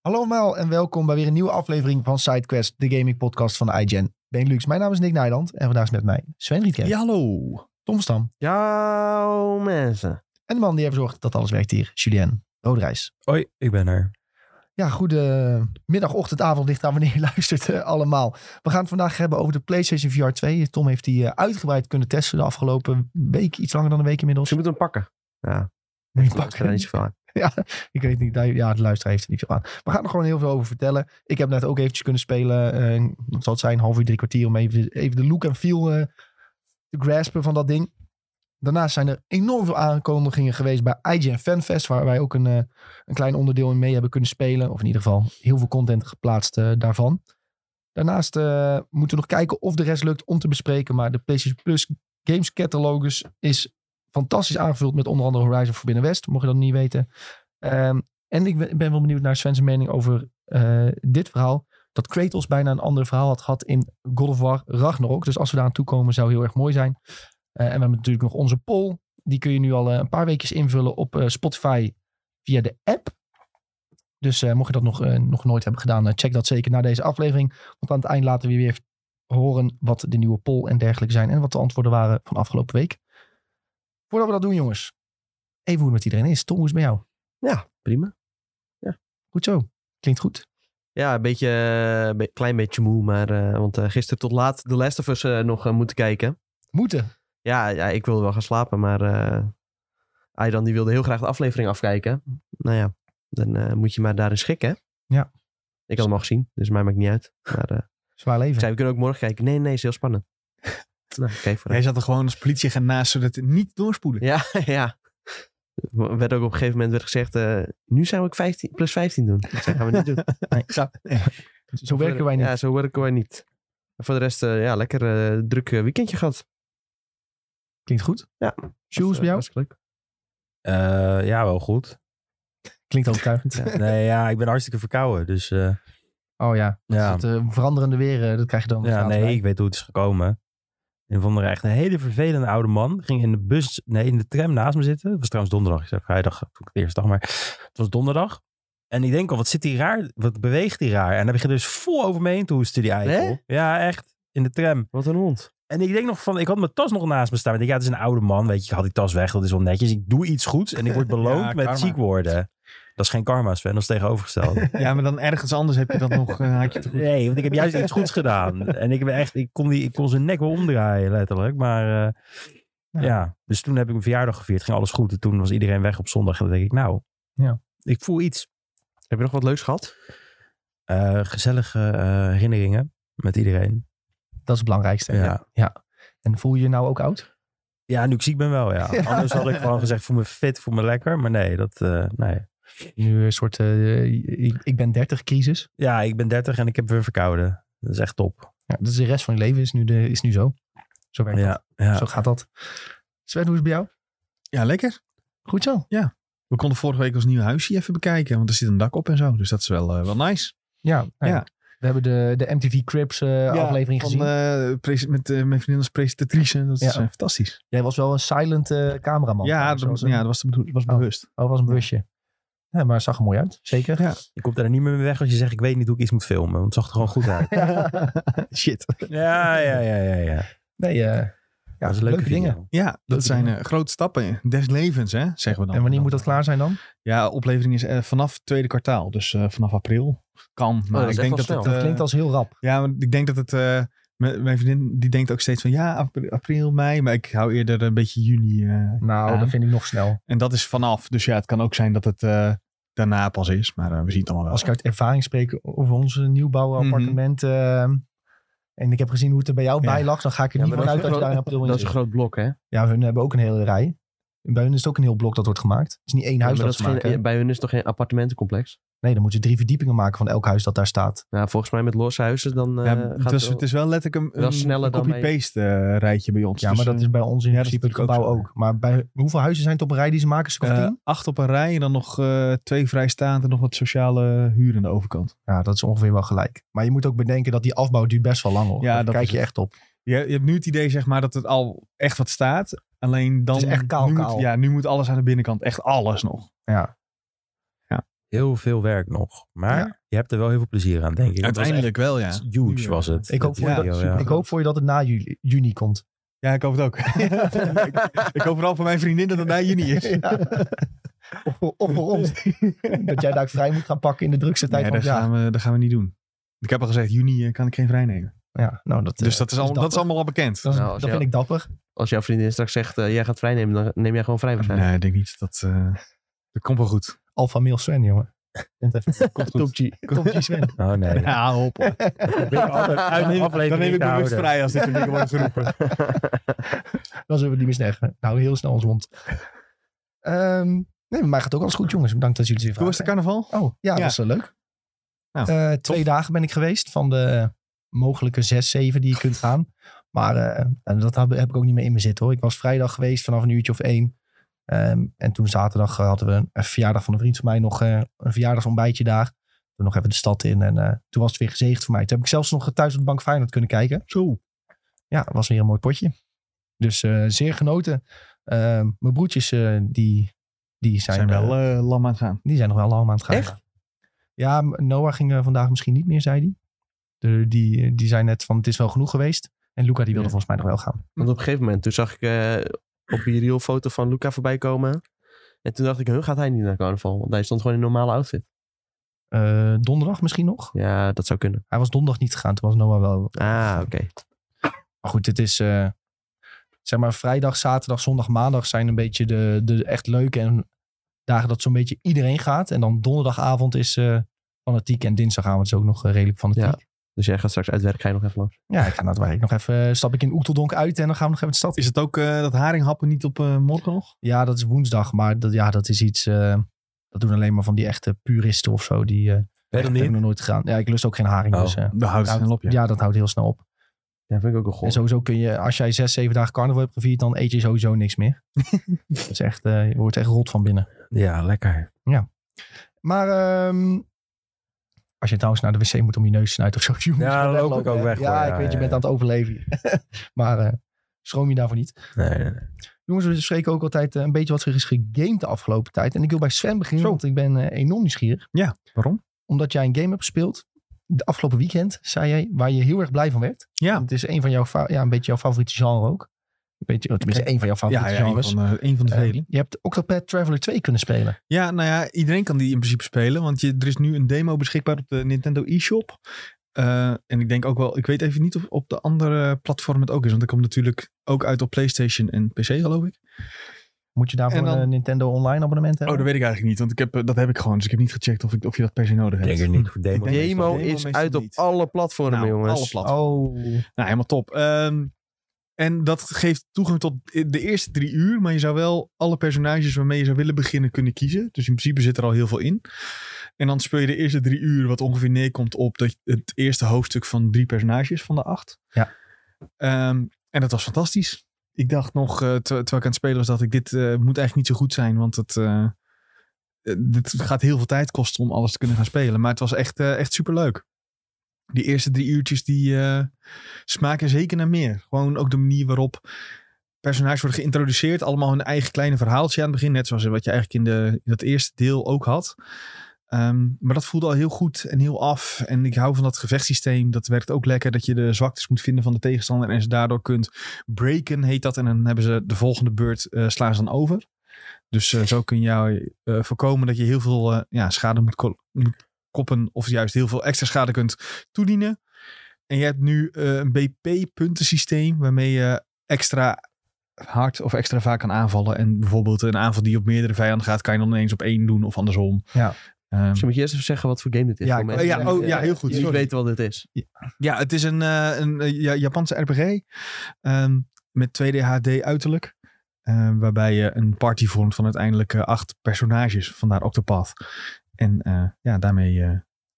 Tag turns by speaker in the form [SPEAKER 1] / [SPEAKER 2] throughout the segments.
[SPEAKER 1] Hallo allemaal en welkom bij weer een nieuwe aflevering van SideQuest, de gaming podcast van iGen Benelux. Mijn naam is Nick Nijland en vandaag is met mij Sven Rietke,
[SPEAKER 2] Ja, hallo.
[SPEAKER 1] Tom Stam
[SPEAKER 3] Ja, mensen.
[SPEAKER 1] en de man die ervoor zorgt dat alles werkt hier, Julien Roderijs.
[SPEAKER 2] Hoi, ik ben er.
[SPEAKER 1] Ja, goede middag, ochtend, avond, ligt aan wanneer je luistert eh, allemaal. We gaan het vandaag hebben over de PlayStation VR 2. Tom heeft die eh, uitgebreid kunnen testen de afgelopen week, iets langer dan een week inmiddels.
[SPEAKER 3] Ze moeten hem pakken. Ja,
[SPEAKER 1] Moet je
[SPEAKER 3] dat is er niet zoveel aan.
[SPEAKER 1] Ik weet niet, daar- ja, de luisteraar heeft er niet veel aan. We gaan er gewoon heel veel over vertellen. Ik heb net ook eventjes kunnen spelen. eh, wat zal het zijn, een half uur, drie kwartier. Om even, even de look en feel eh, te graspen van dat ding. Daarnaast zijn er enorm veel aankondigingen geweest bij IGN Fanfest. Waar wij ook een, eh, een klein onderdeel in mee hebben kunnen spelen. Of in ieder geval heel veel content geplaatst eh, daarvan. Daarnaast eh, moeten we nog kijken of de rest lukt om te bespreken. Maar de PlayStation Plus Games Catalogus is fantastisch aangevuld met onder andere Horizon Forbidden West. Mocht je dat niet weten. Ehm, en ik ben- ben wel benieuwd naar Sven's mening over eh, dit verhaal. Dat Kratos bijna een ander verhaal had gehad in God of War Ragnarok. Dus als we daar aan toe komen, zou heel erg mooi zijn. Eh, en we hebben natuurlijk nog onze poll. Die kun je nu al eh, een paar weekjes invullen op eh, Spotify via de app. Dus eh, mocht je dat nog, eh, nog nooit hebben gedaan, eh, check dat zeker na deze aflevering. Want aan het eind laten we weer horen wat de nieuwe poll en dergelijke zijn. En wat de antwoorden waren van afgelopen week. Voordat we dat doen, jongens. Even hoe het met iedereen is. Tom, hoe is het met jou?
[SPEAKER 3] Ja, prima.
[SPEAKER 1] Goed zo. Klinkt goed.
[SPEAKER 3] Ja, een beetje, eh, be- klein beetje moe, maar, eh, want eh, gisteren tot laat The Last of Us eh, nog eh, moeten kijken.
[SPEAKER 1] Moeten.
[SPEAKER 3] Ja, ja, ik wilde wel gaan slapen, maar eh Aydan die wilde heel graag de aflevering afkijken. Nou ja, dan eh, moet je maar daarin schikken. hè?
[SPEAKER 1] Ja.
[SPEAKER 3] Ik had hem al gezien, dus mij maakt niet uit. Maar eh,
[SPEAKER 1] Zwaar
[SPEAKER 3] ik
[SPEAKER 1] leven.
[SPEAKER 3] zei, we kunnen ook morgen kijken. Nee, nee, is heel spannend. nou, kijk voor
[SPEAKER 2] Jij zat er gewoon als politieagent naast, zodat het niet doorspoelen.
[SPEAKER 3] Ja, ja. Er Werd ook op een gegeven moment werd gezegd, eh, nu zou ik 15, plus 15 doen. Dat gaan we niet doen.
[SPEAKER 2] Ga-
[SPEAKER 1] Zo werken wij niet.
[SPEAKER 3] Ja, zo werken wij niet. En voor de rest, eh, ja, lekker eh, druk eh, weekendje gehad.
[SPEAKER 1] Klinkt goed.
[SPEAKER 3] Ja.
[SPEAKER 1] Shoes
[SPEAKER 3] Was, eh,
[SPEAKER 1] bij jou?
[SPEAKER 3] was leuk.
[SPEAKER 4] Eh, ja, wel goed.
[SPEAKER 1] Klinkt overtuigend.
[SPEAKER 4] Nee, ja, ik ben hartstikke verkouden. Dus eh,
[SPEAKER 1] Oh ja.
[SPEAKER 4] ja,
[SPEAKER 1] Dat eh, veranderende weer, eh, dat krijg je dan.
[SPEAKER 4] ja
[SPEAKER 1] gratis
[SPEAKER 4] nee,
[SPEAKER 1] bij.
[SPEAKER 4] ik weet hoe het is gekomen. Een van de echt een hele vervelende oude man. Ging in de bus, nee, in de tram naast me zitten. Het was trouwens donderdag. Ik zei vrijdag, toen ik de eerste dag, maar het was donderdag. En ik denk al, wat zit hij raar? Wat beweegt hij raar? En hij begint dus vol over me heen te hoesten, die eikel. Ja, echt. In de tram.
[SPEAKER 3] Wat een hond.
[SPEAKER 4] En ik denk nog van, ik had mijn tas nog naast me staan. Ik denk, ja, het is een oude man, weet je. Ik had die tas weg, dat is wel netjes. Ik doe iets goeds en ik word beloond
[SPEAKER 2] Ja,
[SPEAKER 4] met
[SPEAKER 2] karma.
[SPEAKER 4] ziek worden. Dat is geen karma, Sven. Dat is tegenovergesteld.
[SPEAKER 2] Ja, maar dan ergens anders heb je dat nog een haakje te goed.
[SPEAKER 4] nee, want ik heb juist iets goeds gedaan. En ik, ben echt, ik, kon die, ik kon zijn nek wel omdraaien, letterlijk. Maar eh,
[SPEAKER 1] Ja.
[SPEAKER 4] ja. dus toen heb ik mijn verjaardag gevierd. Ging alles goed. En toen was iedereen weg op zondag. En dan denk ik, nou,
[SPEAKER 1] Ja.
[SPEAKER 4] ik voel iets.
[SPEAKER 3] Heb je nog wat leuks gehad?
[SPEAKER 4] Eh, gezellige eh, herinneringen met iedereen.
[SPEAKER 1] Dat is het belangrijkste.
[SPEAKER 4] Ja.
[SPEAKER 1] Ja. En voel je je nou ook oud?
[SPEAKER 4] Ja, nu ik ziek ben wel, ja.
[SPEAKER 1] Ja.
[SPEAKER 4] Anders had ik gewoon gezegd, voel me fit, voel me lekker. Maar nee, dat, eh, nee.
[SPEAKER 1] Nu een soort eh, ik, ik ben 30 crisis.
[SPEAKER 4] Ja, ik ben 30 en ik heb weer verkouden. Dat is echt top.
[SPEAKER 1] Ja, dat is de rest van je leven is nu, de, is nu zo. Zo werkt
[SPEAKER 4] Ja, ja.
[SPEAKER 1] dat. Zo gaat dat. Sven, hoe is het bij jou?
[SPEAKER 2] Ja, lekker.
[SPEAKER 1] Goed zo.
[SPEAKER 2] We konden vorige week ons nieuwe huisje even bekijken, want er zit een dak op en zo. Dus dat is wel, eh, wel nice.
[SPEAKER 1] Ja. nou ja.
[SPEAKER 2] Ja.
[SPEAKER 1] We hebben de, de MTV Crips eh, aflevering
[SPEAKER 2] van,
[SPEAKER 1] gezien.
[SPEAKER 2] eh, pres- met eh, mijn vriendin als presentatrice. Dat
[SPEAKER 1] Ja.
[SPEAKER 2] is eh, fantastisch.
[SPEAKER 1] Jij was wel een silent eh, cameraman.
[SPEAKER 2] ja,
[SPEAKER 1] trouwens.
[SPEAKER 2] dat,
[SPEAKER 1] was een-
[SPEAKER 2] ja, dat was, de bedoel- was
[SPEAKER 1] Oh.
[SPEAKER 2] bewust.
[SPEAKER 1] Oh, was een busje. Ja, maar het zag er mooi uit. Zeker.
[SPEAKER 2] Ja.
[SPEAKER 4] Je komt er niet meer mee weg als je zegt, ik weet niet hoe ik iets moet filmen. Want het zag er gewoon goed uit.
[SPEAKER 2] Shit.
[SPEAKER 4] ja, ja, ja, ja, ja.
[SPEAKER 1] Nee, eh, ja,
[SPEAKER 4] dat is een leuke,
[SPEAKER 1] leuke
[SPEAKER 4] video.
[SPEAKER 1] dingen.
[SPEAKER 2] Ja, dat
[SPEAKER 1] Leuke
[SPEAKER 2] zijn
[SPEAKER 1] dingen.
[SPEAKER 2] eh, grote stappen des levens, hè, zeggen we dan.
[SPEAKER 1] En wanneer moet dat klaar zijn dan?
[SPEAKER 2] Ja, oplevering is eh, vanaf tweede kwartaal. Dus eh, vanaf april. Kan, maar
[SPEAKER 3] dat is
[SPEAKER 2] ik
[SPEAKER 3] echt wel
[SPEAKER 2] denk dat
[SPEAKER 3] snel.
[SPEAKER 1] Oh,
[SPEAKER 2] het...
[SPEAKER 1] Dat
[SPEAKER 2] eh,
[SPEAKER 1] klinkt als heel rap.
[SPEAKER 2] Ja, maar ik denk dat het... eh, mijn mijn vriendin die denkt ook steeds van ja, april, april, mei. Maar ik hou eerder een beetje juni. eh,
[SPEAKER 1] Nou,
[SPEAKER 2] ja.
[SPEAKER 1] dat vind ik nog snel.
[SPEAKER 2] en dat is vanaf. Dus ja, het kan ook zijn dat het eh, daarna pas is. Maar eh, we zien het allemaal wel.
[SPEAKER 1] Als ik uit ervaring spreek over ons nieuwbouwappartement. eh, en ik heb gezien hoe het er bij jou
[SPEAKER 2] Ja.
[SPEAKER 1] bij lag. Dan ga ik er
[SPEAKER 3] Ja,
[SPEAKER 1] niet
[SPEAKER 3] maar dat
[SPEAKER 1] vanuit
[SPEAKER 3] is
[SPEAKER 1] dat je
[SPEAKER 3] wel-
[SPEAKER 1] daar in april in
[SPEAKER 3] Dat is
[SPEAKER 1] zit.
[SPEAKER 3] een groot blok, hè?
[SPEAKER 1] Ja, hun hebben ook een hele rij. En Bij hun is het ook een heel blok dat wordt gemaakt. Het is niet één
[SPEAKER 3] Ja,
[SPEAKER 1] huis
[SPEAKER 3] maar
[SPEAKER 1] dat
[SPEAKER 3] dat
[SPEAKER 1] ze
[SPEAKER 3] is geen-
[SPEAKER 1] maken.
[SPEAKER 3] eh, bij hun is toch geen appartementencomplex?
[SPEAKER 1] Nee, dan moet je drie verdiepingen maken van elk huis dat daar staat.
[SPEAKER 3] Nou, volgens mij met losse huizen dan eh,
[SPEAKER 2] Ja,
[SPEAKER 3] gaat
[SPEAKER 1] dus
[SPEAKER 2] het, was-
[SPEAKER 3] wel-
[SPEAKER 2] het is wel letterlijk een,
[SPEAKER 3] wel
[SPEAKER 2] een-
[SPEAKER 3] sneller
[SPEAKER 2] een
[SPEAKER 3] dan bij-
[SPEAKER 2] copy-paste eh, rijtje bij ons. eh,
[SPEAKER 1] Ja, maar dat is bij ons in
[SPEAKER 2] ja, dat is
[SPEAKER 1] principe het
[SPEAKER 2] natuurlijk
[SPEAKER 1] gebouw
[SPEAKER 2] ook
[SPEAKER 1] ook.
[SPEAKER 2] zo, Eh,
[SPEAKER 1] Maar bij, hoeveel huizen zijn het op een rij die ze maken? Een stuk of tien?
[SPEAKER 2] acht op een rij en dan nog eh, twee vrijstaand en nog wat sociale huur aan de overkant.
[SPEAKER 1] Ja, dat is ongeveer wel gelijk. Maar je moet ook bedenken dat die afbouw duurt best wel lang hoor.
[SPEAKER 2] Ja,
[SPEAKER 1] Daar
[SPEAKER 2] dat
[SPEAKER 1] kijk
[SPEAKER 2] is
[SPEAKER 1] je
[SPEAKER 2] het.
[SPEAKER 1] echt op.
[SPEAKER 2] Je, je hebt nu het idee zeg maar dat het al echt wat staat. Alleen dan...
[SPEAKER 1] Het is echt kaal,
[SPEAKER 2] nu moet-
[SPEAKER 1] kaal.
[SPEAKER 2] Ja, nu moet alles aan de binnenkant. Echt alles nog.
[SPEAKER 1] Ja.
[SPEAKER 2] Ja.
[SPEAKER 4] heel veel werk nog. Maar
[SPEAKER 1] Ja.
[SPEAKER 4] je hebt er wel heel veel plezier aan, denk ik. Het was
[SPEAKER 2] Uiteindelijk wel, ja.
[SPEAKER 4] echt Huge was het.
[SPEAKER 1] Ik hoop, voor
[SPEAKER 2] Ja,
[SPEAKER 1] je dat, ik hoop voor je dat het na juli, juni komt.
[SPEAKER 2] Ja, ik hoop het ook. ik, ik hoop vooral voor mijn vriendin dat het na juni is.
[SPEAKER 1] Ja. Of, voor- of voor ons. Dat jij daar vrij moet gaan pakken in de drukste tijd
[SPEAKER 2] Nee,
[SPEAKER 1] van
[SPEAKER 2] dat,
[SPEAKER 1] het jaar.
[SPEAKER 2] gaan we, dat gaan we niet doen. Ik heb al gezegd, juni eh, kan ik geen vrij nemen.
[SPEAKER 1] Ja, nou, dat,
[SPEAKER 2] Dus
[SPEAKER 1] eh,
[SPEAKER 2] dat is, al, dat is
[SPEAKER 1] dapper.
[SPEAKER 2] allemaal al bekend.
[SPEAKER 1] Dat, is-
[SPEAKER 3] Nou, als
[SPEAKER 1] dat
[SPEAKER 3] jou-
[SPEAKER 1] vind ik dapper.
[SPEAKER 3] Als jouw vriendin straks zegt, eh, jij gaat vrijnemen, dan neem jij gewoon vrij waarschijnlijk.
[SPEAKER 2] Nee, ik denk niet. Dat, eh, dat komt wel goed.
[SPEAKER 1] Alpha Mil Sven, jongen.
[SPEAKER 2] Komt goed.
[SPEAKER 1] Top G. Top G Sven.
[SPEAKER 4] Oh nee.
[SPEAKER 2] Ja, hop. hop.
[SPEAKER 4] uit de aflevering
[SPEAKER 2] dan neem ik bewust
[SPEAKER 4] te houden.
[SPEAKER 2] vrij als dit soort dingen worden geroepen.
[SPEAKER 1] Dan zullen we die misleggen. Nou, heel snel ons rond. Ehm, nee, maar mij gaat ook alles goed, jongens. Bedankt dat jullie dit
[SPEAKER 2] Hoe was de carnaval?
[SPEAKER 1] Oh, ja, dat
[SPEAKER 2] Ja.
[SPEAKER 1] was eh, leuk.
[SPEAKER 2] Nou,
[SPEAKER 1] Eh, twee dagen ben ik geweest van de eh, mogelijke zes, zeven die je kunt gaan. Maar eh, en dat heb, heb ik ook niet meer in me zitten hoor. Ik was vrijdag geweest vanaf een uurtje of één. Ehm, en toen zaterdag eh, hadden we een, een verjaardag van een vriend van mij nog eh, een verjaardagsontbijtje daar. Toen nog even de stad in en eh, toen was het weer gezegend voor mij. Toen heb ik zelfs nog thuis op de bank Feyenoord kunnen kijken. Zo. Ja, het was weer een mooi potje. Dus eh, zeer genoten. Ehm, mijn broertjes eh, die, die zijn,
[SPEAKER 2] Zijn, zijn
[SPEAKER 1] eh,
[SPEAKER 2] wel eh, lam aan het gaan.
[SPEAKER 1] die zijn nog wel allemaal aan het gaan.
[SPEAKER 3] Echt?
[SPEAKER 1] Ja, M- Noah ging eh, vandaag misschien niet meer, zei hij. De- die, eh, die zei net van het is wel genoeg geweest. En Luca die wilde
[SPEAKER 2] Ja.
[SPEAKER 1] volgens mij nog wel gaan.
[SPEAKER 3] Want op een gegeven moment, toen zag ik eh, op die reel foto van Luca voorbij komen. En toen dacht ik, huh, gaat hij niet naar carnaval? Want hij stond gewoon in een normale outfit.
[SPEAKER 1] Eh, donderdag misschien nog.
[SPEAKER 3] Ja, dat zou kunnen.
[SPEAKER 1] Hij was donderdag niet gegaan, toen was Noah wel.
[SPEAKER 3] Ah, oké.
[SPEAKER 1] Maar goed, het is eh, zeg maar vrijdag, zaterdag, zondag, maandag zijn een beetje de, de echt leuke en dagen dat zo'n beetje iedereen gaat. En dan donderdagavond is eh fanatiek en dinsdagavond is ook nog eh, redelijk fanatiek. Ja.
[SPEAKER 3] Dus jij gaat straks uit werk, ga je nog even langs.
[SPEAKER 1] ik ga naar het werk nog even, eh, stap ik in Oeteldonk uit en dan gaan we nog even de stad in.
[SPEAKER 2] Is het ook eh, dat haringhappen niet op eh, morgen nog?
[SPEAKER 1] Ja, dat is woensdag, maar dat, ja, dat is iets. eh, dat doen alleen maar van die echte puristen of zo. Die eh
[SPEAKER 4] Ben je
[SPEAKER 1] echt
[SPEAKER 4] dat niet?
[SPEAKER 1] hebben nog nooit gegaan. Ja, ik lust ook geen haring.
[SPEAKER 4] Oh,
[SPEAKER 1] dus, eh,
[SPEAKER 2] Dan houdt het
[SPEAKER 1] dat-
[SPEAKER 2] snel op, ja.
[SPEAKER 1] ja, dat houdt heel snel op.
[SPEAKER 3] Ja, vind ik ook een goal.
[SPEAKER 1] En sowieso kun je, als jij zes, zeven dagen carnaval hebt gevierd, dan eet je sowieso niks meer. dat is echt, eh, je wordt echt rot van binnen.
[SPEAKER 4] Ja, lekker.
[SPEAKER 1] Maar ehm, als je trouwens naar de wc moet om je neus te snuiten of zo. je moet
[SPEAKER 4] Ja,
[SPEAKER 1] gewoon
[SPEAKER 4] dan loop
[SPEAKER 1] weglopen,
[SPEAKER 4] ik ook
[SPEAKER 1] hè.
[SPEAKER 4] weg,
[SPEAKER 1] Ja,
[SPEAKER 4] hoor.
[SPEAKER 1] ik
[SPEAKER 4] Ja,
[SPEAKER 1] weet, je
[SPEAKER 4] ja,
[SPEAKER 1] bent
[SPEAKER 4] ja.
[SPEAKER 1] aan het overleven. maar eh, schroom je daarvoor niet.
[SPEAKER 4] Nee, nee, nee.
[SPEAKER 1] Jongens, we bespreken ook altijd eh, een beetje wat er is gegamed de afgelopen tijd. En ik wil bij Sven beginnen,
[SPEAKER 2] Zo.
[SPEAKER 1] want ik ben eh, enorm nieuwsgierig.
[SPEAKER 2] Ja, waarom?
[SPEAKER 1] Omdat jij een game hebt gespeeld, de afgelopen weekend, zei jij, waar je heel erg blij van werd.
[SPEAKER 2] Ja.
[SPEAKER 1] Het is een van jouw, fa- ja, een beetje jouw favoriete genre ook. Een beetje, oh, tenminste, één van jouw favoriete
[SPEAKER 2] Ja, ja een,
[SPEAKER 1] genres.
[SPEAKER 2] van, eh, een van de
[SPEAKER 1] Eh,
[SPEAKER 2] velen.
[SPEAKER 1] je hebt Octopath Traveler 2 kunnen spelen.
[SPEAKER 2] Ja, nou ja, iedereen kan die in principe spelen. Want je, er is nu een demo beschikbaar op de Nintendo eShop. Eh, en ik denk ook wel, ik weet even niet of op de andere platform het ook is. Want ik komt natuurlijk ook uit op PlayStation en PC, geloof ik.
[SPEAKER 1] Moet je daarvoor
[SPEAKER 2] En dan-
[SPEAKER 1] een Nintendo Online abonnement
[SPEAKER 2] Oh,
[SPEAKER 1] hebben?
[SPEAKER 2] dat weet ik eigenlijk niet. Want ik heb, eh, dat heb ik gewoon. Dus ik heb niet gecheckt of, ik, of je dat per se nodig
[SPEAKER 4] Ik
[SPEAKER 2] hebt.
[SPEAKER 4] denk er niet voor
[SPEAKER 2] Ik
[SPEAKER 4] demo.
[SPEAKER 2] denk-
[SPEAKER 3] Demo
[SPEAKER 2] Demo
[SPEAKER 3] is
[SPEAKER 2] meestal
[SPEAKER 3] uit op
[SPEAKER 2] niet.
[SPEAKER 3] alle platformen,
[SPEAKER 2] Nou,
[SPEAKER 3] jongens.
[SPEAKER 2] alle platformen.
[SPEAKER 1] Oh,
[SPEAKER 2] Nou, helemaal top. Ehm, en dat geeft toegang tot de eerste drie uur. Maar je zou wel alle personages waarmee je zou willen beginnen kunnen kiezen. Dus in principe zit er al heel veel in. En dan speel je de eerste drie uur, wat ongeveer neerkomt op dat het eerste hoofdstuk van drie personages van de acht.
[SPEAKER 1] Ja.
[SPEAKER 2] Ehm, en dat was fantastisch. Ik dacht nog, eh, ter- terwijl ik aan het spelen was, dat ik dit eh, moet eigenlijk niet zo goed zijn. Want het, eh, eh, dit gaat heel veel tijd kosten om alles te kunnen gaan spelen. Maar het was echt, eh, echt superleuk. Die eerste drie uurtjes, die... eh, smaken zeker naar meer. Gewoon ook de manier waarop personages worden geïntroduceerd. Allemaal hun eigen kleine verhaaltje aan het begin. Net zoals wat je eigenlijk in, de, in dat eerste deel ook had. Ehm, maar dat voelde al heel goed en heel af. En ik hou van dat gevechtssysteem. Dat werkt ook lekker. Dat je de zwaktes moet vinden van de tegenstander. En ze daardoor kunt breken, heet dat. En dan hebben ze de volgende beurt eh, slaan ze dan over. Dus eh, zo kun je eh, voorkomen dat je heel veel eh, ja, schade moet, ko- moet koppen. Of juist heel veel extra schade kunt toedienen. En je hebt nu eh, een BP-puntensysteem waarmee je extra hard of extra vaak kan aanvallen. En bijvoorbeeld een aanval die op meerdere vijanden gaat, kan je dan ineens op één doen of andersom.
[SPEAKER 1] Ja.
[SPEAKER 2] Ehm,
[SPEAKER 3] Dus je moet je eerst even zeggen wat voor game dit is.
[SPEAKER 1] Ja,
[SPEAKER 3] voor
[SPEAKER 1] ik-
[SPEAKER 3] mensen
[SPEAKER 2] ja,
[SPEAKER 3] die
[SPEAKER 2] oh,
[SPEAKER 3] niet,
[SPEAKER 2] ja,
[SPEAKER 3] eh,
[SPEAKER 2] heel goed,
[SPEAKER 3] die niet
[SPEAKER 2] sorry.
[SPEAKER 3] weten wat dit is.
[SPEAKER 2] ja, het is een, eh, een eh, Ja- Japanse RPG ehm, met 2D HD uiterlijk. eh, waarbij je een party vormt van uiteindelijk eh, acht personages, vandaar Octopath. En eh, ja, daarmee eh,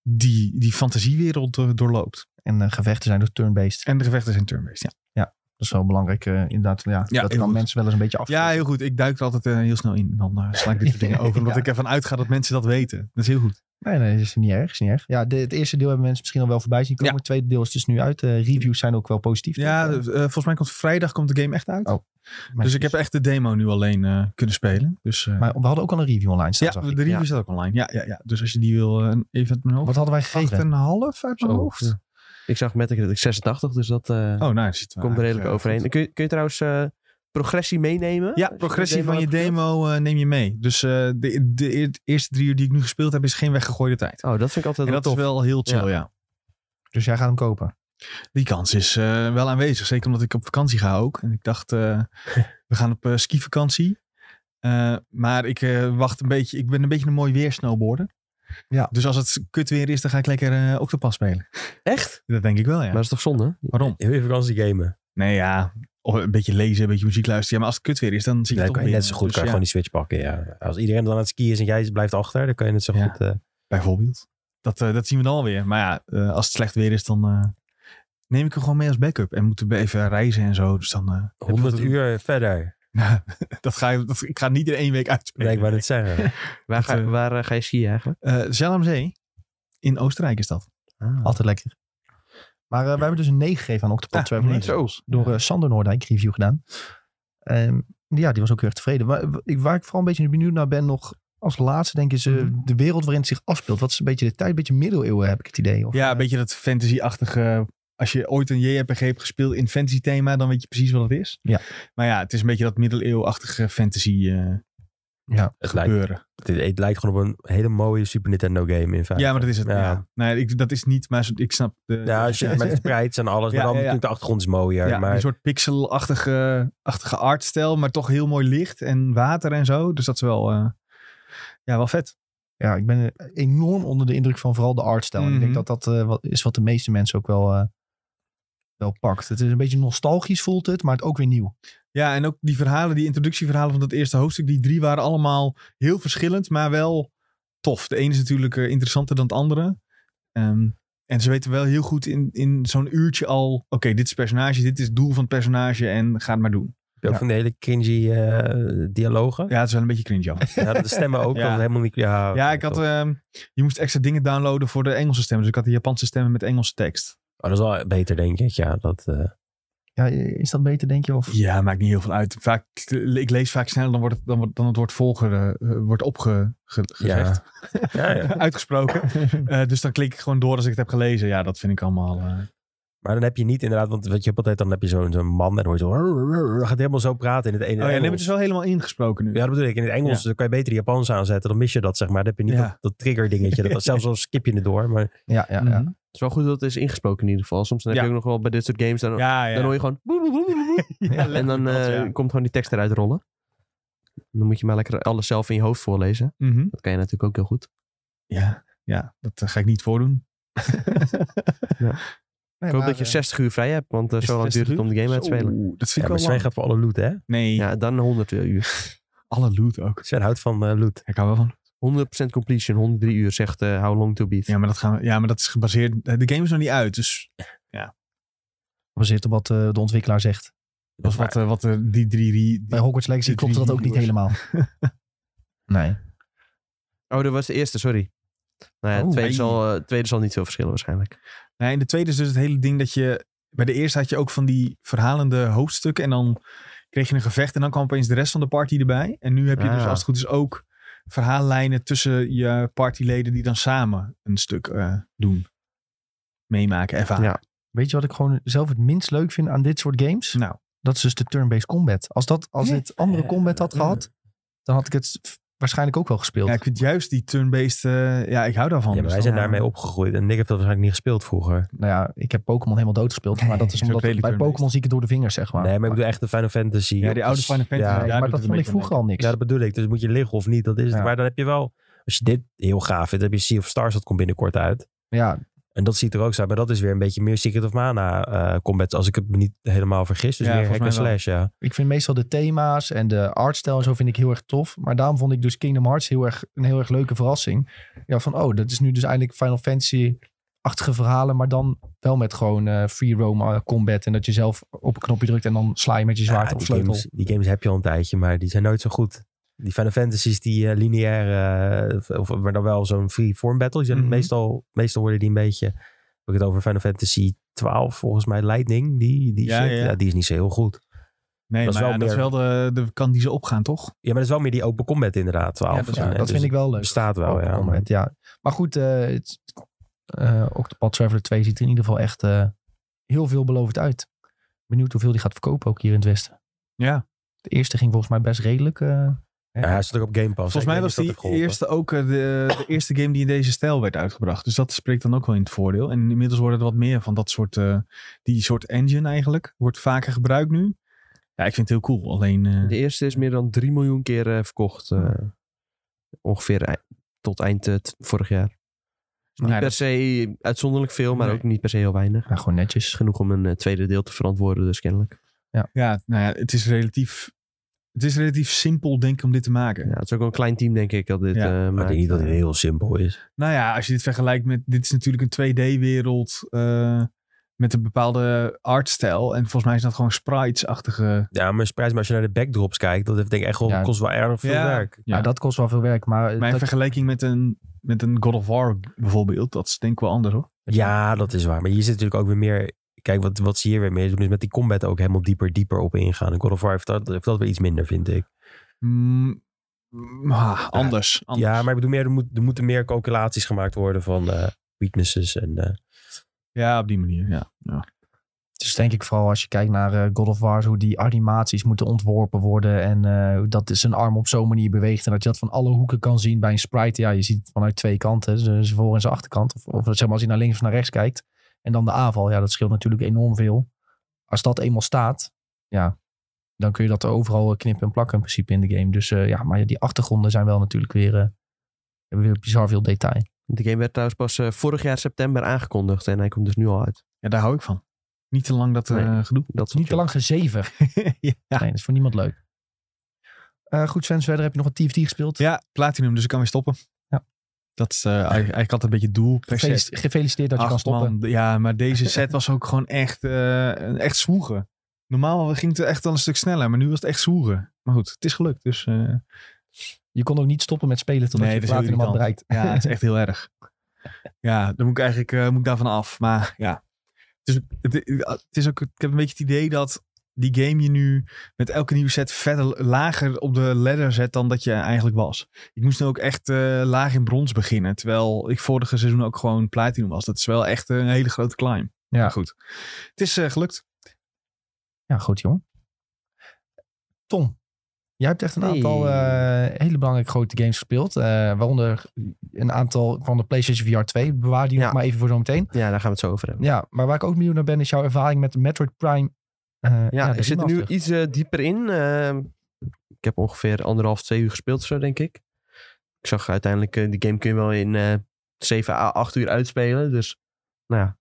[SPEAKER 2] die, die fantasiewereld eh, doorloopt.
[SPEAKER 1] en eh, gevechten zijn dus turn-based.
[SPEAKER 2] En de gevechten zijn turn-based, ja.
[SPEAKER 1] Dat is wel belangrijk, eh, inderdaad. Ja,
[SPEAKER 2] Ja,
[SPEAKER 1] dat
[SPEAKER 2] heel
[SPEAKER 1] kan
[SPEAKER 2] goed.
[SPEAKER 1] mensen wel eens een beetje af.
[SPEAKER 2] Ja, heel goed. Ik duik er altijd eh, heel snel in. Dan eh, sla ik dit soort dingen over. Omdat
[SPEAKER 1] Ja.
[SPEAKER 2] ik ervan uitga dat mensen dat weten. Dat is heel goed.
[SPEAKER 1] Nee, nee, is niet erg. Is niet erg. Ja, de- het eerste deel hebben mensen misschien al wel voorbij zien komen.
[SPEAKER 2] Ja.
[SPEAKER 1] Het tweede deel is dus nu uit. Eh, reviews zijn ook wel positief.
[SPEAKER 2] Ja,
[SPEAKER 1] toch?
[SPEAKER 2] eh, volgens mij komt vrijdag komt de game echt uit.
[SPEAKER 1] Oh. Maar
[SPEAKER 2] dus ik heb echt de demo nu alleen eh, kunnen spelen. Dus, eh,
[SPEAKER 1] Maar we hadden ook al een review online staan,
[SPEAKER 2] ja,
[SPEAKER 1] zag
[SPEAKER 2] de
[SPEAKER 1] ik.
[SPEAKER 2] review
[SPEAKER 3] Ja.
[SPEAKER 2] staat ook online. Ja, ja, ja. Dus als je die wil, eh, even uit mijn hoofd.
[SPEAKER 1] Wat hadden wij
[SPEAKER 2] Acht en
[SPEAKER 1] gegeven?
[SPEAKER 2] een half uit mijn
[SPEAKER 3] Zo,
[SPEAKER 2] hoofd.
[SPEAKER 3] ja. Ik zag Metacritic 86, dus dat eh,
[SPEAKER 2] Oh, nou, dat zit wel
[SPEAKER 3] komt er
[SPEAKER 2] eigenlijk,
[SPEAKER 3] redelijk
[SPEAKER 2] eh,
[SPEAKER 3] overheen.
[SPEAKER 2] goed.
[SPEAKER 3] Kun je, kun je trouwens eh, progressie meenemen? Als
[SPEAKER 2] Ja,
[SPEAKER 3] je
[SPEAKER 2] progressie
[SPEAKER 3] de
[SPEAKER 2] van je
[SPEAKER 3] hebt gespeeld?
[SPEAKER 2] demo eh, neem je mee. Dus eh, de, de eer- eerste drie uur die ik nu gespeeld heb, is geen weggegooide tijd.
[SPEAKER 3] Oh, dat vind ik altijd
[SPEAKER 2] en
[SPEAKER 3] wel
[SPEAKER 2] dat
[SPEAKER 3] tof.
[SPEAKER 2] is wel heel chill,
[SPEAKER 3] Ja.
[SPEAKER 2] ja.
[SPEAKER 1] Dus jij gaat hem kopen.
[SPEAKER 2] Die kans is eh, wel aanwezig. Zeker omdat ik op vakantie ga ook. En ik dacht, eh, we gaan op eh, skivakantie. Eh, maar ik eh, wacht een beetje. Ik ben een beetje een mooi weer snowboarden.
[SPEAKER 1] Ja.
[SPEAKER 2] Dus als het kut weer is, dan ga ik lekker eh Octopus spelen.
[SPEAKER 3] Echt?
[SPEAKER 2] Dat denk ik wel, ja.
[SPEAKER 3] Maar dat is toch zonde?
[SPEAKER 2] Waarom?
[SPEAKER 4] Heel even vakantie gamen.
[SPEAKER 2] Nee, ja. Of een beetje lezen, een beetje muziek luisteren. Ja, maar als het kut weer is, dan zie je
[SPEAKER 4] Dan
[SPEAKER 2] het toch
[SPEAKER 4] kan je net
[SPEAKER 2] weer.
[SPEAKER 4] zo goed
[SPEAKER 2] Dus
[SPEAKER 4] kan je
[SPEAKER 2] ja,
[SPEAKER 4] gewoon die Switch pakken. Ja. Als iedereen dan aan het skiën is en jij blijft achter, dan kan je net zo
[SPEAKER 2] Ja.
[SPEAKER 4] goed... eh,
[SPEAKER 2] Bijvoorbeeld. Dat, eh, dat zien we dan alweer. Maar ja, eh, als het slecht weer is, dan eh, neem ik hem gewoon mee als backup. En moeten we even reizen en zo. Dus dan... eh, heb ik
[SPEAKER 4] 100
[SPEAKER 2] wat-
[SPEAKER 4] uur verder,
[SPEAKER 2] dat ga je, dat, ik ga niet in één week uitspelen.
[SPEAKER 4] wil ik maar net zeggen.
[SPEAKER 3] Waar,
[SPEAKER 2] Dat,
[SPEAKER 3] ga,
[SPEAKER 2] eh,
[SPEAKER 3] waar eh, ga je skiën eigenlijk?
[SPEAKER 2] Eh Zell am Zee. In Oostenrijk is dat.
[SPEAKER 1] Altijd lekker. Maar eh, we hebben dus een 9 gegeven aan Octopath Traveler. Door eh, Sander Noordijk review gedaan. Ehm, ja, die was ook heel erg tevreden. Waar, ik- waar ik vooral een beetje benieuwd naar ben nog... Als laatste denk je eh,
[SPEAKER 2] Mhm.
[SPEAKER 1] de wereld waarin het zich afspeelt. Wat is een beetje de tijd? Een beetje middeleeuwen heb ik het idee. Of,
[SPEAKER 2] Ja,
[SPEAKER 1] eh,
[SPEAKER 2] een beetje dat fantasy-achtige. Als je ooit een JRPG hebt gespeeld in fantasy thema, dan weet je precies wat het is.
[SPEAKER 1] Ja.
[SPEAKER 2] Maar ja, het is een beetje dat middeleeuwachtige fantasy eh,
[SPEAKER 4] Het lijkt,
[SPEAKER 2] gebeuren.
[SPEAKER 4] het, het lijkt gewoon op een hele mooie Super Nintendo game in feite.
[SPEAKER 2] Ja, maar dat is het. Ja.
[SPEAKER 4] Ja.
[SPEAKER 2] Nee, ik, dat is niet, maar ik snap. De,
[SPEAKER 4] Ja, als je
[SPEAKER 2] ja,
[SPEAKER 4] met sprites en alles.
[SPEAKER 2] Ja,
[SPEAKER 4] maar dan
[SPEAKER 2] ja, ja.
[SPEAKER 4] natuurlijk de achtergrond is mooier.
[SPEAKER 2] ja,
[SPEAKER 4] maar
[SPEAKER 2] een soort pixelachtige achtige artstijl, maar toch heel mooi licht en water en zo. Dus dat is wel, eh, ja, wel vet.
[SPEAKER 1] ja, ik ben eh, enorm onder de indruk van vooral de artstijl. En Ik
[SPEAKER 2] Mhm.
[SPEAKER 1] denk dat dat eh, wat, is wat de meeste mensen ook wel, eh, wel pakt. Het is een beetje nostalgisch voelt het, maar het ook weer nieuw.
[SPEAKER 2] Ja, en ook die verhalen, die introductieverhalen van dat eerste hoofdstuk, die drie waren allemaal heel verschillend, maar wel tof. De ene is natuurlijk eh, interessanter dan het andere. Ehm, en ze weten wel heel goed in, in zo'n uurtje al, oké, dit is het personage, dit is het doel van het personage en ga het maar doen.
[SPEAKER 4] heb je ook
[SPEAKER 2] ja.
[SPEAKER 4] van de hele cringy eh, dialogen.
[SPEAKER 2] Ja, het is wel een beetje cringe ja.
[SPEAKER 4] Ja. de stemmen ook.
[SPEAKER 2] Ja.
[SPEAKER 4] dat het helemaal niet, ja,
[SPEAKER 2] Ja,
[SPEAKER 4] oké,
[SPEAKER 2] ik had,
[SPEAKER 4] top.
[SPEAKER 2] ehm, je moest extra dingen downloaden voor de Engelse stemmen. Dus ik had de Japanse stemmen met Engelse tekst.
[SPEAKER 4] Oh, dat is wel beter, denk ik. Ja, dat, eh,
[SPEAKER 1] Ja, eh, is dat beter, denk je? Of...
[SPEAKER 2] Ja, maakt niet heel veel uit. Vaak, ik lees vaak sneller dan, wordt het, dan, wordt- dan het woord volger eh, wordt opgezegd.
[SPEAKER 4] ja. ja, ja.
[SPEAKER 2] uitgesproken. Eh, dus dan klik ik gewoon door als ik het heb gelezen. Ja, dat vind ik allemaal. eh,
[SPEAKER 4] Maar dan heb je niet inderdaad, want wat je hebt altijd, dan heb je zo'n zo'n man en dan hoor je zo, gaat helemaal zo praten in het ene.
[SPEAKER 2] Oh ja, dan heb je het
[SPEAKER 4] Engels.
[SPEAKER 2] dus wel helemaal ingesproken nu.
[SPEAKER 4] ja, dat bedoel ik. In het Engels dan kan je beter Japans aanzetten, dan mis je dat, zeg maar. Dan heb je niet
[SPEAKER 2] Ja.
[SPEAKER 4] dat, dat trigger dingetje. Dat, zelfs al skip je het door, maar
[SPEAKER 1] Ja, ja, ja.
[SPEAKER 2] Mhm.
[SPEAKER 3] Het is wel goed dat het is ingesproken in ieder geval. Soms dan heb
[SPEAKER 2] Ja.
[SPEAKER 3] je ook nog wel bij dit soort games, dan,
[SPEAKER 2] ja, ja.
[SPEAKER 3] dan hoor je gewoon...
[SPEAKER 2] Ja,
[SPEAKER 3] en dan
[SPEAKER 2] letterlijk dat,
[SPEAKER 3] eh,
[SPEAKER 2] ja.
[SPEAKER 3] komt gewoon die tekst eruit rollen. Dan moet je maar lekker alles zelf in je hoofd voorlezen.
[SPEAKER 2] Mhm.
[SPEAKER 3] Dat kan je natuurlijk ook heel goed.
[SPEAKER 2] ja, ja, dat eh, ga ik niet voordoen.
[SPEAKER 1] Nee,
[SPEAKER 3] Ik hoop
[SPEAKER 1] maar,
[SPEAKER 3] dat je
[SPEAKER 1] eh,
[SPEAKER 3] 60 uur vrij hebt, want eh,
[SPEAKER 2] Is
[SPEAKER 3] zo lang duurt
[SPEAKER 2] 60
[SPEAKER 3] het om de
[SPEAKER 2] uur?
[SPEAKER 3] game uit te
[SPEAKER 2] Zo,
[SPEAKER 3] spelen.
[SPEAKER 2] Dat vind
[SPEAKER 4] ja,
[SPEAKER 2] ik
[SPEAKER 4] maar
[SPEAKER 2] wel
[SPEAKER 4] Sven
[SPEAKER 2] lang.
[SPEAKER 4] gaat voor alle loot, hè?
[SPEAKER 2] Nee,
[SPEAKER 3] Ja, dan 100 uur.
[SPEAKER 2] alle loot ook.
[SPEAKER 4] Sven houdt van eh, loot.
[SPEAKER 2] Ik hou wel van.
[SPEAKER 3] 100% completion, 103 uur, zegt eh, How Long To Beat.
[SPEAKER 2] Ja maar, dat gaan we, ja, maar dat is gebaseerd. De game is nog niet uit. Dus
[SPEAKER 1] Gebaseerd op wat eh, de ontwikkelaar zegt.
[SPEAKER 2] dat is wat, eh, wat eh, die drie. Die,
[SPEAKER 1] Bij Hogwarts Legacy
[SPEAKER 2] Die
[SPEAKER 1] klopt
[SPEAKER 2] drie
[SPEAKER 1] dat ook niet helemaal.
[SPEAKER 2] reviewers.
[SPEAKER 1] Nee.
[SPEAKER 3] Oh, dat was de eerste, sorry. Nou ja,
[SPEAKER 2] Oh,
[SPEAKER 3] tweede,
[SPEAKER 2] hey.
[SPEAKER 3] zal, eh, tweede zal niet veel verschillen waarschijnlijk.
[SPEAKER 2] Nee, en de tweede is dus het hele ding dat je... Bij de eerste had je ook van die verhalende hoofdstukken. En dan kreeg je een gevecht. En dan kwam opeens de rest van de party erbij. En nu heb je dus
[SPEAKER 3] Ah.
[SPEAKER 2] als het goed is ook verhaallijnen tussen je partyleden. Die dan samen een stuk eh, doen. Meemaken, ervaren.
[SPEAKER 3] Ja.
[SPEAKER 1] Weet je wat ik gewoon zelf het minst leuk vind aan dit soort games?
[SPEAKER 2] Nou.
[SPEAKER 1] Dat is dus de turn-based combat. Als, dat, als het andere combat had
[SPEAKER 4] Eh,
[SPEAKER 1] gehad, dan had ik het f- waarschijnlijk ook wel gespeeld.
[SPEAKER 2] Ja, ik vind juist die turn-based... eh, ja, ik hou daarvan.
[SPEAKER 4] Ja, maar
[SPEAKER 2] Dus
[SPEAKER 4] wij
[SPEAKER 2] dan-
[SPEAKER 4] zijn daarmee opgegroeid en Nick heeft dat waarschijnlijk niet gespeeld vroeger.
[SPEAKER 1] Nou ja, ik heb Pokémon helemaal doodgespeeld. Maar dat is
[SPEAKER 2] is ook
[SPEAKER 1] omdat bij
[SPEAKER 2] redelijk turn-based.
[SPEAKER 1] Pokémon zie ik het door de vingers, zeg maar.
[SPEAKER 4] nee, maar ik bedoel echt de Final Fantasy.
[SPEAKER 2] Ja, die oude
[SPEAKER 4] Dus-
[SPEAKER 2] Final Fantasy.
[SPEAKER 4] Ja,
[SPEAKER 2] daar
[SPEAKER 1] maar
[SPEAKER 2] doet
[SPEAKER 1] dat
[SPEAKER 2] het een
[SPEAKER 1] vond ik
[SPEAKER 2] beetje
[SPEAKER 1] vroeger al niks.
[SPEAKER 4] ja, dat bedoel ik. Dus moet je liggen of niet, dat is het.
[SPEAKER 1] Ja.
[SPEAKER 4] Maar dan heb je wel, als je dit heel gaaf vindt, heb je Sea of Stars, dat komt binnenkort uit.
[SPEAKER 1] ja,
[SPEAKER 4] En dat ziet er ook zo uit. Maar dat is weer een beetje meer Secret of Mana eh, combat. Als ik het me niet helemaal vergis. Dus
[SPEAKER 2] Ja,
[SPEAKER 4] meer hack
[SPEAKER 2] volgens
[SPEAKER 4] en
[SPEAKER 2] mij
[SPEAKER 4] slash, ja.
[SPEAKER 1] Ik vind meestal de thema's en de artstijl en zo vind ik heel erg tof. Maar daarom vond ik dus Kingdom Hearts heel erg, een heel erg leuke verrassing. Ja, van oh, dat is nu dus eindelijk Final Fantasy-achtige verhalen. Maar dan wel met gewoon eh, free roam eh, combat. En dat je zelf op een knopje drukt en dan sla je met je zwaard
[SPEAKER 4] Ja,
[SPEAKER 1] op
[SPEAKER 4] die,
[SPEAKER 1] sleutel.
[SPEAKER 4] games, die games heb je al een tijdje, maar die zijn nooit zo goed. Die Final Fantasies, die eh, lineair, eh, of- of, maar dan wel zo'n free form battle. Die zijn
[SPEAKER 2] Mhm.
[SPEAKER 4] meestal, meestal worden die een beetje, heb ik het over Final Fantasy 12 volgens mij, Lightning. Die, die,
[SPEAKER 2] Ja,
[SPEAKER 4] shit,
[SPEAKER 2] ja.
[SPEAKER 4] ja, die is niet zo heel goed.
[SPEAKER 2] Nee,
[SPEAKER 4] Dat is
[SPEAKER 2] maar
[SPEAKER 4] wel
[SPEAKER 2] ja, dat is wel
[SPEAKER 4] meer-
[SPEAKER 2] de, de kant die ze opgaan, toch?
[SPEAKER 4] Ja, maar dat is wel meer die open combat inderdaad. 12.
[SPEAKER 2] Ja, dat is
[SPEAKER 1] Ja,
[SPEAKER 4] En,
[SPEAKER 1] dat
[SPEAKER 4] dus
[SPEAKER 1] vind ik wel leuk.
[SPEAKER 4] Bestaat wel,
[SPEAKER 1] Op het
[SPEAKER 4] ja. Maar,
[SPEAKER 1] moment, ja. Maar goed, eh het, eh, Octopath Traveler 2 ziet er in ieder geval echt eh, heel veelbelovend uit. Benieuwd hoeveel die gaat verkopen ook hier in het Westen.
[SPEAKER 2] Ja.
[SPEAKER 1] De eerste ging volgens mij best redelijk. eh, hè?
[SPEAKER 4] ja, hij zit ook op Game Pass.
[SPEAKER 2] Volgens mij was die eerste ook eh, de, de eerste game die in deze stijl werd uitgebracht. Dus dat spreekt dan ook wel in het voordeel. En inmiddels worden er wat meer van dat soort, eh, die soort engine eigenlijk. Wordt vaker gebruikt nu. Ja, ik vind het heel cool. Alleen, eh,
[SPEAKER 3] De eerste is meer dan 3 miljoen keer eh, verkocht. eh, ongeveer ei- tot eind eh, t- vorig jaar.
[SPEAKER 2] nou,
[SPEAKER 3] Dus Per
[SPEAKER 2] dat-
[SPEAKER 3] se uitzonderlijk veel, maar
[SPEAKER 2] Nee.
[SPEAKER 3] ook niet per se heel weinig.
[SPEAKER 1] ja, gewoon
[SPEAKER 3] Is
[SPEAKER 1] netjes.
[SPEAKER 3] genoeg om een eh, tweede deel te verantwoorden, dus kennelijk.
[SPEAKER 2] ja, nou ja, het is relatief... Het is relatief simpel, denk ik, om dit te maken.
[SPEAKER 3] Ja, het is ook wel een klein team, denk ik, dat dit.
[SPEAKER 2] Ja,
[SPEAKER 3] eh,
[SPEAKER 4] Maar ik
[SPEAKER 3] maakt.
[SPEAKER 4] denk niet dat het heel simpel is.
[SPEAKER 2] Nou ja, als je dit vergelijkt met. Dit is natuurlijk een 2D-wereld. eh, met een bepaalde artstijl. En volgens mij is dat gewoon sprites-achtige.
[SPEAKER 4] Ja, maar spijt me, als je naar de backdrops kijkt, dat heeft denk ik echt wel,
[SPEAKER 1] Ja.
[SPEAKER 4] kost wel erg veel
[SPEAKER 2] Ja.
[SPEAKER 4] werk.
[SPEAKER 1] Ja.
[SPEAKER 2] Ja.
[SPEAKER 1] dat kost wel veel werk. Maar, eh,
[SPEAKER 2] Maar in
[SPEAKER 1] dat-
[SPEAKER 2] vergelijking met een, met een God of War bijvoorbeeld. Dat is denk ik wel anders hoor.
[SPEAKER 4] Ja, dat is waar. Maar hier zit natuurlijk ook weer meer... Kijk, wat, wat ze hier weer mee doen, is met die combat ook helemaal dieper, dieper op ingaan. En God of War heeft dat, heeft dat weer iets minder, vind ik.
[SPEAKER 2] Mm, mm, ah, anders, anders.
[SPEAKER 4] Ja, maar ik bedoel meer, er, moet, er moeten meer calculaties gemaakt worden van eh, weaknesses. En, eh,
[SPEAKER 2] Ja, op die manier. Ja. Ja.
[SPEAKER 1] Dus denk ik vooral als je kijkt naar eh, God of War, hoe die animaties moeten ontworpen worden. En eh, dat zijn arm op zo'n manier beweegt. En dat je dat van alle hoeken kan zien bij een sprite. Ja, je ziet het vanuit twee kanten. Zijn voor- en zijn achterkant. Of, of zeg maar als je naar links of naar rechts kijkt. En dan de aanval. Ja, dat scheelt natuurlijk enorm veel. Als dat eenmaal staat, ja, dan kun je dat overal eh, knippen en plakken in principe in de game. Dus eh, ja, maar ja, die achtergronden zijn wel natuurlijk weer, eh, hebben weer bizar veel detail.
[SPEAKER 3] De game werd trouwens pas eh, vorig jaar september aangekondigd en hij komt dus nu al uit.
[SPEAKER 2] ja, daar hou ik van. Niet te lang dat eh,
[SPEAKER 3] Nee.
[SPEAKER 2] gedoe.
[SPEAKER 3] Dat is
[SPEAKER 1] Niet te lang gezeven.
[SPEAKER 2] ja.
[SPEAKER 1] Nee, dat is voor niemand leuk. Eh, goed, Sven, verder heb je nog een TFT gespeeld.
[SPEAKER 2] ja, platinum, dus ik kan weer stoppen.
[SPEAKER 1] Ja.
[SPEAKER 2] Dat is eh, eigenlijk eigenlijk altijd een beetje het doel. per se.
[SPEAKER 1] Gefelic- gefeliciteerd dat je kan
[SPEAKER 2] Ach,
[SPEAKER 1] stoppen.
[SPEAKER 2] man, d- ja, maar deze set was ook gewoon echt, eh, een- echt zwoegen. Normaal ging het echt al een stuk sneller, maar nu was het echt zwoegen. Maar goed, het is gelukt. Dus, eh
[SPEAKER 1] Je kon ook niet stoppen met spelen totdat je
[SPEAKER 2] dat is heel
[SPEAKER 1] platinum had
[SPEAKER 2] irritant.
[SPEAKER 1] bereikt.
[SPEAKER 2] Ja, het is echt heel erg. Ja, dan moet ik eigenlijk eh, moet ik daarvan af. Maar ja, het is, het, het is ook, ik heb een beetje het idee dat die game je nu met elke nieuwe set verder lager op de ladder zet dan dat je eigenlijk was. Ik moest nu ook echt eh, laag in brons beginnen, terwijl ik vorige seizoen ook gewoon platinum was. Dat is wel echt een hele grote climb.
[SPEAKER 1] Ja.
[SPEAKER 2] Maar goed, het is eh, gelukt.
[SPEAKER 1] Ja, goed jong. Tom, jij hebt echt een
[SPEAKER 3] Hey.
[SPEAKER 1] aantal eh, hele belangrijke grote games gespeeld. eh, waaronder een aantal van de PlayStation VR 2. Bewaar die nog
[SPEAKER 3] Ja.
[SPEAKER 1] maar even voor zometeen.
[SPEAKER 3] Ja, daar gaan we het zo over hebben.
[SPEAKER 1] Ja, maar waar ik ook benieuwd naar ben is jouw ervaring met Metroid Prime. eh,
[SPEAKER 3] Ja,
[SPEAKER 1] de
[SPEAKER 3] ik zit er nu
[SPEAKER 1] remaster.
[SPEAKER 3] iets eh, dieper in. Ehm, ik heb ongeveer anderhalf, twee uur gespeeld, zo denk ik. Ik zag uiteindelijk, eh, die game kun je wel in eh 7 à 8 uur uitspelen. Dus nou ja,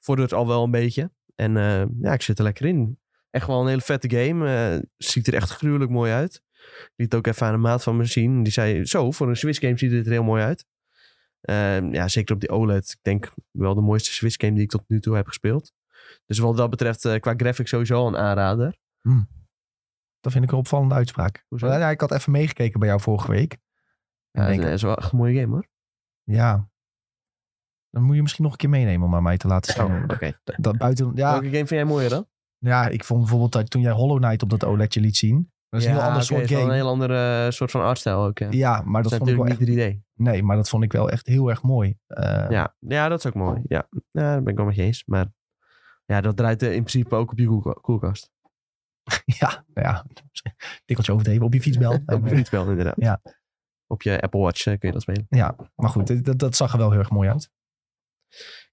[SPEAKER 3] vordert al wel een beetje. En eh, ja, ik zit er lekker in. Echt wel een hele vette game. eh, ziet er echt gruwelijk mooi uit. Liet ook even aan een maat van me zien. Die zei, zo, voor een Switch game ziet het er heel mooi uit. Ehm, ja, zeker op die OLED. Ik denk wel de mooiste Switch game die ik tot nu toe heb gespeeld. Dus wat dat betreft, eh, qua graphics sowieso al een aanrader.
[SPEAKER 1] Dat vind ik een opvallende uitspraak.
[SPEAKER 3] Hoezo?
[SPEAKER 1] Ja, ik had even meegekeken bij jou vorige week.
[SPEAKER 3] Ja,
[SPEAKER 1] En denk
[SPEAKER 3] dat is wel echt een mooie game hoor.
[SPEAKER 1] Ja. Dan moet je misschien nog een keer meenemen om aan mij te laten zien.
[SPEAKER 3] Oh, oké.
[SPEAKER 1] Dat buiten, ja,
[SPEAKER 3] Welke game vind jij mooier dan?
[SPEAKER 1] ja, ik vond bijvoorbeeld dat toen jij Hollow Knight op dat OLEDje liet zien. Dat is een heel ander
[SPEAKER 3] oké,
[SPEAKER 1] soort
[SPEAKER 3] is wel
[SPEAKER 1] game.
[SPEAKER 3] een heel andere eh, soort van artstijl ook. Ja.
[SPEAKER 1] Ja, maar dat
[SPEAKER 3] dat is
[SPEAKER 1] vond ik wel
[SPEAKER 3] natuurlijk
[SPEAKER 1] echt...
[SPEAKER 3] niet 3D.
[SPEAKER 1] Nee, maar dat vond ik wel echt heel erg mooi. Eh,
[SPEAKER 3] Ja. ja, dat is ook mooi. Ja, ja daar ben ik wel met je eens. Maar ja, dat draait eh, in principe ook op je koelka- koelkast.
[SPEAKER 1] ja, nou ja. Tikkeltje overdreven op je fietsbel.
[SPEAKER 3] Op je fietsbel inderdaad.
[SPEAKER 1] Ja.
[SPEAKER 3] Op je Apple Watch eh, kun je dat spelen.
[SPEAKER 1] ja, maar goed, dit- dat, dat zag er wel heel erg mooi uit.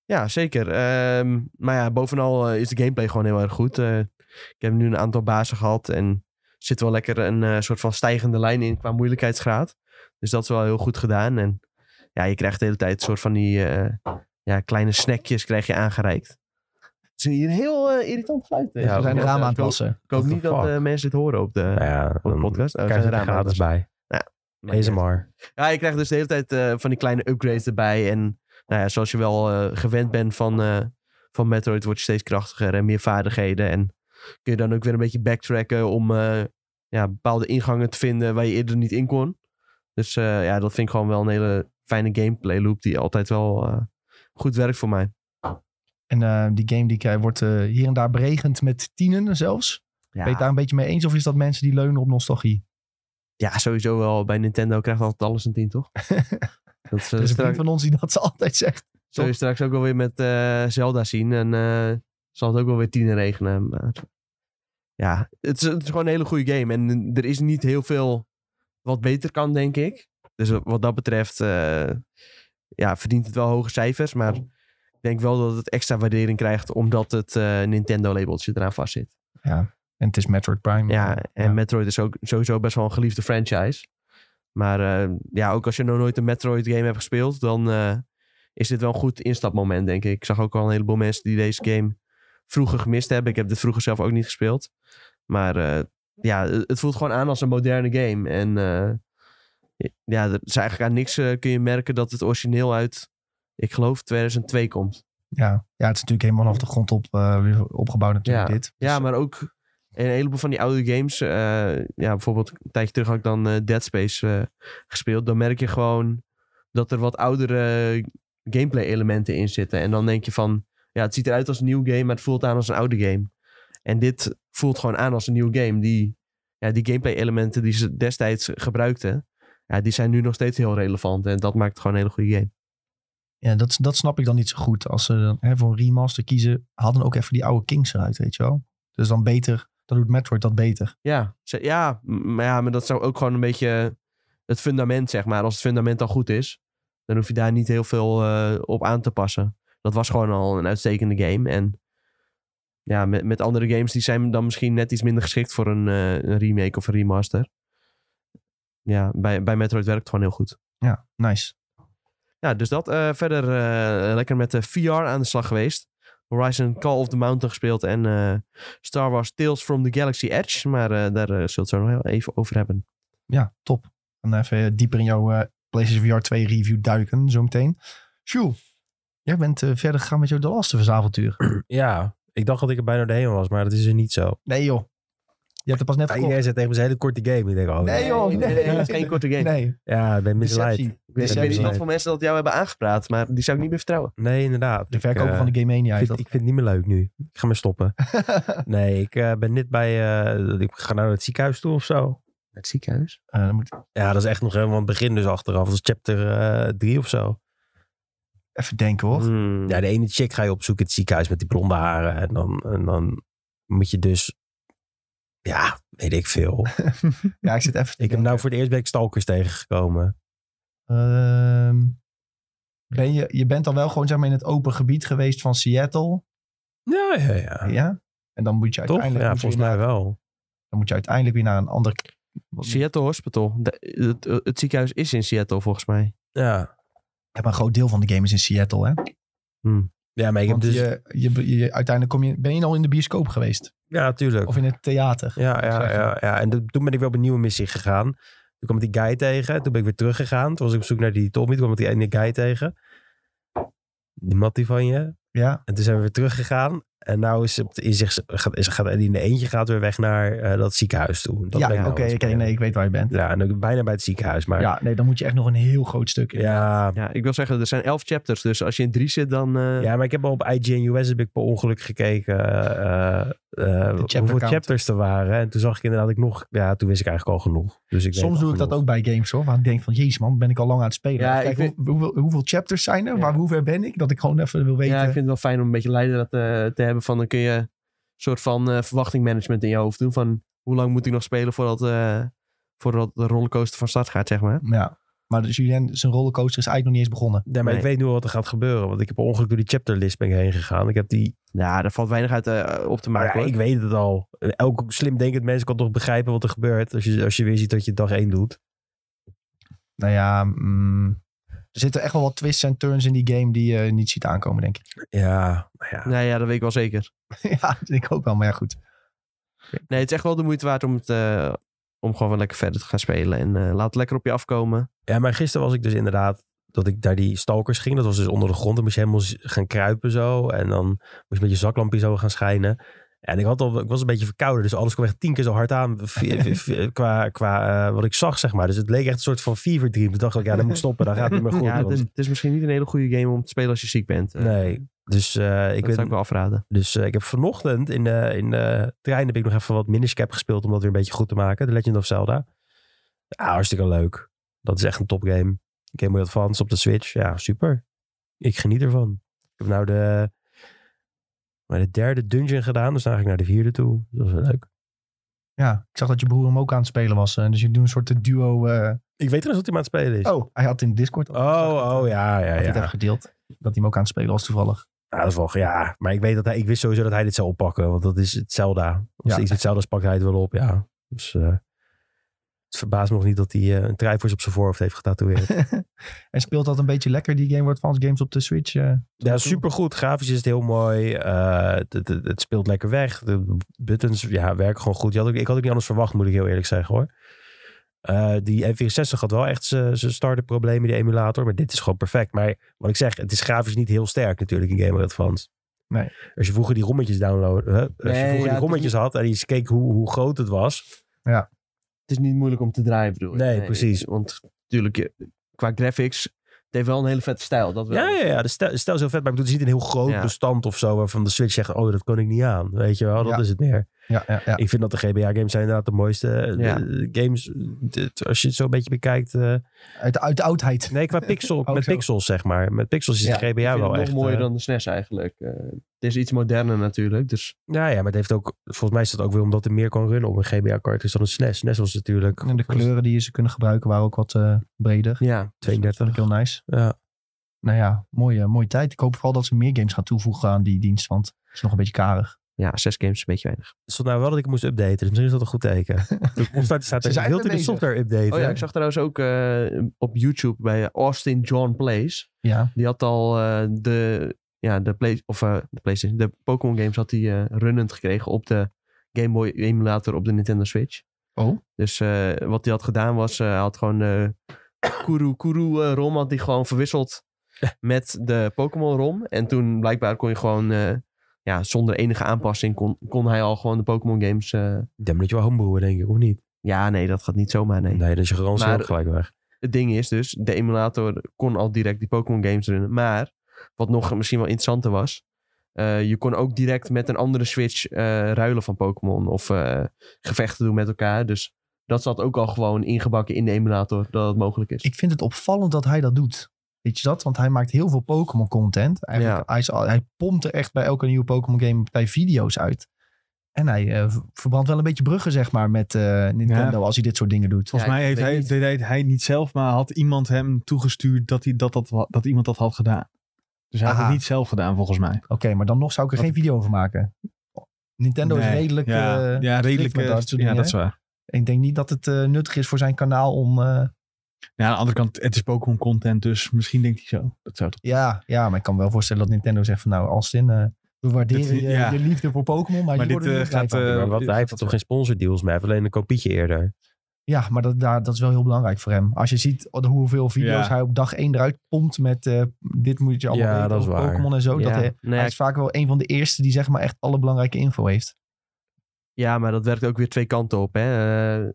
[SPEAKER 3] Ja, zeker. Ehm, maar ja, bovenal eh, is de gameplay gewoon heel erg goed. Eh, ik heb nu een aantal bazen gehad en zit wel lekker een eh, soort van stijgende lijn in qua moeilijkheidsgraad. Dus dat is wel heel goed gedaan. En ja, je krijgt de hele tijd een soort van die eh, ja, kleine snackjes krijg je aangereikt. Het is hier een heel eh, irritant geluid. eh.
[SPEAKER 4] Ja,
[SPEAKER 1] We zijn de
[SPEAKER 3] Ik hoop-
[SPEAKER 1] ramen aan het
[SPEAKER 3] ik hoop-
[SPEAKER 1] wassen.
[SPEAKER 3] Ik hoop
[SPEAKER 4] What
[SPEAKER 3] niet
[SPEAKER 4] the
[SPEAKER 3] dat
[SPEAKER 4] fuck?
[SPEAKER 3] eh, mensen dit horen op de,
[SPEAKER 4] nou ja,
[SPEAKER 3] op de
[SPEAKER 4] dan
[SPEAKER 3] podcast. Oh, we
[SPEAKER 4] krijg je
[SPEAKER 3] zijn de ramen
[SPEAKER 4] er
[SPEAKER 3] aan het
[SPEAKER 4] gratis bij.
[SPEAKER 3] wassen.
[SPEAKER 4] ASMR.
[SPEAKER 3] Ja, je krijgt dus de hele tijd eh, van die kleine upgrades erbij. En nou ja, zoals je wel eh, gewend bent van, eh, van Metroid, word je steeds krachtiger en meer vaardigheden. En kun je dan ook weer een beetje backtracken om eh, ja, bepaalde ingangen te vinden waar je eerder niet in kon. Dus eh, ja, dat vind ik gewoon wel een hele fijne gameplay loop die altijd wel eh, goed werkt voor mij.
[SPEAKER 1] eh, En eh, die game die, ik- hij wordt eh, hier en daar beregend met tienen zelfs.
[SPEAKER 3] Ja.
[SPEAKER 1] Ben je het daar een beetje mee eens? Of is dat mensen die leunen op nostalgie?
[SPEAKER 3] Ja, sowieso wel. Bij Nintendo krijgt altijd alles een 10, toch? dat is, eh,
[SPEAKER 1] Er is een vriend
[SPEAKER 3] straks,
[SPEAKER 1] van ons die dat altijd zegt.
[SPEAKER 3] zul je straks ook wel weer met eh, Zelda zien. En eh, zal het ook wel weer 10 regenen. Maar ja, het is, het is gewoon een hele goede game. En er is niet heel veel wat beter kan, denk ik. Dus wat dat betreft eh, ja, verdient het wel hoge cijfers. Maar ik denk wel dat het extra waardering krijgt omdat het eh, Nintendo-labeltje eraan vastzit.
[SPEAKER 1] En het is Metroid Prime. eh,
[SPEAKER 3] Ja, en
[SPEAKER 1] Ja.
[SPEAKER 3] Metroid is ook sowieso best wel een geliefde franchise. Maar eh, ja, ook als je nog nooit een Metroid game hebt gespeeld, dan eh, is dit wel een goed instapmoment, denk ik. Ik zag ook al een heleboel mensen die deze game vroeger gemist hebben. Ik heb dit vroeger zelf ook niet gespeeld. Maar eh, ja, het het voelt gewoon aan als een moderne game. En eh, ja, er is eigenlijk aan niks eh, kun je merken dat het origineel uit, ik geloof, 2002 komt.
[SPEAKER 1] Ja. ja, het is natuurlijk helemaal vanaf de grond op eh, weer opgebouwd natuurlijk dit. Dus,
[SPEAKER 3] Ja, maar ook een heleboel van die oude games. eh, ja, bijvoorbeeld een tijdje terug had ik dan eh, Dead Space eh, gespeeld. Dan merk je gewoon dat er wat oudere gameplay elementen in zitten. En dan denk je van, ja, het ziet eruit als een nieuw game, maar het voelt aan als een oude game. En dit voelt gewoon aan als een nieuw game. Die, ja, die gameplay elementen die ze destijds gebruikten, ja, die zijn nu nog steeds heel relevant. En dat maakt het gewoon een hele goede game.
[SPEAKER 1] Ja, dat, dat snap ik dan niet zo goed. Als ze dan, hè, voor een remaster kiezen, hadden ook even die oude Kings eruit, weet je wel. Dus dan beter, dan doet Metroid dat beter.
[SPEAKER 3] Ja, ze- ja, m- maar ja, maar dat zou ook gewoon een beetje het fundament, zeg maar. Als het fundament al goed is, dan hoef je daar niet heel veel eh, op aan te passen. Dat was gewoon al een uitstekende game. En ja, met, met andere games, die zijn dan misschien net iets minder geschikt voor een, eh, een remake of een remaster. Ja, bij, bij Metroid werkt het gewoon heel goed.
[SPEAKER 1] Ja, nice.
[SPEAKER 3] Ja, dus dat. eh, verder eh, lekker met de VR aan de slag geweest. Horizon Call of the Mountain gespeeld en eh, Star Wars Tales from the Galaxy Edge. Maar eh, daar eh, zult je het zo nog heel even over hebben.
[SPEAKER 1] Ja, top. Dan even dieper in jouw eh, PlayStation VR 2 review duiken, zometeen. Sjoe, jij bent eh, verder gegaan met jouw The Last of Us avontuur.
[SPEAKER 4] Ja, ik dacht dat ik er bijna doorheen was, maar dat is er niet zo.
[SPEAKER 1] Nee joh, je hebt het pas net
[SPEAKER 4] Ja,
[SPEAKER 1] gekocht.
[SPEAKER 4] iedereen zegt tegen me, het is een hele korte game. Ik denk, oh,
[SPEAKER 1] Nee, joh, nee.
[SPEAKER 3] dat is geen korte game.
[SPEAKER 1] Nee,
[SPEAKER 4] Ja, ik ben misleid.
[SPEAKER 1] deceptie.
[SPEAKER 3] ik weet- ik weet niet
[SPEAKER 1] Deceptie.
[SPEAKER 3] hoeveel mensen dat jou hebben aangepraat, maar die zou ik niet meer vertrouwen.
[SPEAKER 4] Nee, inderdaad.
[SPEAKER 1] De
[SPEAKER 4] Ik,
[SPEAKER 1] verkoper
[SPEAKER 4] eh,
[SPEAKER 1] van de Game Mania
[SPEAKER 4] ik
[SPEAKER 1] is
[SPEAKER 4] vind,
[SPEAKER 1] dat.
[SPEAKER 4] ik vind het niet meer leuk nu. Ik ga maar stoppen. Nee, ik eh, ben net bij... eh, ik ga nou naar het ziekenhuis toe of zo.
[SPEAKER 3] Het ziekenhuis.
[SPEAKER 1] Eh, dan moet ik
[SPEAKER 4] Ja, dat is echt nog helemaal aan het begin dus achteraf. Dat is chapter 3 of zo.
[SPEAKER 1] even denken hoor.
[SPEAKER 3] Ja,
[SPEAKER 4] Ja, de ene chick ga je opzoeken in het ziekenhuis met die blonde haren. En dan, en dan moet je dus... Ja, weet ik veel.
[SPEAKER 1] Ja, ik zit even te
[SPEAKER 4] Ik heb
[SPEAKER 1] denken.
[SPEAKER 4] nou voor het eerst ben ik stalkers tegengekomen.
[SPEAKER 1] Ehm, ben je, je bent dan wel gewoon zeg maar in het open gebied geweest van Seattle.
[SPEAKER 4] Ja, ja, ja.
[SPEAKER 1] Ja. En dan moet je
[SPEAKER 4] Toch?
[SPEAKER 1] uiteindelijk,
[SPEAKER 4] Ja,
[SPEAKER 1] moet je
[SPEAKER 4] volgens
[SPEAKER 1] weer naar-
[SPEAKER 4] mij wel.
[SPEAKER 1] dan moet je uiteindelijk weer naar een ander.
[SPEAKER 3] Seattle Hospital. De- het, het ziekenhuis is in Seattle volgens mij.
[SPEAKER 4] Ja.
[SPEAKER 1] Ja, maar een groot deel van de game is in Seattle, hè?
[SPEAKER 4] Ja, maar ik heb
[SPEAKER 1] Want
[SPEAKER 4] dus...
[SPEAKER 1] je, je, je- uiteindelijk kom je, ben je al in de bioscoop geweest?
[SPEAKER 4] Ja, natuurlijk.
[SPEAKER 1] Of in het theater?
[SPEAKER 4] Ja,
[SPEAKER 1] ik
[SPEAKER 4] ja,
[SPEAKER 1] zeggen.
[SPEAKER 4] ja, ja. En de- toen ben ik wel op een nieuwe missie gegaan. Toen kwam ik die guy tegen. Toen ben ik weer teruggegaan. Toen was ik op zoek naar die Tommy. Toen kwam ik die ene guy tegen. Die mattie van je.
[SPEAKER 1] Ja.
[SPEAKER 4] En toen zijn we weer teruggegaan. En nou is het, is, zich- gaat, is, gaat Ellie in de eentje gaat weer weg naar eh, dat ziekenhuis toe. Dat ben ik
[SPEAKER 1] ja,
[SPEAKER 4] nou
[SPEAKER 1] oké.
[SPEAKER 4] aan
[SPEAKER 1] oké,
[SPEAKER 4] het spelen.
[SPEAKER 1] nee, ik weet waar je bent.
[SPEAKER 4] Ja, en ik ben bijna bij het ziekenhuis. Maar ja,
[SPEAKER 1] Ja, nee, dan moet je echt nog een heel groot stuk in.
[SPEAKER 4] ja,
[SPEAKER 3] Ja, ik wil zeggen, er zijn elf chapters. Dus als je in drie zit, dan... eh,
[SPEAKER 4] maar ik heb al op IGN US heb ik per ongeluk gekeken eh, eh,
[SPEAKER 1] chapter
[SPEAKER 4] hoeveel
[SPEAKER 1] count.
[SPEAKER 4] chapters er waren. En toen zag ik inderdaad ik nog, ja, toen wist ik eigenlijk al genoeg. Dus ik weet
[SPEAKER 1] Soms
[SPEAKER 4] al
[SPEAKER 1] doe ik dat
[SPEAKER 4] genoeg.
[SPEAKER 1] ook bij games hoor. Waar ik denk van, jezus man, ben ik al lang aan het spelen.
[SPEAKER 3] Ja,
[SPEAKER 1] Kijk,
[SPEAKER 3] ik vind-
[SPEAKER 1] hoe- hoeveel, hoeveel chapters zijn er?
[SPEAKER 3] Ja.
[SPEAKER 1] Maar hoe ver ben ik? Dat ik gewoon even wil weten.
[SPEAKER 3] Ja, ik vind het wel fijn om een beetje leider te, te hebben. Van, dan kun je een soort van eh, verwachtingmanagement in je hoofd doen. Van hoe lang moet ik nog spelen voordat, eh, voordat de rollercoaster van start gaat, zeg maar.
[SPEAKER 1] Ja. Maar dus Julien, zijn rollercoaster is eigenlijk nog niet eens begonnen.
[SPEAKER 4] Ja, maar ik
[SPEAKER 3] Nee.
[SPEAKER 4] weet nu al wat er gaat gebeuren. Want ik heb per ongeluk door die chapterlist ben ik heen gegaan. Ik heb die...
[SPEAKER 3] Ja, daar valt weinig uit eh, op te
[SPEAKER 4] Maar
[SPEAKER 3] maken.
[SPEAKER 4] ja, ik
[SPEAKER 3] hoor.
[SPEAKER 4] weet het al. Elk slim denkend mens kan toch begrijpen wat er gebeurt. Als je, als je weer ziet dat je dag één doet.
[SPEAKER 1] Nou ja, mm, er zitten echt wel wat twists en turns in die game die je niet ziet aankomen, denk ik.
[SPEAKER 4] Ja, nou ja.
[SPEAKER 3] Nee, ja, dat weet ik wel zeker.
[SPEAKER 1] ja, dat denk ik ook wel. Maar ja, goed.
[SPEAKER 3] Nee, het is echt wel de moeite waard om, het, eh, om gewoon wel lekker verder te gaan spelen. En eh, laat het lekker op je afkomen.
[SPEAKER 4] ja, maar gisteren was ik dus inderdaad dat ik naar die stalkers ging. Dat was dus onder de grond. Dan moest je helemaal z- gaan kruipen zo. En dan moest je met je zaklampje zo gaan schijnen. En ik, had al, ik was een beetje verkouden. Dus alles kwam echt tien keer zo hard aan v- v- v- qua, qua eh, wat ik zag, zeg maar. Dus het leek echt een soort van fever dream. Toen dacht ik, ja, dat moet ik stoppen. Dan gaat het niet meer goed.
[SPEAKER 3] ja, het
[SPEAKER 4] want-
[SPEAKER 3] is, het is misschien niet een hele goede game om te spelen als je ziek bent. Eh,
[SPEAKER 4] Nee. Dus, eh,
[SPEAKER 3] dat
[SPEAKER 4] ik,
[SPEAKER 3] zou
[SPEAKER 4] ben,
[SPEAKER 3] ik wel afraden.
[SPEAKER 4] dus eh, ik heb vanochtend in de, in de trein heb ik nog even wat miniscap gespeeld om dat weer een beetje goed te maken. The Legend of Zelda. Ja, hartstikke leuk. Dat is echt een topgame. Game Boy Advance op de Switch. Ja, super. Ik geniet ervan. Ik heb nou de, maar de derde dungeon gedaan. Dus dan ga ik naar de vierde toe. Dat was wel leuk.
[SPEAKER 1] Ja, ik zag dat je broer hem ook aan het spelen was. eh, dus je doet een soort eh, duo. eh,
[SPEAKER 4] Ik weet trouwens dat hij aan het spelen is.
[SPEAKER 1] oh, hij had in Discord. al gezegd dat,
[SPEAKER 4] Oh,
[SPEAKER 1] eh,
[SPEAKER 4] oh, ja, ja,
[SPEAKER 1] Dat ik het
[SPEAKER 4] ja.
[SPEAKER 1] heb gedeeld. Dat hij hem ook aan het spelen was toevallig.
[SPEAKER 4] Ja, dat is wel, ja. Maar ik weet dat hij, ik wist sowieso dat hij dit zou oppakken, want dat is het Zelda. Als
[SPEAKER 1] Ja.
[SPEAKER 4] er iets met Zelda is, pakt hij het wel op, ja. Dus eh, het verbaast me nog niet dat hij eh, een trifors op zijn voorhoofd heeft getatoeëerd.
[SPEAKER 1] En speelt dat een beetje lekker, die Game Boy Advance games op de Switch? eh?
[SPEAKER 4] ja, supergoed. Grafisch is het heel mooi. Eh, het, het, het speelt lekker weg. De buttons ja, werken gewoon goed. Je had ook, ik had ook niet anders verwacht, moet ik heel eerlijk zeggen hoor. Eh, die N64 had wel echt zijn starter problemen, die emulator. Maar dit is gewoon perfect. Maar wat ik zeg, het is grafisch niet heel sterk natuurlijk in Game Boy Advance.
[SPEAKER 1] Nee.
[SPEAKER 4] Als je vroeger die rommetjes downloadde, hè? als je
[SPEAKER 3] Nee,
[SPEAKER 4] vroeger
[SPEAKER 3] ja, het
[SPEAKER 4] die
[SPEAKER 3] is
[SPEAKER 4] rommetjes had en je keek hoe, hoe groot het was.
[SPEAKER 3] Het is niet moeilijk om te draaien, bedoel ik.
[SPEAKER 4] Nee, precies.
[SPEAKER 3] Want natuurlijk, eh, qua graphics, het heeft wel een hele vette stijl. Dat wel.
[SPEAKER 4] Ja, ja, ja. De stel, de stel is heel vet, maar ik bedoel, het is niet een heel groot
[SPEAKER 3] Ja.
[SPEAKER 4] bestand of zo waarvan de Switch zegt, oh, dat kon ik niet aan. Weet je wel, dat
[SPEAKER 1] Ja.
[SPEAKER 4] is het meer.
[SPEAKER 1] Ja, ja, ja.
[SPEAKER 4] Ik vind dat de GBA-games zijn inderdaad de mooiste
[SPEAKER 3] Ja.
[SPEAKER 4] eh, games. Dit- Als je het zo een beetje bekijkt. eh,
[SPEAKER 1] Uit, de, uit de oudheid.
[SPEAKER 4] nee,
[SPEAKER 3] Eh,
[SPEAKER 4] qua pixel,
[SPEAKER 1] Oh,
[SPEAKER 4] met
[SPEAKER 1] zo.
[SPEAKER 4] pixels zeg maar. Met pixels is
[SPEAKER 1] Ja,
[SPEAKER 4] de
[SPEAKER 3] Ik
[SPEAKER 4] GBA
[SPEAKER 3] vind
[SPEAKER 4] wel
[SPEAKER 3] het nog
[SPEAKER 4] echt...
[SPEAKER 3] mooier
[SPEAKER 4] eh,
[SPEAKER 3] dan de SNES eigenlijk. Eh, het is iets moderner natuurlijk, dus
[SPEAKER 4] Ja, ja, maar het heeft ook... Volgens mij is dat ook weer omdat er meer kan runnen op een GBA-cartridge dan een E SNES. SNES was natuurlijk...
[SPEAKER 1] En de kleuren die je ze kunnen gebruiken waren ook wat eh, breder.
[SPEAKER 3] ja.
[SPEAKER 4] 32.
[SPEAKER 1] Vind ik heel nice.
[SPEAKER 4] Ja.
[SPEAKER 1] Nou ja, mooie, mooie tijd. Ik hoop vooral dat ze meer games gaan toevoegen aan die dienst, want het is nog een beetje karig.
[SPEAKER 3] Ja, zes games is een beetje weinig.
[SPEAKER 4] Het stond nou wel dat ik moest updaten, dus misschien is dat een goed teken. Opstart staat
[SPEAKER 1] Ze
[SPEAKER 4] er,
[SPEAKER 1] zijn
[SPEAKER 4] wilt u
[SPEAKER 1] ermee
[SPEAKER 4] de software updaten?
[SPEAKER 3] Oh ja, ik zag trouwens ook eh, op YouTube bij Austin John Plays.
[SPEAKER 1] Ja,
[SPEAKER 3] Die had al eh, de, ja, de, play, of, eh, de PlayStation, de Pokémon games had hij eh, runnend gekregen op de Game Boy emulator op de Nintendo Switch.
[SPEAKER 1] Oh.
[SPEAKER 3] Dus eh, wat hij had gedaan was, eh, hij had gewoon eh Kuru Kuru eh, ROM had die gewoon verwisseld met de Pokémon ROM. En toen blijkbaar kon je gewoon, eh, ja, zonder enige aanpassing kon, kon hij al gewoon de Pokémon games. eh,
[SPEAKER 4] Dan moet je wel homebrewen, denk ik, of niet?
[SPEAKER 3] ja, nee, dat gaat niet zomaar, nee.
[SPEAKER 4] Nee, dat is je garantie
[SPEAKER 3] Maar-
[SPEAKER 4] ook gelijk weg.
[SPEAKER 3] Het ding is dus, de emulator kon al direct die Pokémon games runnen. Maar, wat nog misschien wel interessanter was... eh, je kon ook direct met een andere Switch eh, ruilen van Pokémon. Of eh, gevechten doen met elkaar. Dus dat zat ook al gewoon ingebakken in de emulator. Dat dat mogelijk is.
[SPEAKER 1] ik vind het opvallend dat hij dat doet. Weet je dat? Want hij maakt heel veel Pokémon content. Eigenlijk, hij, is al- hij pompt er echt bij elke nieuwe Pokémon game bij video's uit. En hij eh, v- verbrandt wel een beetje bruggen, zeg maar, met eh, Nintendo als hij dit soort dingen doet.
[SPEAKER 2] Volgens
[SPEAKER 3] Ja, ik
[SPEAKER 2] mij heeft
[SPEAKER 3] weet
[SPEAKER 2] hij,
[SPEAKER 3] niet.
[SPEAKER 2] deed hij, het- hij niet zelf, maar had iemand hem toegestuurd dat, hij, dat, dat, wa- dat iemand dat had gedaan. Dus hij had
[SPEAKER 1] Aha.
[SPEAKER 2] het niet zelf gedaan, volgens mij.
[SPEAKER 1] Oké, maar dan nog zou ik er
[SPEAKER 2] Wat-
[SPEAKER 1] geen video over maken. Nintendo
[SPEAKER 2] Nee.
[SPEAKER 1] is redelijk...
[SPEAKER 2] Ja,
[SPEAKER 1] eh,
[SPEAKER 2] ja redelijk.
[SPEAKER 1] strikt met
[SPEAKER 2] eh,
[SPEAKER 1] dat soort
[SPEAKER 2] ja,
[SPEAKER 1] dingen,
[SPEAKER 2] dat is
[SPEAKER 1] hè?
[SPEAKER 2] waar.
[SPEAKER 1] Ik denk niet dat het eh, nuttig is voor zijn kanaal om... eh,
[SPEAKER 2] Ja, aan de andere kant, het is Pokémon content, dus misschien denkt hij zo. Dat zou toch...
[SPEAKER 1] Ja, ja, maar ik kan me wel voorstellen dat Nintendo zegt van nou, Alstin, eh, we waarderen
[SPEAKER 2] Dit-
[SPEAKER 1] je,
[SPEAKER 2] ja.
[SPEAKER 1] je liefde voor Pokémon, maar,
[SPEAKER 2] Maar
[SPEAKER 1] hier
[SPEAKER 2] dit,
[SPEAKER 1] worden we
[SPEAKER 2] eh,
[SPEAKER 1] niet blij
[SPEAKER 2] gaat,
[SPEAKER 1] van.
[SPEAKER 2] eh,
[SPEAKER 4] Maar
[SPEAKER 3] dus
[SPEAKER 4] wat,
[SPEAKER 2] dit-
[SPEAKER 4] hij heeft toch geen sponsordeals mee, hij heeft alleen een kopietje eerder.
[SPEAKER 1] Ja, maar dat, daar, dat is wel heel belangrijk voor hem. Als je ziet hoeveel video's
[SPEAKER 2] Ja.
[SPEAKER 1] hij op dag één eruit pompt met eh, dit moet je allemaal
[SPEAKER 4] Ja,
[SPEAKER 1] weten
[SPEAKER 4] dat is
[SPEAKER 1] over
[SPEAKER 4] waar.
[SPEAKER 1] Pokémon en zo.
[SPEAKER 3] ja.
[SPEAKER 1] Dat hij,
[SPEAKER 3] Nou ja,
[SPEAKER 1] hij is vaak wel een van de eerste die zeg maar echt alle belangrijke info heeft.
[SPEAKER 3] ja, maar dat werkt ook weer twee kanten op. Hè. Eh,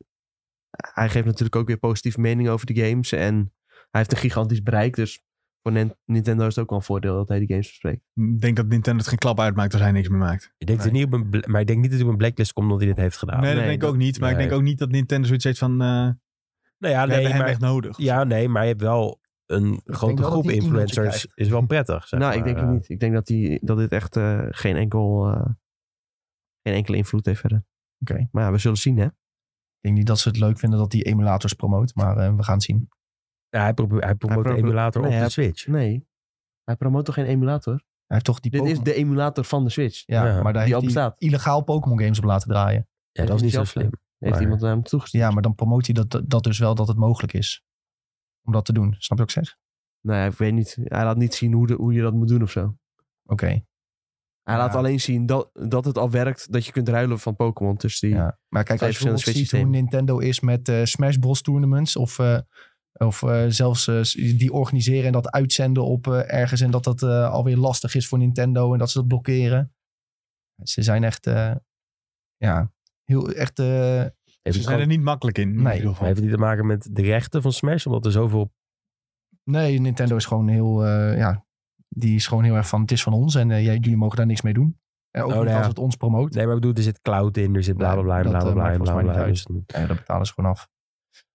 [SPEAKER 3] hij geeft natuurlijk ook weer positieve mening over de games. En hij heeft een gigantisch bereik. Dus voor Nin- Nintendo is het ook wel een voordeel dat hij die games bespreekt.
[SPEAKER 2] Ik denk dat Nintendo het geen klap uitmaakt als hij niks meer maakt.
[SPEAKER 4] Ik denk
[SPEAKER 3] Nee.
[SPEAKER 4] er niet op een, bl- maar ik denk niet dat hij op een blacklist komt omdat hij dit heeft gedaan.
[SPEAKER 2] Nou, nee, dat
[SPEAKER 3] nee,
[SPEAKER 2] denk ik
[SPEAKER 3] dat-
[SPEAKER 2] ook niet. Maar ik
[SPEAKER 4] nee.
[SPEAKER 2] denk ook niet dat Nintendo zoiets heeft van... eh,
[SPEAKER 4] Nou ja,
[SPEAKER 2] we
[SPEAKER 4] nee,
[SPEAKER 2] hebben hem
[SPEAKER 4] maar,
[SPEAKER 2] echt nodig.
[SPEAKER 4] ja, nee, maar je hebt wel een
[SPEAKER 1] wel
[SPEAKER 4] grote
[SPEAKER 1] dat
[SPEAKER 4] groep
[SPEAKER 1] hij e-mailtje
[SPEAKER 4] influencers.
[SPEAKER 1] krijgt.
[SPEAKER 4] Is wel prettig. Zeg
[SPEAKER 3] nou,
[SPEAKER 4] maar.
[SPEAKER 3] ik denk
[SPEAKER 4] Eh,
[SPEAKER 3] het niet. Ik denk dat, die, dat dit echt eh, geen, enkel, eh, geen enkele invloed heeft verder.
[SPEAKER 1] Oké.
[SPEAKER 3] Maar ja, we zullen zien, hè?
[SPEAKER 1] Ik denk niet dat ze het leuk vinden dat hij emulators promoot, maar eh, we gaan het zien.
[SPEAKER 4] nou, hij, probeert hij promoot de
[SPEAKER 3] probeert-
[SPEAKER 4] emulator
[SPEAKER 3] nee,
[SPEAKER 4] op de
[SPEAKER 3] hij-
[SPEAKER 4] Switch.
[SPEAKER 3] Nee. Hij promoot toch geen emulator?
[SPEAKER 1] Hij heeft toch die
[SPEAKER 3] Dit is
[SPEAKER 1] Pokémon-
[SPEAKER 3] de emulator van de Switch.
[SPEAKER 1] Oh. ja,
[SPEAKER 4] ja,
[SPEAKER 1] maar daar heeft
[SPEAKER 3] al
[SPEAKER 1] hij
[SPEAKER 3] bestaat.
[SPEAKER 1] illegaal Pokémon games op laten draaien.
[SPEAKER 4] Ja, dat is niet zo
[SPEAKER 3] zelf
[SPEAKER 4] slim.
[SPEAKER 3] Heeft
[SPEAKER 4] Maar-
[SPEAKER 3] iemand naar hem toegestuurd?
[SPEAKER 1] Ja, maar dan promoot hij dat, dat dus wel dat het mogelijk is om dat te doen. Snap je wat ik zeg?
[SPEAKER 3] Nou ja, ik weet niet. Hij laat niet zien hoe, de, hoe je dat moet doen of zo.
[SPEAKER 1] Oké.
[SPEAKER 3] Hij
[SPEAKER 1] Ja.
[SPEAKER 3] laat alleen zien dat, dat het al werkt. Dat je kunt ruilen van Pokémon. Dus die...
[SPEAKER 1] Ja. Maar kijk,
[SPEAKER 3] Twee
[SPEAKER 1] als je bijvoorbeeld ziet hoe
[SPEAKER 3] verschillende
[SPEAKER 1] Nintendo is met eh, Smash Bros. tournaments of, eh, of eh, zelfs eh, die organiseren en dat uitzenden op eh, ergens en dat dat eh, alweer lastig is voor Nintendo en dat ze dat blokkeren. Ze zijn echt, eh, ja, heel echt, eh,
[SPEAKER 4] Heeft
[SPEAKER 2] Ze
[SPEAKER 4] het
[SPEAKER 2] zijn er
[SPEAKER 4] gewoon-
[SPEAKER 2] niet makkelijk in. in
[SPEAKER 1] Nee,
[SPEAKER 2] ieder
[SPEAKER 4] maar
[SPEAKER 2] geval.
[SPEAKER 4] heeft het niet te maken met de rechten van Smash? Omdat er zoveel...
[SPEAKER 1] nee, Nintendo is gewoon heel, eh, ja, die is gewoon heel erg van, het is van ons en eh, jij, jullie mogen daar niks mee doen. En ook
[SPEAKER 4] Oh,
[SPEAKER 1] niet
[SPEAKER 4] nou ja.
[SPEAKER 1] als het ons promoot.
[SPEAKER 4] Nee, maar ik bedoel, er zit cloud in, er zit bla bla bla en
[SPEAKER 1] Nee,
[SPEAKER 4] bla
[SPEAKER 1] dat, eh,
[SPEAKER 4] bla
[SPEAKER 1] maakt
[SPEAKER 4] bla. en bla,
[SPEAKER 1] volgens mij
[SPEAKER 4] bla,
[SPEAKER 1] niet
[SPEAKER 4] bla. Dus-
[SPEAKER 1] Ja, dat betalen ze gewoon af.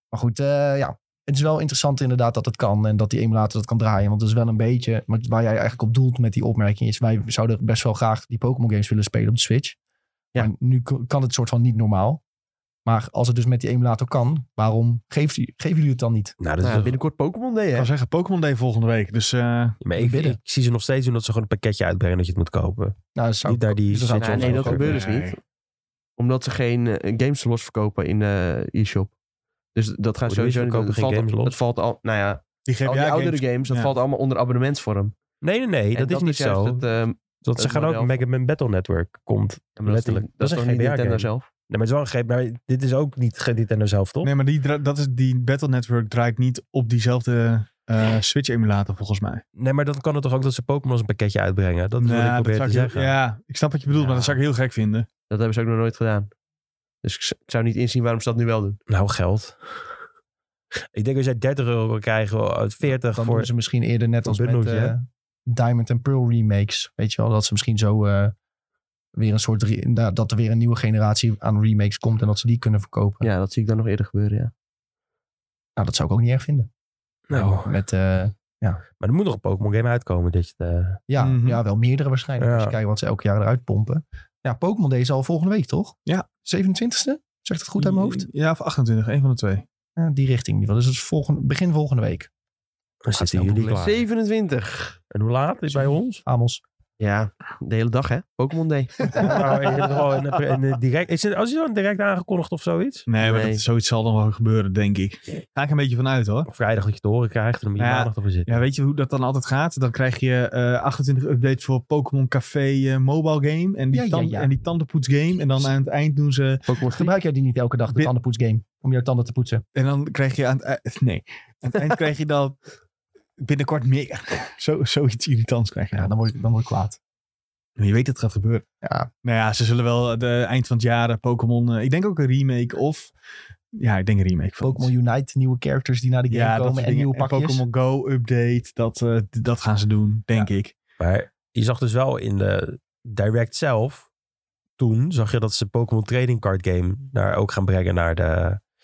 [SPEAKER 1] Maar goed, eh, ja. Het is wel interessant inderdaad dat het kan en dat die emulator dat kan draaien. Want dat is wel een beetje maar waar jij eigenlijk op doelt met die opmerking. Is wij zouden best wel graag die Pokémon games willen spelen op de Switch.
[SPEAKER 3] Ja.
[SPEAKER 1] Maar nu k- kan het soort van niet normaal. Maar als het dus met die emulator kan, waarom geeft, u- geven jullie het dan niet?
[SPEAKER 4] Nou, dat
[SPEAKER 3] Nou,
[SPEAKER 4] is toch-
[SPEAKER 3] binnenkort Pokémon Day,
[SPEAKER 2] Ik
[SPEAKER 3] hè?
[SPEAKER 2] kan zeggen, Pokémon Day volgende week. Dus eh,
[SPEAKER 4] maar ik,
[SPEAKER 1] bidden.
[SPEAKER 4] ik zie ze nog steeds doen dat ze gewoon een pakketje uitbrengen dat je het moet kopen.
[SPEAKER 1] Nou, dat zou
[SPEAKER 4] Niet daar die
[SPEAKER 1] dus dat zou
[SPEAKER 4] Switch
[SPEAKER 1] ik
[SPEAKER 3] Nee,
[SPEAKER 1] wel
[SPEAKER 3] nee,
[SPEAKER 1] zo
[SPEAKER 3] dat
[SPEAKER 1] kopen.
[SPEAKER 3] gebeurt dus niet. Omdat ze geen eh, games los verkopen in de e-shop. Dus dat gaan
[SPEAKER 4] Hoe
[SPEAKER 3] sowieso
[SPEAKER 4] doe je, ze verkopen
[SPEAKER 3] dat
[SPEAKER 4] geen
[SPEAKER 3] valt,
[SPEAKER 4] games los?
[SPEAKER 3] Dat valt al, nou ja,
[SPEAKER 2] die geef
[SPEAKER 3] al die
[SPEAKER 2] jij
[SPEAKER 3] oudere
[SPEAKER 2] games.
[SPEAKER 3] games, dat
[SPEAKER 2] ja.
[SPEAKER 3] valt allemaal onder abonnementsvorm.
[SPEAKER 4] Nee, nee, nee,
[SPEAKER 3] En
[SPEAKER 4] dat, is niet
[SPEAKER 3] juist
[SPEAKER 4] zo.
[SPEAKER 3] het, eh,
[SPEAKER 4] dat ze
[SPEAKER 3] het
[SPEAKER 4] gaan ook
[SPEAKER 3] model
[SPEAKER 4] Mega Man Battle Network komt.
[SPEAKER 3] Ja, maar dat is,
[SPEAKER 4] Letterlijk.
[SPEAKER 3] niet- dat is
[SPEAKER 4] Dat
[SPEAKER 3] toch
[SPEAKER 4] is een
[SPEAKER 3] niet
[SPEAKER 4] GBA
[SPEAKER 3] Nintendo
[SPEAKER 4] game.
[SPEAKER 3] zelf?
[SPEAKER 4] Nee, maar het is wel een gegeven, maar dit is ook niet ge- Nintendo zelf, toch?
[SPEAKER 2] Nee, maar die, dra- dat is, die Battle Network draait niet op diezelfde eh, Switch-emulator volgens mij.
[SPEAKER 4] Nee, maar dan kan het toch ook dat ze Pokémon als een pakketje uitbrengen? Dat is
[SPEAKER 2] Nou,
[SPEAKER 4] wat ik probeer
[SPEAKER 2] zou
[SPEAKER 4] te
[SPEAKER 2] ik-
[SPEAKER 4] zeggen.
[SPEAKER 2] Ja, ik snap wat je bedoelt, maar dat zou ik heel gek vinden.
[SPEAKER 3] Dat hebben ze ook nog nooit gedaan. Dus ik, z- ik zou niet inzien waarom ze dat nu wel doen.
[SPEAKER 4] Nou, geld. Ik denk als jij 30 euro kan krijgen, uit 40
[SPEAKER 1] Dan
[SPEAKER 4] voor...
[SPEAKER 1] doen ze misschien eerder net
[SPEAKER 4] voor
[SPEAKER 1] als met
[SPEAKER 4] bundeltje,
[SPEAKER 1] eh,
[SPEAKER 4] hè?
[SPEAKER 1] Diamond and Pearl remakes. Weet je wel, dat ze misschien zo eh, weer een soort... re- nou, dat er weer een nieuwe generatie aan remakes komt en dat ze die kunnen verkopen.
[SPEAKER 3] Ja, dat zie ik dan nog eerder gebeuren, ja.
[SPEAKER 1] Nou, dat zou ik ook niet erg vinden.
[SPEAKER 4] Nou,
[SPEAKER 1] Met, eh,
[SPEAKER 4] maar er moet nog een Pokémon game uitkomen. Dat je het, eh,
[SPEAKER 1] ja,
[SPEAKER 2] Mhm.
[SPEAKER 1] ja, wel meerdere waarschijnlijk.
[SPEAKER 4] Ja.
[SPEAKER 1] Als je kijkt wat ze elk jaar eruit pompen. Ja, Pokémon Day is al volgende week, toch?
[SPEAKER 2] Ja.
[SPEAKER 1] 27e? Zegt het goed uit mijn hoofd?
[SPEAKER 2] Ja, of 28, een van de twee.
[SPEAKER 1] Ja, die richting in ieder geval. Dus het is volgende, begin volgende week.
[SPEAKER 4] dan
[SPEAKER 1] Gaat
[SPEAKER 4] zitten
[SPEAKER 1] snel
[SPEAKER 4] jullie
[SPEAKER 1] googlen.
[SPEAKER 4] klaar.
[SPEAKER 3] 27.
[SPEAKER 4] En hoe laat is het bij ons?
[SPEAKER 1] Amos.
[SPEAKER 3] Ja, de hele dag, hè? Pokémon Day.
[SPEAKER 4] Nou, je hebt gewoon een, een, een direct, is het, als je dan direct aangekondigd of zoiets?
[SPEAKER 2] Nee, maar
[SPEAKER 3] Nee.
[SPEAKER 2] Dat, zoiets zal dan wel gebeuren, denk ik. Ga ik een beetje vanuit hoor.
[SPEAKER 4] Of vrijdag dat je het te horen krijgt en dan moet je
[SPEAKER 2] Ja.
[SPEAKER 4] maandag ervoor zitten.
[SPEAKER 2] Ja, weet je hoe dat dan altijd gaat? Dan krijg je eh, 28 updates voor Pokémon Café eh, mobile game. En die,
[SPEAKER 1] Ja, ja,
[SPEAKER 2] tan-
[SPEAKER 1] ja.
[SPEAKER 2] En die tandenpoets game. En dan aan het eind doen ze...
[SPEAKER 3] Pokémon
[SPEAKER 1] Gebruik jij die niet elke dag, de
[SPEAKER 2] Bi-
[SPEAKER 1] tandenpoetsgame? Om jouw tanden te poetsen?
[SPEAKER 2] En dan krijg je aan het eind... Nee. Aan het eind krijg je dan binnenkort meer. Zo, zoiets irritants krijg je.
[SPEAKER 1] Ja, dan word ik, dan word ik kwaad.
[SPEAKER 2] Maar je weet dat het gaat gebeuren.
[SPEAKER 1] Ja.
[SPEAKER 2] Nou ja, ze zullen wel de eind van het jaar eh, Pokémon... eh, ik denk ook een remake of... Ja, ik denk een remake van
[SPEAKER 1] Pokémon
[SPEAKER 2] iets.
[SPEAKER 1] Unite, nieuwe characters die naar de game
[SPEAKER 2] Ja, dat
[SPEAKER 1] komen
[SPEAKER 2] soort
[SPEAKER 1] en
[SPEAKER 2] dingen.
[SPEAKER 1] nieuwe
[SPEAKER 2] En
[SPEAKER 1] pakjes.
[SPEAKER 2] Pokémon Go update. Dat, eh, d- dat gaan ze doen, denk ik.
[SPEAKER 4] Maar je zag dus wel in de direct zelf, toen zag je dat ze Pokémon Trading Card Game daar ook gaan brengen naar de,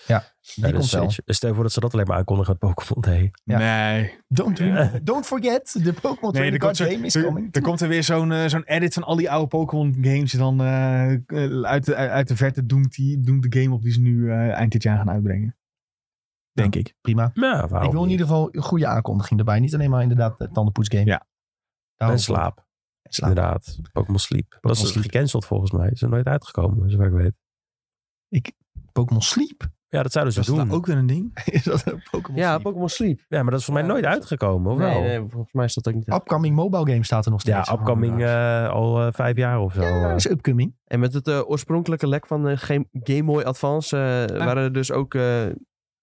[SPEAKER 4] naar
[SPEAKER 1] die
[SPEAKER 4] de
[SPEAKER 1] komt wel.
[SPEAKER 4] Switch. Dus stel je voor dat ze dat alleen maar aankondigen met Pokémon Day.
[SPEAKER 1] Ja.
[SPEAKER 2] Nee.
[SPEAKER 1] Don't,
[SPEAKER 4] Ja.
[SPEAKER 1] re- don't forget, de Pokémon
[SPEAKER 2] Nee, er
[SPEAKER 1] Trading Card
[SPEAKER 2] komt, zo-
[SPEAKER 1] Game is
[SPEAKER 2] er-
[SPEAKER 1] coming.
[SPEAKER 2] er komt er weer zo'n eh, zo'n edit van al die oude Pokémon games. en Dan eh, eh, uit, de, uit de verte doemt, die, doemt de game op die ze nu eh, eind dit jaar gaan uitbrengen. Denk ik.
[SPEAKER 1] Prima.
[SPEAKER 4] Ja,
[SPEAKER 1] ik wil in ieder geval een goede aankondiging erbij. Niet alleen maar inderdaad de tandenpoetsgame.
[SPEAKER 2] Ja.
[SPEAKER 1] Daarom-
[SPEAKER 4] En slaap.
[SPEAKER 1] En slaap.
[SPEAKER 4] Inderdaad, Pokémon Sleep. Maar dat is dus
[SPEAKER 1] Sleep.
[SPEAKER 4] gecanceld volgens mij. Is er nooit uitgekomen, zover ik weet.
[SPEAKER 1] Pokémon Sleep.
[SPEAKER 4] Ja, dat zouden ze
[SPEAKER 2] Was dat
[SPEAKER 4] doen.
[SPEAKER 2] nou ook weer een ding?
[SPEAKER 1] Is dat een Pokémon
[SPEAKER 3] Ja,
[SPEAKER 1] Sleep?
[SPEAKER 3] Pokémon Sleep. Oh.
[SPEAKER 4] Ja, maar dat is volgens mij
[SPEAKER 3] Ja,
[SPEAKER 4] nooit
[SPEAKER 3] dat is-
[SPEAKER 4] uitgekomen, of wel?
[SPEAKER 3] Nee, nee, volgens mij is dat ook niet.
[SPEAKER 1] Upcoming mobile game staat er nog
[SPEAKER 4] ja,
[SPEAKER 1] steeds.
[SPEAKER 4] upcoming eh, al eh, vijf jaar of zo.
[SPEAKER 1] Ja,
[SPEAKER 4] eh.
[SPEAKER 1] is upcoming.
[SPEAKER 3] En met het eh, oorspronkelijke lek van eh, Game- Game Boy Advance eh, waren er dus ook eh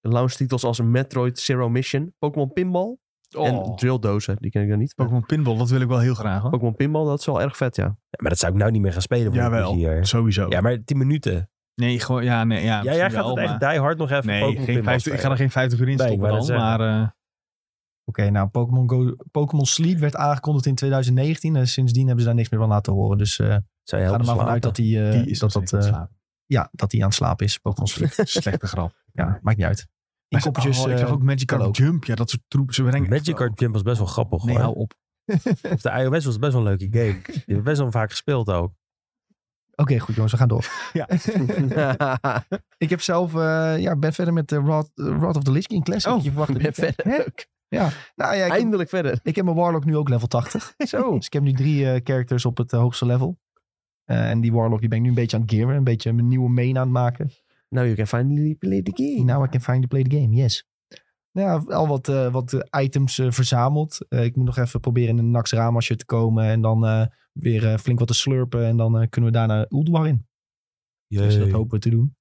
[SPEAKER 3] launch titels als Metroid Zero Mission, Pokémon Pinball
[SPEAKER 2] Oh.
[SPEAKER 3] en Drilldozen. Die ken ik dan niet. maar
[SPEAKER 2] Pokémon Pinball, dat wil ik wel heel graag hoor.
[SPEAKER 3] Pokémon Pinball, dat is wel erg vet, ja.
[SPEAKER 4] Ja, maar dat zou ik nou niet meer gaan spelen voor
[SPEAKER 2] Jawel.
[SPEAKER 4] dit hier.
[SPEAKER 2] Sowieso.
[SPEAKER 4] Ja, maar tien minuten.
[SPEAKER 2] Nee, gewoon, ja, nee, ja.
[SPEAKER 4] ja, jij
[SPEAKER 2] misschien
[SPEAKER 4] gaat
[SPEAKER 2] wel,
[SPEAKER 4] het echt
[SPEAKER 2] maar-
[SPEAKER 4] die hard nog even
[SPEAKER 2] Nee,
[SPEAKER 4] Pokémon
[SPEAKER 2] geen
[SPEAKER 4] Pinball
[SPEAKER 2] 50 ik ga er
[SPEAKER 4] spelen.
[SPEAKER 2] geen 50 uur in
[SPEAKER 4] Nee, ik
[SPEAKER 2] stoppen
[SPEAKER 4] wou
[SPEAKER 2] dan,
[SPEAKER 4] net
[SPEAKER 2] maar...
[SPEAKER 4] zeggen.
[SPEAKER 2] eh,
[SPEAKER 1] Oké, nou, Pokémon, Go- Pokémon Sleep werd aangekondigd in 2019. En sindsdien hebben ze daar niks meer van laten horen. Dus eh
[SPEAKER 4] Zou je
[SPEAKER 1] ga er maar
[SPEAKER 4] helpen
[SPEAKER 1] vanuit dat
[SPEAKER 4] slapen?
[SPEAKER 1] die, eh,
[SPEAKER 2] die is
[SPEAKER 1] dat,
[SPEAKER 2] nog
[SPEAKER 1] dat,
[SPEAKER 2] steeds aan het
[SPEAKER 1] eh,
[SPEAKER 2] slapen.
[SPEAKER 1] ja, dat die aan het slapen is. Pokémon Sleep.
[SPEAKER 2] Slechte grap.
[SPEAKER 1] Ja, maakt niet uit. Die
[SPEAKER 2] Maar ze-
[SPEAKER 1] koppeltjes...
[SPEAKER 2] oh, ik zag
[SPEAKER 1] eh,
[SPEAKER 2] ook Magic
[SPEAKER 1] kan
[SPEAKER 2] Card
[SPEAKER 1] ook.
[SPEAKER 2] Jump. Ja, dat soort troepen. Ze brengen
[SPEAKER 4] Magic Card Jump was best wel grappig
[SPEAKER 2] Nee,
[SPEAKER 4] hoor.
[SPEAKER 2] hou op.
[SPEAKER 4] Op de iOS was het best wel een leuke game. Die hebben best wel vaak gespeeld ook.
[SPEAKER 1] Oké, goed jongens, we gaan door.
[SPEAKER 2] Ja.
[SPEAKER 1] ik heb zelf... eh, ja, ben verder met de Rod, Rod of the Lich King Classic.
[SPEAKER 2] Oh,
[SPEAKER 1] je verwacht het
[SPEAKER 3] ben
[SPEAKER 1] niet, hè?
[SPEAKER 3] verder.
[SPEAKER 1] Hè? Ja, nou ja, ik heb-
[SPEAKER 3] Eindelijk verder.
[SPEAKER 1] Ik heb mijn Warlock nu ook level 80. Zo. Dus ik heb nu drie eh, characters op het eh, hoogste level. Eh, en die Warlock die ben ik nu een beetje aan het gearen. Een beetje mijn nieuwe main aan het maken.
[SPEAKER 3] Now Nou, you can finally play the game.
[SPEAKER 1] Now I can finally play the game, yes. Nou ja, al wat, eh, wat eh, items eh, verzameld. Eh, ik moet nog even proberen in een Nax Ramasje te komen. En dan eh, weer eh, flink wat te slurpen. En dan eh, kunnen we daarna Ulduar in. Dus dat hopen we te doen.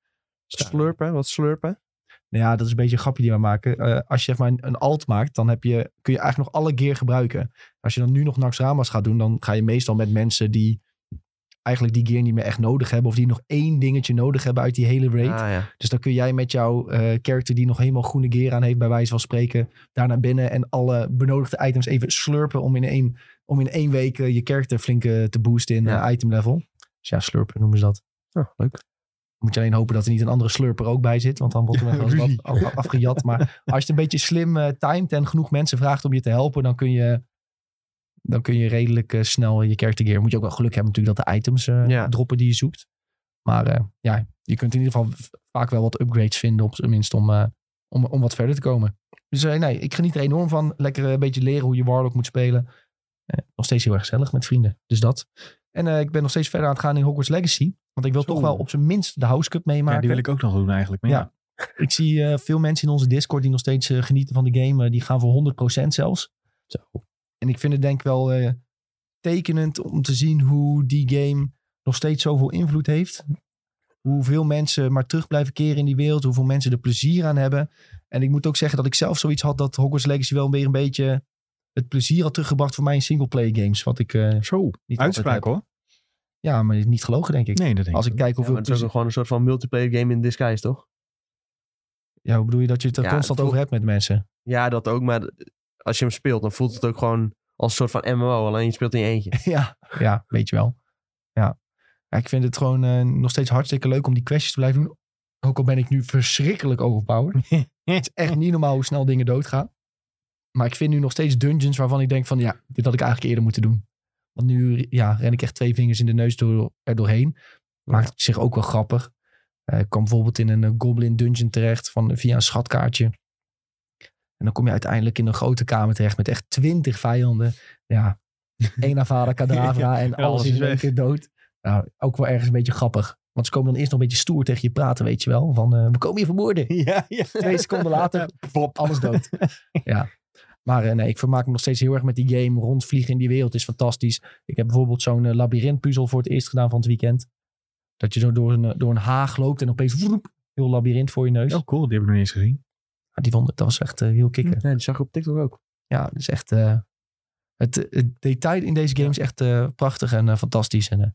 [SPEAKER 3] Slurpen, wat slurpen.
[SPEAKER 1] Nou ja, dat is een beetje een grapje die we maken. Eh, als je zeg maar een, een alt maakt, dan heb je, kun je eigenlijk nog alle gear gebruiken. Als je dan nu nog Naxxramas gaat doen, dan ga je meestal met mensen die eigenlijk die gear niet meer echt nodig hebben. Of die nog één dingetje nodig hebben uit die hele raid.
[SPEAKER 3] Ah, ja.
[SPEAKER 1] Dus dan kun jij met jouw eh character die nog helemaal groene gear aan heeft, bij wijze van spreken, daar naar binnen en alle benodigde items even slurpen om in één, om in één week eh, je character flink eh, te boosten in
[SPEAKER 3] Ja.
[SPEAKER 1] eh, item level. Dus ja, slurpen noemen ze dat.
[SPEAKER 3] Oh, leuk.
[SPEAKER 1] Moet je alleen hopen dat er niet een andere slurper ook bij zit, want dan wordt er
[SPEAKER 2] Ja,
[SPEAKER 1] nog wel eens
[SPEAKER 2] ruzie.
[SPEAKER 1] wat af- af- afgejat. Maar als je het een beetje slim eh, timed en genoeg mensen vraagt om je te helpen, dan kun je, dan kun je redelijk eh, snel je character gear. Moet je ook wel geluk hebben natuurlijk dat de items eh,
[SPEAKER 3] Ja.
[SPEAKER 1] droppen die je zoekt. Maar eh, ja, je kunt in ieder geval v- vaak wel wat upgrades vinden, op zijn minst om, eh, om, om wat verder te komen. Dus eh, nee, ik geniet er enorm van. Lekker eh, een beetje leren hoe je Warlock moet spelen. Eh, nog steeds heel erg gezellig met vrienden. Dus dat. En eh, ik ben nog steeds verder aan het gaan in Hogwarts Legacy. Want ik wil
[SPEAKER 2] Zo.
[SPEAKER 1] toch wel op zijn minst de House Cup meemaken.
[SPEAKER 2] Ja, die wil ik ook nog doen eigenlijk. Maar
[SPEAKER 1] Ja.
[SPEAKER 2] ja.
[SPEAKER 1] Ik zie eh, veel mensen in onze Discord die nog steeds eh, genieten van de game. eh, die gaan voor 100% zelfs. En ik vind het denk ik wel eh, tekenend om te zien hoe die game nog steeds zoveel invloed heeft. Hoeveel mensen maar terug blijven keren in die wereld. Hoeveel mensen er plezier aan hebben. En ik moet ook zeggen dat ik zelf zoiets had dat Hogwarts Legacy wel weer een beetje het plezier had teruggebracht voor mij in singleplayer games. Wat ik eh,
[SPEAKER 2] Zo,
[SPEAKER 1] niet altijd
[SPEAKER 2] uitspraak
[SPEAKER 1] heb.
[SPEAKER 2] hoor.
[SPEAKER 1] Ja, maar niet gelogen denk ik.
[SPEAKER 2] Nee, dat denk
[SPEAKER 1] Als ik kijk
[SPEAKER 3] Ja,
[SPEAKER 1] hoeveel
[SPEAKER 3] maar het is
[SPEAKER 1] plezier...
[SPEAKER 3] ook gewoon een soort van multiplayer game in disguise, toch?
[SPEAKER 1] Ja, hoe bedoel je dat je het er
[SPEAKER 3] Ja,
[SPEAKER 1] constant
[SPEAKER 3] het
[SPEAKER 1] over hebt met mensen?
[SPEAKER 3] Ja, dat ook. Maar als je hem speelt, dan voelt het ook gewoon als een soort van MMO. Alleen je speelt in je eentje.
[SPEAKER 1] ja, ja, weet je wel. Ja. Ja, ik vind het gewoon eh, nog steeds hartstikke leuk om die questjes te blijven doen. Ook al ben ik nu verschrikkelijk overpowered. het is echt niet normaal hoe snel dingen doodgaan. Maar ik vind nu nog steeds dungeons waarvan ik denk van ja, dit had ik eigenlijk eerder moeten doen. Want nu ja, ren ik echt twee vingers in de neus door, er doorheen. Maakt het zich ook wel grappig. Eh, ik kwam bijvoorbeeld in een eh, goblin dungeon terecht van, via een schatkaartje. En dan kom je uiteindelijk in een grote kamer terecht met echt twintig vijanden. Ja, één Avada Kedavra en
[SPEAKER 2] alles
[SPEAKER 1] alles
[SPEAKER 2] is
[SPEAKER 1] is in één
[SPEAKER 2] weg.
[SPEAKER 1] keer dood. Nou, ook wel ergens een beetje grappig. Want ze komen dan eerst nog een beetje stoer tegen je praten, weet je wel. Van, eh, we komen je vermoorden.
[SPEAKER 2] Ja, ja.
[SPEAKER 1] Twee seconden later,
[SPEAKER 2] Plop.
[SPEAKER 1] alles dood. ja. Maar eh, nee, ik vermaak me nog steeds heel erg met die game. Rondvliegen in die wereld is fantastisch. Ik heb bijvoorbeeld zo'n eh, labyrintpuzzel voor het eerst gedaan van het weekend. Dat je zo door een, eh, door een haag loopt en opeens vroep, heel labyrint voor je neus.
[SPEAKER 2] Oh cool, die heb ik nog niet eens gezien.
[SPEAKER 1] Ja, die vond, dat was echt eh, heel kicken.
[SPEAKER 3] Ja, die zag ik op TikTok ook.
[SPEAKER 1] Ja, dus echt... eh, het, het detail in deze game is echt eh, prachtig en eh, fantastisch. En, eh,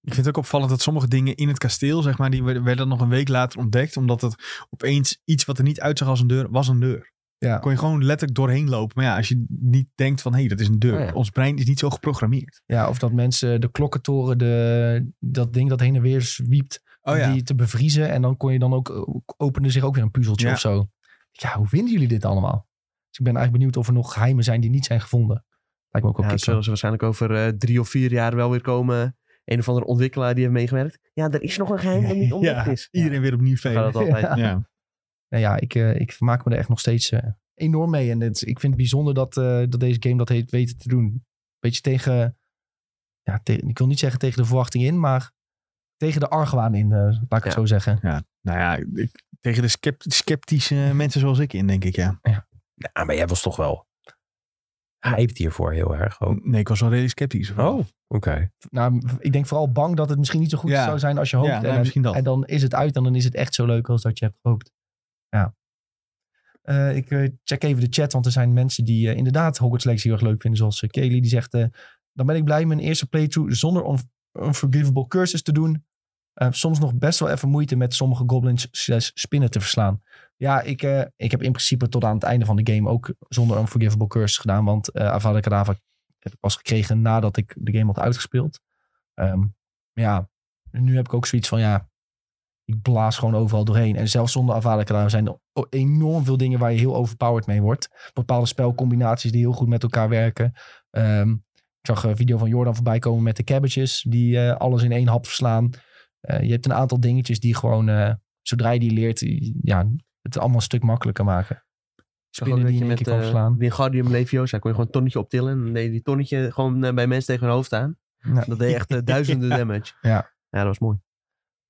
[SPEAKER 2] Ik vind het ook opvallend dat sommige dingen in het kasteel, zeg maar, die werden werden nog een week later ontdekt. Omdat het opeens iets wat er niet uitzag als een deur, was een deur.
[SPEAKER 1] Ja.
[SPEAKER 2] Kon je gewoon letterlijk doorheen lopen. Maar ja, als je niet denkt van, hé, hey, dat is een deur.
[SPEAKER 3] Oh ja.
[SPEAKER 2] Ons brein is niet zo geprogrammeerd.
[SPEAKER 1] ja, of dat mensen de klokkentoren, de, dat ding dat heen en weer zwiept,
[SPEAKER 2] Oh ja,
[SPEAKER 1] die te bevriezen. En dan kon je dan ook, opende zich ook weer een puzzeltje
[SPEAKER 2] Ja.
[SPEAKER 1] of zo. Ja, hoe vinden jullie dit allemaal? Dus ik ben eigenlijk benieuwd of er nog geheimen zijn die niet zijn gevonden. Lijkt me ook wel
[SPEAKER 3] Ja, dat
[SPEAKER 1] kicken.
[SPEAKER 3] zullen ze waarschijnlijk over eh, drie of vier jaar wel weer komen. Een of andere ontwikkelaar die heeft meegewerkt. Ja, er is nog een geheim dat niet ontdekt
[SPEAKER 2] Ja,
[SPEAKER 3] is.
[SPEAKER 2] iedereen weer opnieuw
[SPEAKER 3] Ja, gaat
[SPEAKER 2] velen.
[SPEAKER 3] dat altijd.
[SPEAKER 1] Ja.
[SPEAKER 2] Ja.
[SPEAKER 1] Nou ja, ik, eh, ik vermaak me er echt nog steeds eh, enorm mee. En het, ik vind het bijzonder dat, eh, dat deze game dat heeft weten te doen. Beetje tegen, ja, te- ik wil niet zeggen tegen de verwachting in, maar tegen de argwaan in, eh, laat ik het
[SPEAKER 3] Ja.
[SPEAKER 1] zo zeggen.
[SPEAKER 2] Nou ja, ik- tegen de scept- sceptische mensen zoals ik in, denk ik, ja.
[SPEAKER 4] Ja, maar jij was toch wel hyped hiervoor heel erg ook.
[SPEAKER 3] Oh.
[SPEAKER 2] Nee, ik was wel redelijk sceptisch.
[SPEAKER 4] Oh, Mm, oké.
[SPEAKER 1] Nou, ik denk vooral bang dat het misschien niet zo goed
[SPEAKER 2] Ja.
[SPEAKER 1] zou zijn als je hoopt.
[SPEAKER 2] Ja, nou,
[SPEAKER 1] en,
[SPEAKER 2] misschien dat.
[SPEAKER 1] en dan is het uit en dan is het echt zo leuk als dat je hebt gehoopt. Ja. Eh, ik eh, check even de chat, want er zijn mensen die eh, inderdaad Hogwarts Legacy heel erg leuk vinden. Zoals eh, Kelly, die zegt... eh, dan ben ik blij mijn eerste playthrough zonder un Unforgivable Curses te doen. Eh, soms nog best wel even moeite met sommige goblins slash spinnen te verslaan. Ja, ik, eh, ik heb in principe tot aan het einde van de game ook zonder Unforgivable Curses gedaan. Want eh Avada Kedavra heb ik pas gekregen nadat ik de game had uitgespeeld. Ehm, maar ja, nu heb ik ook zoiets van ja, ik blaas gewoon overal doorheen. En zelfs zonder Avada Kedavra zijn er o- enorm veel dingen waar je heel overpowered mee wordt. Bepaalde spelcombinaties die heel goed met elkaar werken. Ehm, ik zag een video van Jordan voorbij komen met de cabbages die eh, alles in één hap verslaan. Eh, je hebt een aantal dingetjes die gewoon, eh, zodra je die leert, ja, het allemaal een stuk makkelijker maken.
[SPEAKER 3] Ik zag ook
[SPEAKER 1] Spinnen die je in één keer kan
[SPEAKER 3] eh,
[SPEAKER 1] verslaan.
[SPEAKER 3] Wingardium Leviosa kon je gewoon een tonnetje optillen. En dan deed je die tonnetje gewoon eh, bij mensen tegen hun hoofd aan.
[SPEAKER 1] Ja.
[SPEAKER 3] Dat deed echt eh, duizenden damage.
[SPEAKER 1] Ja.
[SPEAKER 3] Ja, dat was mooi.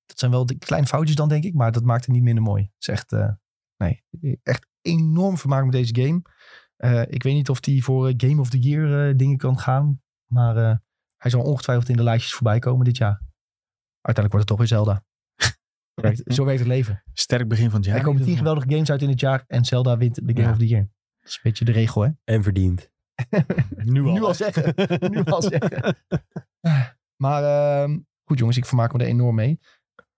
[SPEAKER 1] Dat zijn wel de kleine foutjes dan, denk ik. Maar dat maakt het niet minder mooi. Het is echt, eh, nee, echt enorm vermaakt met deze game. Eh, ik weet niet of die voor eh, Game of the Year eh, dingen kan gaan. Maar eh, hij zal ongetwijfeld in de lijstjes voorbij komen dit jaar. Uiteindelijk wordt het toch weer Zelda. Zo werkt- Zo werkt het leven.
[SPEAKER 2] Sterk begin van het jaar.
[SPEAKER 1] er komen tien geweldige games uit in het jaar. En Zelda wint de Game
[SPEAKER 2] Ja.
[SPEAKER 1] of the Year. Dat is een beetje de regel, hè?
[SPEAKER 4] En verdiend.
[SPEAKER 2] Nu al.
[SPEAKER 1] Nu al zeggen. nu al zeggen. Maar ehm, goed jongens, ik vermaak me er enorm mee.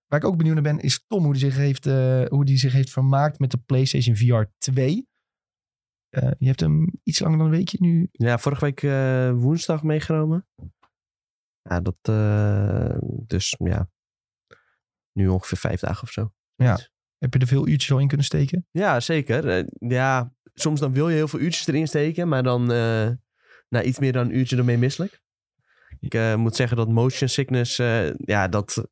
[SPEAKER 1] Waar ik ook benieuwd naar ben, is Tom hoe die zich heeft, eh, hoe die zich heeft vermaakt met de PlayStation VR 2. Eh, je hebt hem iets langer dan een weekje nu.
[SPEAKER 3] Ja, vorige week eh, woensdag meegenomen. Ja, dat... eh, dus ja, nu ongeveer vijf dagen of zo.
[SPEAKER 1] Heb je er veel uurtjes al in kunnen steken?
[SPEAKER 3] Ja, zeker. Eh, ja, soms dan wil je heel veel uurtjes erin steken, maar dan eh, na iets meer dan een uurtje ermee misselijk. Ik eh, moet zeggen dat motion sickness, eh, ja, dat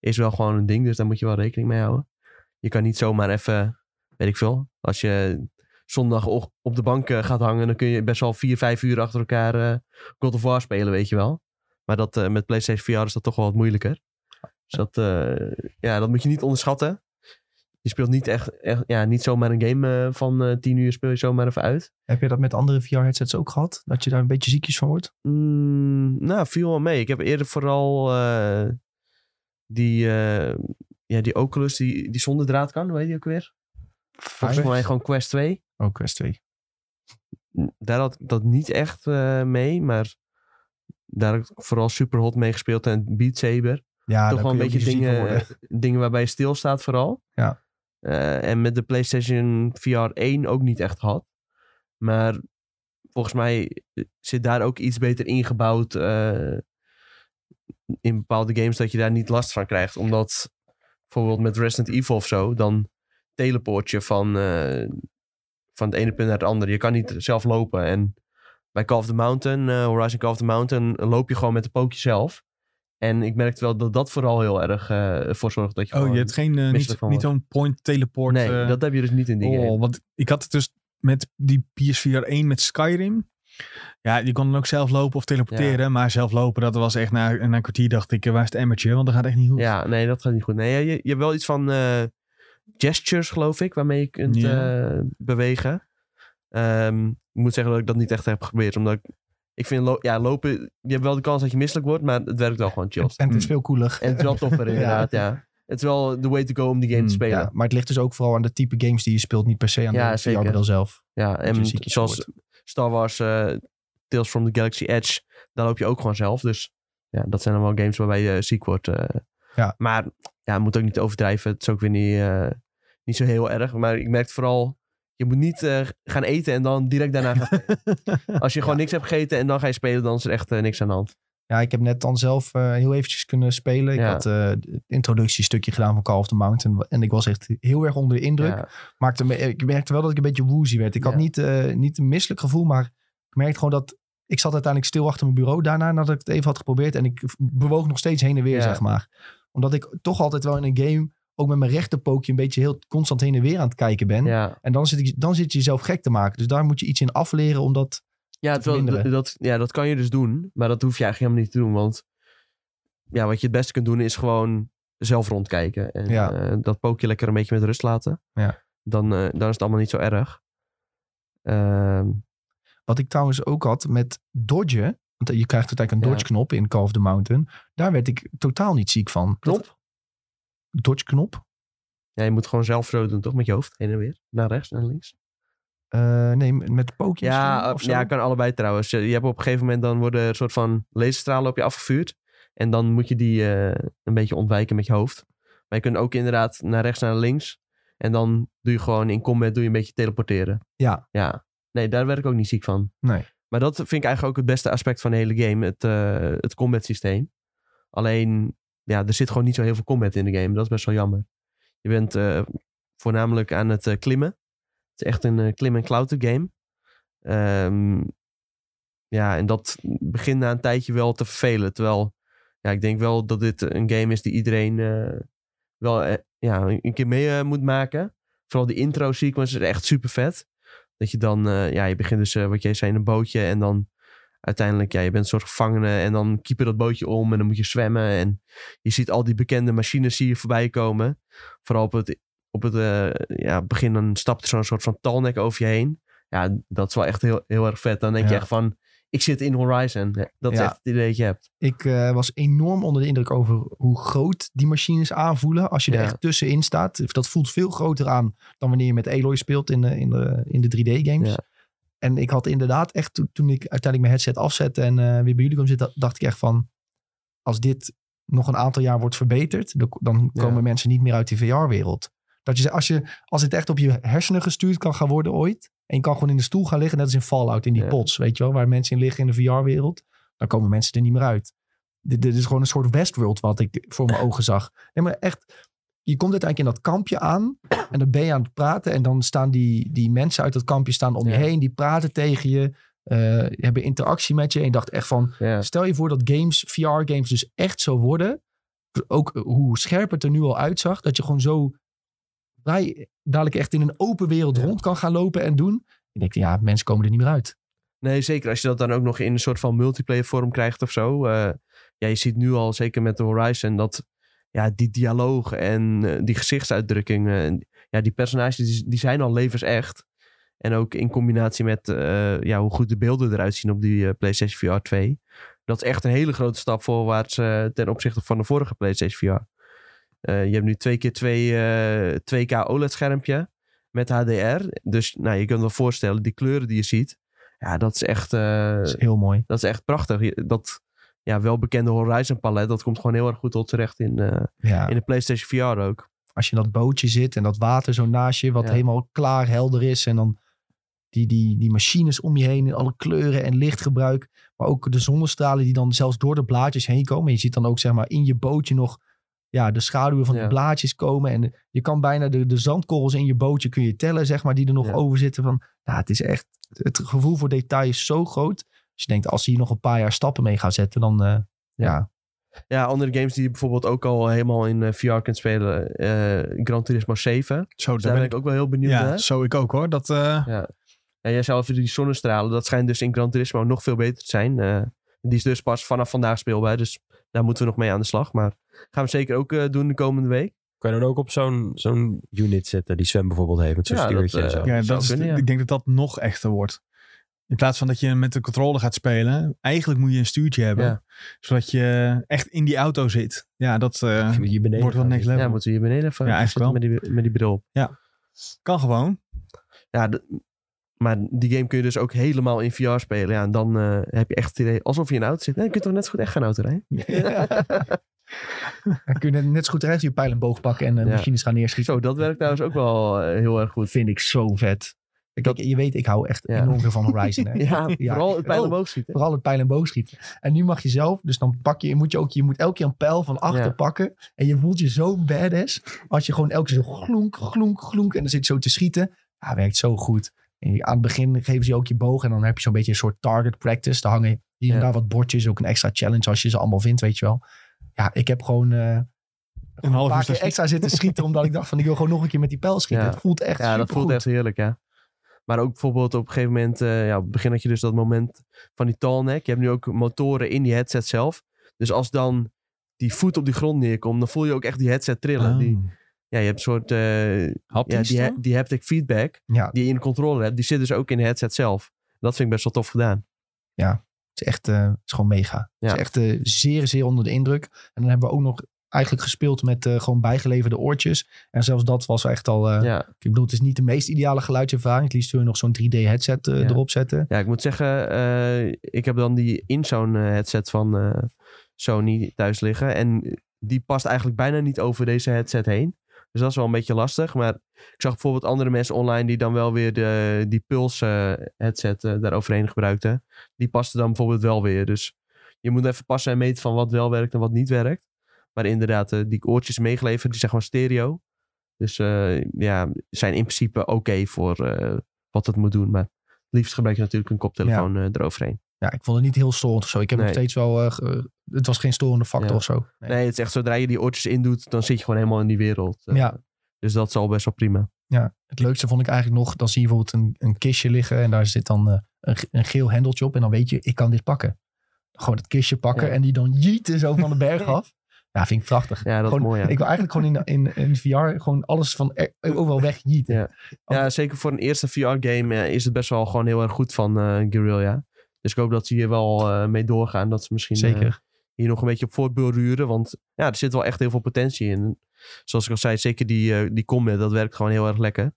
[SPEAKER 3] is wel gewoon een ding, dus daar moet je wel rekening mee houden. Je kan niet zomaar even, weet ik veel, als je zondag o- op de bank eh, gaat hangen, dan kun je best wel vier, vijf uur achter elkaar eh, God of War spelen, weet je wel. Maar dat, eh, met PlayStation VR is dat toch wel wat moeilijker. Dus dat, eh, ja, dat moet je niet onderschatten. Je speelt niet echt, echt ja, niet zomaar een game eh, van eh tien uur speel je zomaar even uit.
[SPEAKER 1] Heb je dat met andere VR-headsets ook gehad? Dat je daar een beetje ziekjes van wordt?
[SPEAKER 3] Mm, nou, viel wel mee. Ik heb eerder vooral eh, die, eh, ja, die Oculus die, die zonder draad kan, hoe heet die ook weer? Volgens mij gewoon Quest 2.
[SPEAKER 1] Oh, Quest 2.
[SPEAKER 3] Mm, Daar had ik dat niet echt eh, mee, maar daar heb ik vooral super hot mee gespeeld en Beat Saber.
[SPEAKER 1] Ja,
[SPEAKER 3] Toch wel een beetje dingen, eh,
[SPEAKER 1] Oké.
[SPEAKER 3] dingen waarbij je stilstaat vooral.
[SPEAKER 1] Ja.
[SPEAKER 3] Eh, en met de PlayStation VR 1 ook niet echt had. Maar volgens mij eh, zit daar ook iets beter ingebouwd eh, in bepaalde games dat je daar niet last van krijgt. Omdat bijvoorbeeld met Resident Evil of zo, dan teleport je van, eh, van het ene punt naar het andere. Je kan niet zelf lopen. En bij Call of the Mountain, eh, Horizon Call of the Mountain, loop je gewoon met de pookje zelf. En ik merkte wel dat dat vooral heel erg eh voor zorgt dat je
[SPEAKER 2] Oh,
[SPEAKER 3] gewoon...
[SPEAKER 2] je hebt geen, eh, niet,
[SPEAKER 3] misselijk van
[SPEAKER 2] niet
[SPEAKER 3] wordt.
[SPEAKER 2] zo'n point teleport.
[SPEAKER 3] Nee,
[SPEAKER 2] eh,
[SPEAKER 3] dat heb je dus niet in die game.
[SPEAKER 2] Oh, want ik had het dus met die PSVR 1 met Skyrim. Ja, je kon dan ook zelf lopen of teleporteren. Maar zelf lopen, dat was echt na, na een kwartier dacht ik, eh, waar is het emmertje? Want dat gaat echt niet goed.
[SPEAKER 3] Ja, nee, dat gaat niet goed. Nee, ja, je, je hebt wel iets van eh, gestures, geloof ik, waarmee je kunt
[SPEAKER 2] Ja.
[SPEAKER 3] eh, bewegen. Ehm, ik moet zeggen dat ik dat niet echt heb geprobeerd, omdat ik, ik vind lo- ja, lopen, je hebt wel de kans dat je misselijk wordt, maar het werkt wel gewoon chill.
[SPEAKER 1] En het is veel cooler.
[SPEAKER 3] En het is wel toffer inderdaad, ja. Het is wel de way to go om die game te
[SPEAKER 2] Hmm,
[SPEAKER 3] spelen.
[SPEAKER 1] Ja,
[SPEAKER 3] Ja,
[SPEAKER 1] maar het ligt dus ook vooral aan de type games die je speelt. Niet per se aan
[SPEAKER 3] Ja,
[SPEAKER 1] de
[SPEAKER 3] zeker.
[SPEAKER 1] VR-model zelf.
[SPEAKER 3] en
[SPEAKER 1] je ziekjes
[SPEAKER 3] zoals
[SPEAKER 1] wordt.
[SPEAKER 3] Star Wars eh, Tales from the Galaxy Edge, daar loop je ook gewoon zelf. Dus ja, dat zijn dan wel games waarbij je ziek wordt. eh.
[SPEAKER 1] Ja.
[SPEAKER 3] Maar ja, moet ook niet overdrijven. Het is ook weer niet, eh, niet zo heel erg. Maar ik merk vooral, je moet niet eh, gaan eten en dan direct daarna gaan spelen. Als je gewoon niks hebt gegeten en dan ga je spelen, dan is er echt eh, niks aan de hand.
[SPEAKER 1] Ja, ik heb net dan zelf eh, heel eventjes kunnen spelen. Ik
[SPEAKER 3] Ja.
[SPEAKER 1] had eh, het introductiestukje gedaan van Call of the Mountain. En ik was echt heel erg onder de indruk.
[SPEAKER 3] Ja.
[SPEAKER 1] Maakte me, ik merkte wel dat ik een beetje woozy werd. Ik had
[SPEAKER 3] Ja.
[SPEAKER 1] niet, eh, niet een misselijk gevoel, maar ik merkte gewoon dat... Ik zat uiteindelijk stil achter mijn bureau daarna nadat ik het even had geprobeerd. En ik bewoog nog steeds heen en weer,
[SPEAKER 3] Ja.
[SPEAKER 1] zeg maar. Omdat ik toch altijd wel in een game, ook met mijn rechterpookje, een beetje heel constant heen en weer aan het kijken ben.
[SPEAKER 3] Ja.
[SPEAKER 1] En dan zit, ik, dan zit je jezelf gek te maken. Dus daar moet je iets in afleren, omdat...
[SPEAKER 3] Ja, terwijl d-
[SPEAKER 1] verminderen.
[SPEAKER 3] dat, ja, dat kan je dus doen. Maar dat hoef je eigenlijk helemaal niet te doen. Want ja, wat je het beste kunt doen is gewoon zelf rondkijken. En
[SPEAKER 1] Ja.
[SPEAKER 3] eh, dat pookje lekker een beetje met rust laten.
[SPEAKER 1] Ja.
[SPEAKER 3] Dan, eh, dan is het allemaal niet zo erg. Ehm,
[SPEAKER 1] Wat ik trouwens ook had met dodgen. Want je krijgt uiteindelijk een
[SPEAKER 3] Ja.
[SPEAKER 1] dodge-knop in Call of the Mountain. Daar werd ik totaal niet ziek van.
[SPEAKER 3] Knop?
[SPEAKER 1] Dat- Dodge-knop?
[SPEAKER 3] ja, je moet gewoon zelf zo doen, toch? Met je hoofd heen en weer. Naar rechts, naar links.
[SPEAKER 1] Eh, nee, met pookjes.
[SPEAKER 3] Ja,
[SPEAKER 1] doen
[SPEAKER 3] eh,
[SPEAKER 1] of zo.
[SPEAKER 3] ja, kan allebei trouwens. Je je hebt op een gegeven moment dan worden een soort van laserstralen op je afgevuurd. En dan moet je die eh, een beetje ontwijken met je hoofd. Maar je kunt ook inderdaad naar rechts, naar links. En dan doe je gewoon in combat doe je een beetje teleporteren.
[SPEAKER 1] Ja.
[SPEAKER 3] Ja. Nee, daar werd ik ook niet ziek van.
[SPEAKER 1] Nee.
[SPEAKER 3] Maar dat vind ik eigenlijk ook het beste aspect van de hele game. Het, eh, het combat systeem. Alleen, ja, er zit gewoon niet zo heel veel combat in de game. Dat is best wel jammer. Je bent eh, voornamelijk aan het eh, klimmen. Het is echt een eh, klim- en klauter game. Ehm, ja, en dat begint na een tijdje wel te vervelen. Terwijl, ja, ik denk wel dat dit een game is die iedereen eh, wel eh, ja, een keer mee eh, moet maken. Vooral die intro sequence is echt super vet. Dat je dan, eh, ja, je begint dus, eh, wat jij zei, in een bootje. En dan uiteindelijk, ja, je bent een soort gevangene. En dan keep je dat bootje om en dan moet je zwemmen. En je ziet al die bekende machines zie je voorbij komen. Vooral op het, op het eh, ja, begin, dan stapt er zo'n soort van talnek over je heen. Ja, dat is wel echt heel, heel erg vet. Dan denk je
[SPEAKER 1] Ja.
[SPEAKER 3] echt van, ik zit in Horizon. Ja, Dat is
[SPEAKER 1] Ja.
[SPEAKER 3] echt het idee dat je hebt.
[SPEAKER 1] Ik eh, was enorm onder de indruk over hoe groot die machines aanvoelen. Als je
[SPEAKER 3] Ja.
[SPEAKER 1] er echt tussenin staat. Dus Dat voelt veel groter aan dan wanneer je met Aloy speelt in de, in de, in de 3D-games.
[SPEAKER 3] Ja.
[SPEAKER 1] En ik had inderdaad echt, to- toen ik uiteindelijk mijn headset afzette en eh, weer bij jullie kwam zitten, dacht ik echt van... als dit nog een aantal jaar wordt verbeterd, dan- dan
[SPEAKER 3] Ja.
[SPEAKER 1] komen mensen niet meer uit die VR-wereld. Dat je, zegt, als, je, als het echt op je hersenen gestuurd kan gaan worden ooit, en je kan gewoon in de stoel gaan liggen, net als in Fallout, in die
[SPEAKER 3] Ja.
[SPEAKER 1] pots, weet je wel, waar mensen in liggen in de VR-wereld, dan komen mensen er niet meer uit. Dit, dit is gewoon een soort Westworld wat ik voor mijn ogen zag. Nee, maar echt, je komt uiteindelijk in dat kampje aan en dan ben je aan het praten en dan staan die, die mensen uit dat kampje staan om
[SPEAKER 3] Ja.
[SPEAKER 1] je heen, die praten tegen je, eh, hebben interactie met je en je dacht echt van,
[SPEAKER 3] Ja.
[SPEAKER 1] Stel je voor dat games, VR-games dus echt zo worden. dus Ook hoe scherp het er nu al uitzag. Dat je gewoon zo vrij dadelijk echt in een open wereld
[SPEAKER 3] Ja.
[SPEAKER 1] rond kan gaan lopen en doen. Ik denk, ja, mensen komen er niet meer uit.
[SPEAKER 3] Nee, zeker. Als je dat dan ook nog in een soort van multiplayer vorm krijgt of zo. eh, ja, je ziet nu al, zeker met de Horizon, dat ja, die dialoog en eh, die gezichtsuitdrukkingen. en, ja, die personages die, die zijn al levensecht. En ook in combinatie met eh, ja, hoe goed de beelden eruit zien op die eh, PlayStation VR 2. Dat is echt een hele grote stap voorwaarts eh, ten opzichte van de vorige PlayStation VR. Eh, je hebt nu twee keer twee eh, 2K OLED-schermpje met HDR. Dus nou, je kunt wel voorstellen, die kleuren die je ziet. Ja, dat is echt, eh,
[SPEAKER 1] Dat is heel mooi.
[SPEAKER 3] dat is echt prachtig. Je- Dat ja, welbekende Horizon palet, dat komt gewoon heel erg goed tot terecht in, eh,
[SPEAKER 1] Ja.
[SPEAKER 3] in de PlayStation VR ook.
[SPEAKER 1] Als je in dat bootje zit en dat water zo naast je, wat
[SPEAKER 3] Ja.
[SPEAKER 1] helemaal klaar, helder is. En dan die, die, die machines om je heen in alle kleuren en lichtgebruik. Maar ook de zonnestralen die dan zelfs door de blaadjes heen komen. En je ziet dan ook zeg maar in je bootje nog ja, de schaduwen van
[SPEAKER 3] Ja.
[SPEAKER 1] de blaadjes komen. En je kan bijna de, de zandkorrels in je bootje kun je tellen, zeg maar, die er nog
[SPEAKER 3] Ja.
[SPEAKER 1] over zitten. Van, nou, het is echt, het gevoel voor detail is zo groot. Dus je denkt, als ze hier nog een paar jaar stappen mee gaan zetten, dan eh, ja.
[SPEAKER 3] Ja, andere games die je bijvoorbeeld ook al helemaal in eh, VR kunt spelen. eh Gran Turismo 7.
[SPEAKER 2] Zo, daar
[SPEAKER 3] Daar ben ik ook wel heel benieuwd
[SPEAKER 2] ja,
[SPEAKER 3] naar.
[SPEAKER 2] zo ik ook hoor. Dat, eh,
[SPEAKER 3] Ja, jij zei al even die zonnestralen, dat schijnt dus in Gran Turismo nog veel beter te zijn. Eh, die is dus pas vanaf vandaag speelbaar, dus daar moeten we nog mee aan de slag. Maar gaan we zeker ook eh, doen de komende week.
[SPEAKER 4] Kan je dan ook op zo'n zo'n unit zetten die Sven bijvoorbeeld heeft met zo'n
[SPEAKER 3] Ja, dat,
[SPEAKER 4] stuurtje en
[SPEAKER 3] eh,
[SPEAKER 4] zo.
[SPEAKER 2] ja,
[SPEAKER 3] zou
[SPEAKER 2] dat is,
[SPEAKER 3] kunnen, ja.
[SPEAKER 2] Ik denk dat dat nog echter wordt. In plaats van dat je met de controller gaat spelen, eigenlijk moet je een stuurtje hebben.
[SPEAKER 3] Ja.
[SPEAKER 2] Zodat je echt in die auto zit. Ja, dat eh,
[SPEAKER 4] Hier beneden
[SPEAKER 2] wordt wel
[SPEAKER 4] gaat
[SPEAKER 2] next
[SPEAKER 4] hij.
[SPEAKER 2] level.
[SPEAKER 3] Ja, moeten we hier beneden even
[SPEAKER 2] Ja, eigenlijk
[SPEAKER 3] zitten met die, met die bril op.
[SPEAKER 2] Kan gewoon.
[SPEAKER 3] Ja, d- maar die game kun je dus ook helemaal in VR spelen. Ja, en dan eh, heb je echt het idee alsof je in een auto zit. Nee, dan kun je toch net zo goed echt gaan auto rijden.
[SPEAKER 1] Dan kun je net zo goed terecht je pijl en boog pakken en eh,
[SPEAKER 3] Ja.
[SPEAKER 1] machines gaan neerschieten.
[SPEAKER 3] Zo, dat werkt trouwens ook wel eh, heel erg goed.
[SPEAKER 1] vind ik zo vet. Kijk, je weet, ik hou echt
[SPEAKER 3] Ja.
[SPEAKER 1] enorm veel van Horizon. Hè?
[SPEAKER 3] Ja,
[SPEAKER 1] Ja.
[SPEAKER 3] vooral het pijl
[SPEAKER 1] Oh.
[SPEAKER 3] omhoog schieten.
[SPEAKER 1] Vooral het pijl en boogschieten. En nu mag je zelf, dus dan pak je, moet je ook, je moet elke keer een pijl van achter
[SPEAKER 3] Ja.
[SPEAKER 1] pakken. En je voelt je zo badass als je gewoon elke keer zo gloenk, gloenk, gloenk. En dan zit je zo te schieten. Ja, werkt zo goed. En je- aan het begin geven ze je ook je boog en dan heb je zo'n beetje een soort target practice. Daar hangen hier en
[SPEAKER 3] Ja.
[SPEAKER 1] daar wat bordjes, ook een extra challenge als je ze allemaal vindt, weet je wel. Ja, ik heb gewoon eh,
[SPEAKER 2] Een half
[SPEAKER 1] een
[SPEAKER 2] uur
[SPEAKER 1] paar
[SPEAKER 2] staan
[SPEAKER 1] keer extra zitten schieten omdat ik dacht van ik wil gewoon nog een keer met die pijl schieten.
[SPEAKER 3] Ja.
[SPEAKER 1] Het voelt echt
[SPEAKER 3] Ja, dat voelt
[SPEAKER 1] supergoed.
[SPEAKER 3] echt heerlijk, ja. Maar ook bijvoorbeeld op een gegeven moment, eh, ja, op het begin had je dus dat moment van die tallneck. Je hebt nu ook motoren in die headset zelf. Dus als dan die voet op die grond neerkomt, dan voel je ook echt die headset trillen.
[SPEAKER 1] Ah.
[SPEAKER 2] staan.
[SPEAKER 3] Die, ja, je hebt een soort, eh, ja,
[SPEAKER 2] Haptisch
[SPEAKER 3] die,
[SPEAKER 2] dan?
[SPEAKER 3] he- die haptic feedback
[SPEAKER 1] Ja,
[SPEAKER 3] die je in de controller hebt, die zit dus ook in de headset zelf. Dat vind ik best wel tof gedaan.
[SPEAKER 1] Het is echt eh, het is gewoon mega. Het
[SPEAKER 3] Ja.
[SPEAKER 1] is echt eh, zeer, zeer onder de indruk. En dan hebben we ook nog eigenlijk gespeeld met eh, gewoon bijgeleverde oortjes. En zelfs dat was echt al... eh,
[SPEAKER 3] Ja.
[SPEAKER 1] Ik bedoel, het is niet de meest ideale geluidservaring. Het liefst wil je nog zo'n 3D-headset
[SPEAKER 3] Ja.
[SPEAKER 1] eh, erop zetten.
[SPEAKER 3] Ja, ik moet zeggen, eh, ik heb dan die InZone eh, headset van eh, Sony thuis liggen. En die past eigenlijk bijna niet over deze headset heen. Dus dat is wel een beetje lastig. Maar ik zag bijvoorbeeld andere mensen online die dan wel weer de, die Pulse eh, headset eh, daar overheen gebruikten. Die paste dan bijvoorbeeld wel weer. Dus je moet even passen en meten van wat wel werkt en wat niet werkt. Maar inderdaad, eh, die oortjes meegeleverd, die zijn gewoon stereo. Dus eh, ja, zijn in principe oké voor eh, wat het moet doen. Maar het liefst gebruik je natuurlijk een koptelefoon eh, eroverheen.
[SPEAKER 1] Ja, ik vond het niet heel storend of zo. Ik heb
[SPEAKER 3] Nee.
[SPEAKER 1] nog steeds wel... eh, ge- het was geen storende factor
[SPEAKER 3] Ja.
[SPEAKER 1] of zo. Nee.
[SPEAKER 3] Nee, het is echt zodra je die oortjes indoet, dan zit je gewoon helemaal in die wereld. Eh,
[SPEAKER 1] Ja.
[SPEAKER 3] Dus dat is al best wel prima.
[SPEAKER 1] Het leukste vond ik eigenlijk nog... Dan zie je bijvoorbeeld een, een kistje liggen... en daar zit dan eh, een, ge- een geel hendeltje op... en dan weet je, ik kan dit pakken. Gewoon het kistje pakken
[SPEAKER 3] Ja.
[SPEAKER 1] en die dan jieten zo van de berg af. Ja, vind ik prachtig.
[SPEAKER 3] Ja, dat
[SPEAKER 1] Gewoon-
[SPEAKER 3] is mooi. Ja.
[SPEAKER 1] Ik wil eigenlijk gewoon in, in, in VR gewoon alles van er- overal weg niet.
[SPEAKER 3] Ja. ja, zeker voor een eerste VR-game eh, is het best wel gewoon heel erg goed van eh Guerrilla. Dus ik hoop dat ze hier wel eh, mee doorgaan. Dat ze misschien eh,
[SPEAKER 1] Zeker.
[SPEAKER 3] hier nog een beetje op voortborduren. Want ja, er zit wel echt heel veel potentie in. Zoals ik al zei, zeker die, eh, die combat, dat werkt gewoon heel erg lekker.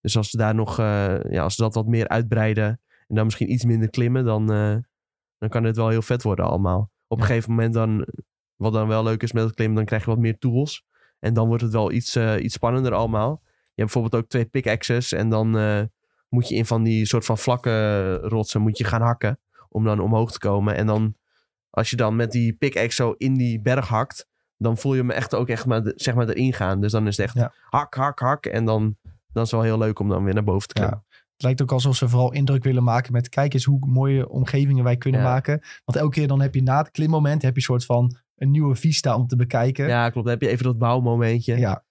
[SPEAKER 3] Dus als ze daar nog, eh, ja, als ze dat wat meer uitbreiden en dan misschien iets minder klimmen, dan, eh, dan kan dit wel heel vet worden allemaal. Op een gegeven moment dan, Wat dan wel leuk is met het klimmen, dan krijg je wat meer tools. En dan wordt het wel iets, eh, iets spannender allemaal. Je hebt bijvoorbeeld ook twee pickaxes en dan eh, moet je in van die soort van vlakke rotsen moet je gaan hakken om dan omhoog te komen. En dan als je dan met die pickaxe zo in die berg hakt, dan voel je hem echt ook echt maar, de- zeg maar erin gaan. Dus dan is het echt
[SPEAKER 1] Ja.
[SPEAKER 3] hak, hak, hak. En dan, dan is het wel heel leuk om dan weer naar boven te
[SPEAKER 1] Ja.
[SPEAKER 3] klimmen.
[SPEAKER 1] Het lijkt ook alsof ze vooral indruk willen maken met kijk eens hoe mooie omgevingen wij kunnen
[SPEAKER 3] Ja.
[SPEAKER 1] maken. Want elke keer dan heb je na het klimmoment heb je een soort van een nieuwe vista om te bekijken.
[SPEAKER 3] Ja, klopt. Dan heb je even dat bouwmomentje.
[SPEAKER 1] Ja,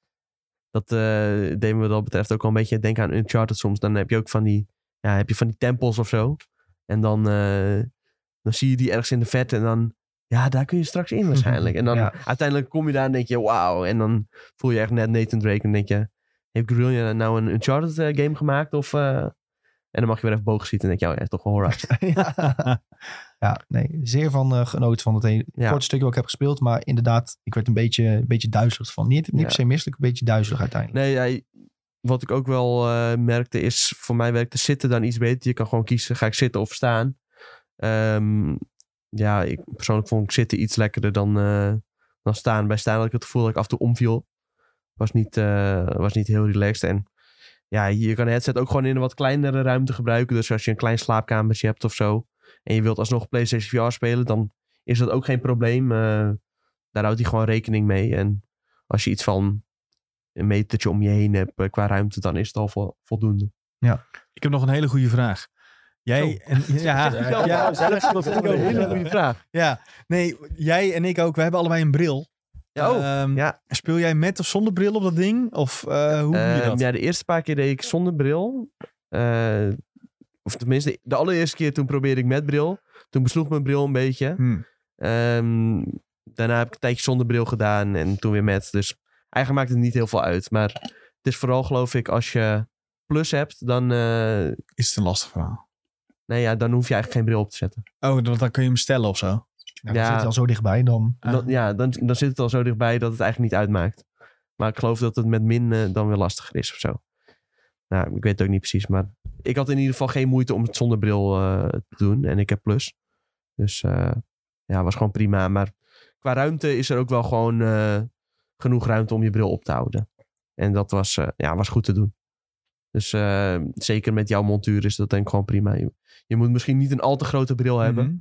[SPEAKER 3] Dat eh deed me wat dat betreft ook wel een beetje denken aan Uncharted soms. Dan heb je ook van die, ja, heb je van die tempels of zo. En dan, eh, dan zie je die ergens in de verte en dan... Ja, daar kun je straks in waarschijnlijk. En dan
[SPEAKER 1] Ja.
[SPEAKER 3] uiteindelijk kom je daar en denk je, wauw. En dan voel je echt net Nathan Drake en denk je... Heeft Guerrilla nou een Uncharted eh, game gemaakt? Of, eh, En dan mag je weer even boog schieten en denk je, oh ja, is toch wel Horizon.
[SPEAKER 1] ja. nee, zeer van eh, genoten van het hele
[SPEAKER 3] Ja.
[SPEAKER 1] korte stukje wat ik heb gespeeld. Maar inderdaad, ik werd een beetje, een beetje duizelig van. Niet, niet
[SPEAKER 3] Ja.
[SPEAKER 1] per se misselijk, een beetje duizelig uiteindelijk.
[SPEAKER 3] nee, ja, wat ik ook wel eh, merkte is, voor mij werkte zitten dan iets beter. Je kan gewoon kiezen, ga ik zitten of staan. Ehm, ja, ik, persoonlijk vond ik zitten iets lekkerder dan, eh, dan staan. Bij staan had ik het gevoel dat ik af en toe omviel. Was niet, eh, was niet heel relaxed. En ja, je kan de headset ook gewoon in een wat kleinere ruimte gebruiken. Dus als je een klein slaapkamertje hebt of zo. En je wilt alsnog PlayStation VR spelen, dan is dat ook geen probleem. Eh, daar houdt hij gewoon rekening mee. En als je iets van een metertje om je heen hebt eh, qua ruimte, dan is het al vo- voldoende.
[SPEAKER 2] Ik heb nog een hele goede vraag. Jij
[SPEAKER 3] Oh.
[SPEAKER 2] en ja, ja, ja,
[SPEAKER 3] dat
[SPEAKER 2] is ook een hele goede
[SPEAKER 3] vraag.
[SPEAKER 2] nee, jij en ik ook. We hebben allebei een bril.
[SPEAKER 3] Ja, oh.
[SPEAKER 2] Ehm,
[SPEAKER 3] ja.
[SPEAKER 2] Speel jij met of zonder bril op dat ding? Of eh, hoe doe je
[SPEAKER 3] Ehm,
[SPEAKER 2] dat?
[SPEAKER 3] ja, de eerste paar keer deed ik zonder bril. Eh, of tenminste, de allereerste keer toen probeerde ik met bril. Toen besloeg mijn bril een beetje.
[SPEAKER 2] Hm.
[SPEAKER 3] Ehm, daarna heb ik een tijdje zonder bril gedaan en toen weer met. Dus eigenlijk maakt het niet heel veel uit. Maar het is vooral geloof ik als je plus hebt, dan, eh,
[SPEAKER 2] Is het een lastig verhaal?
[SPEAKER 3] nou ja, dan hoef je eigenlijk geen bril op te zetten.
[SPEAKER 2] Oh, dan, dan kun je hem stellen of zo.
[SPEAKER 1] Nou, dan
[SPEAKER 3] ja.
[SPEAKER 1] zit je al zo dichtbij dan.
[SPEAKER 2] Ah.
[SPEAKER 3] Dan, ja, dan, dan zit het al zo dichtbij dat het eigenlijk niet uitmaakt. Maar ik geloof dat het met min eh, dan weer lastiger is of zo. Nou, ik weet het ook niet precies. Maar ik had in ieder geval geen moeite om het zonder bril eh, te doen. En ik heb plus. Dus eh, ja, was gewoon prima. Maar qua ruimte is er ook wel gewoon eh, genoeg ruimte om je bril op te houden. En dat was, eh, ja, was goed te doen. Dus eh, zeker met jouw montuur is dat denk ik gewoon prima. Je, je moet misschien niet een al te grote bril hebben.
[SPEAKER 2] Mhm.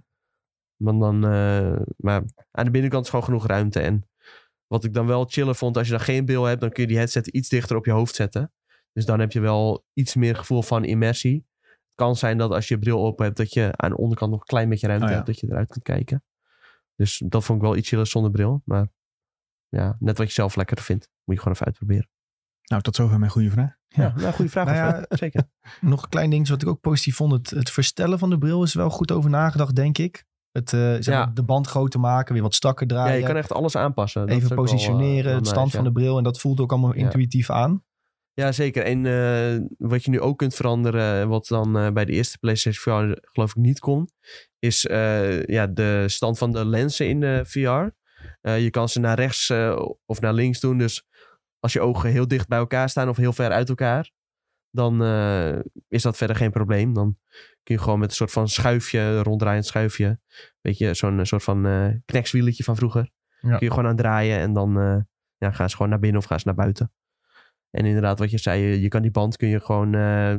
[SPEAKER 3] Want dan, eh, maar aan de binnenkant is gewoon genoeg ruimte. En wat ik dan wel chiller vond, als je dan geen bril hebt, dan kun je die headset iets dichter op je hoofd zetten. Dus dan heb je wel iets meer gevoel van immersie. Het kan zijn dat als je bril op hebt, dat je aan de onderkant nog een klein beetje ruimte
[SPEAKER 2] Oh ja.
[SPEAKER 3] hebt, dat je eruit kunt kijken. Dus dat vond ik wel iets chiller zonder bril. Maar ja, net wat je zelf lekkerder vindt, moet je gewoon even uitproberen.
[SPEAKER 2] Nou, tot zover mijn goede vraag.
[SPEAKER 3] Ja, nou, goede vraag.
[SPEAKER 1] Nou ja,
[SPEAKER 3] Alfred. Zeker.
[SPEAKER 1] Nog een klein ding wat ik ook positief vond. Het, het verstellen van de bril is wel goed over nagedacht, denk ik. Het, eh, zeg
[SPEAKER 3] Ja.
[SPEAKER 1] maar, de band groter maken, weer wat strakker
[SPEAKER 3] Ja,
[SPEAKER 1] draaien.
[SPEAKER 3] je kan echt alles aanpassen. Dat is
[SPEAKER 1] even
[SPEAKER 3] ook wel, eh,
[SPEAKER 1] positioneren,
[SPEAKER 3] wel
[SPEAKER 1] het
[SPEAKER 3] nice,
[SPEAKER 1] stand
[SPEAKER 3] ja.
[SPEAKER 1] van de bril. En dat voelt ook allemaal
[SPEAKER 3] Ja.
[SPEAKER 1] intuïtief aan.
[SPEAKER 3] Ja, zeker. En eh, wat je nu ook kunt veranderen, wat dan eh, bij de eerste PlayStation VR geloof ik niet kon, is eh, ja, de stand van de lenzen in de VR. Eh, je kan ze naar rechts eh, of naar links doen. Dus als je ogen heel dicht bij elkaar staan of heel ver uit elkaar, dan eh, is dat verder geen probleem. Dan kun je gewoon met een soort van schuifje, ronddraaiend schuifje, weet je, zo'n eh, soort van eh knekswieletje van vroeger,
[SPEAKER 1] Ja.
[SPEAKER 3] kun je gewoon aan draaien en dan eh, ja, gaan ze gewoon naar binnen of gaan ze naar buiten. En inderdaad, wat je zei, je, je kan die band kun je gewoon eh,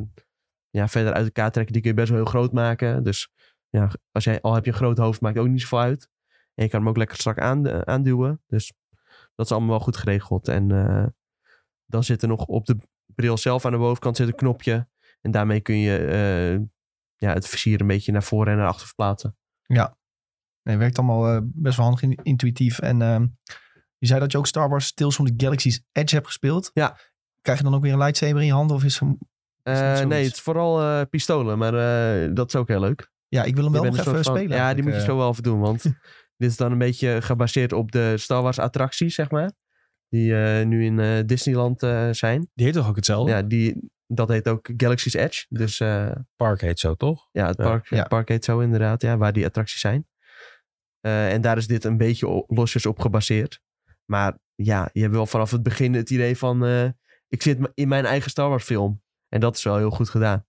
[SPEAKER 3] ja, verder uit elkaar trekken. Die kun je best wel heel groot maken. Dus ja, als jij, al heb je een groot hoofd, maakt het ook niet zoveel uit. En je kan hem ook lekker strak aan, eh, aanduwen. Dus dat is allemaal wel goed geregeld. En eh, dan zit er nog op de bril zelf aan de bovenkant zit een knopje. En daarmee kun je eh, ja, het versier een beetje naar voren en naar achter verplaatsen.
[SPEAKER 1] Nee, werkt allemaal eh, best wel handig in- intuïtief. En ehm, je zei dat je ook Star Wars Tales from the Galaxy's Edge hebt gespeeld.
[SPEAKER 3] Ja.
[SPEAKER 1] Krijg je dan ook weer een lightsaber in je handen? Of is hem...
[SPEAKER 3] Eh,
[SPEAKER 1] Is niet zoiets.
[SPEAKER 3] nee, het is vooral eh, pistolen, maar eh, dat is ook heel leuk.
[SPEAKER 1] Ja, ik wil hem wel
[SPEAKER 3] Je
[SPEAKER 1] nog
[SPEAKER 3] bent een
[SPEAKER 1] even
[SPEAKER 3] soort van-
[SPEAKER 1] spelen.
[SPEAKER 3] Ja, die moet je
[SPEAKER 1] eigenlijk, eh.
[SPEAKER 3] zo wel even doen. Want dit is dan een beetje gebaseerd op de Star Wars attracties, zeg maar. Die eh, nu in eh, Disneyland eh, zijn.
[SPEAKER 2] Die heet toch ook
[SPEAKER 1] Oh.
[SPEAKER 2] hetzelfde?
[SPEAKER 3] Ja, die, dat heet ook Galaxy's Edge. Dus eh,
[SPEAKER 4] Park heet zo, toch?
[SPEAKER 3] ja, het
[SPEAKER 4] Ja.
[SPEAKER 3] park,
[SPEAKER 1] Ja.
[SPEAKER 3] Het park heet zo inderdaad, ja, waar die attracties zijn. Eh, en daar is dit een beetje o- losjes op gebaseerd. Maar ja, je hebt wel vanaf het begin het idee van... eh, ik zit m- in mijn eigen Star Wars film. En dat is wel heel goed gedaan.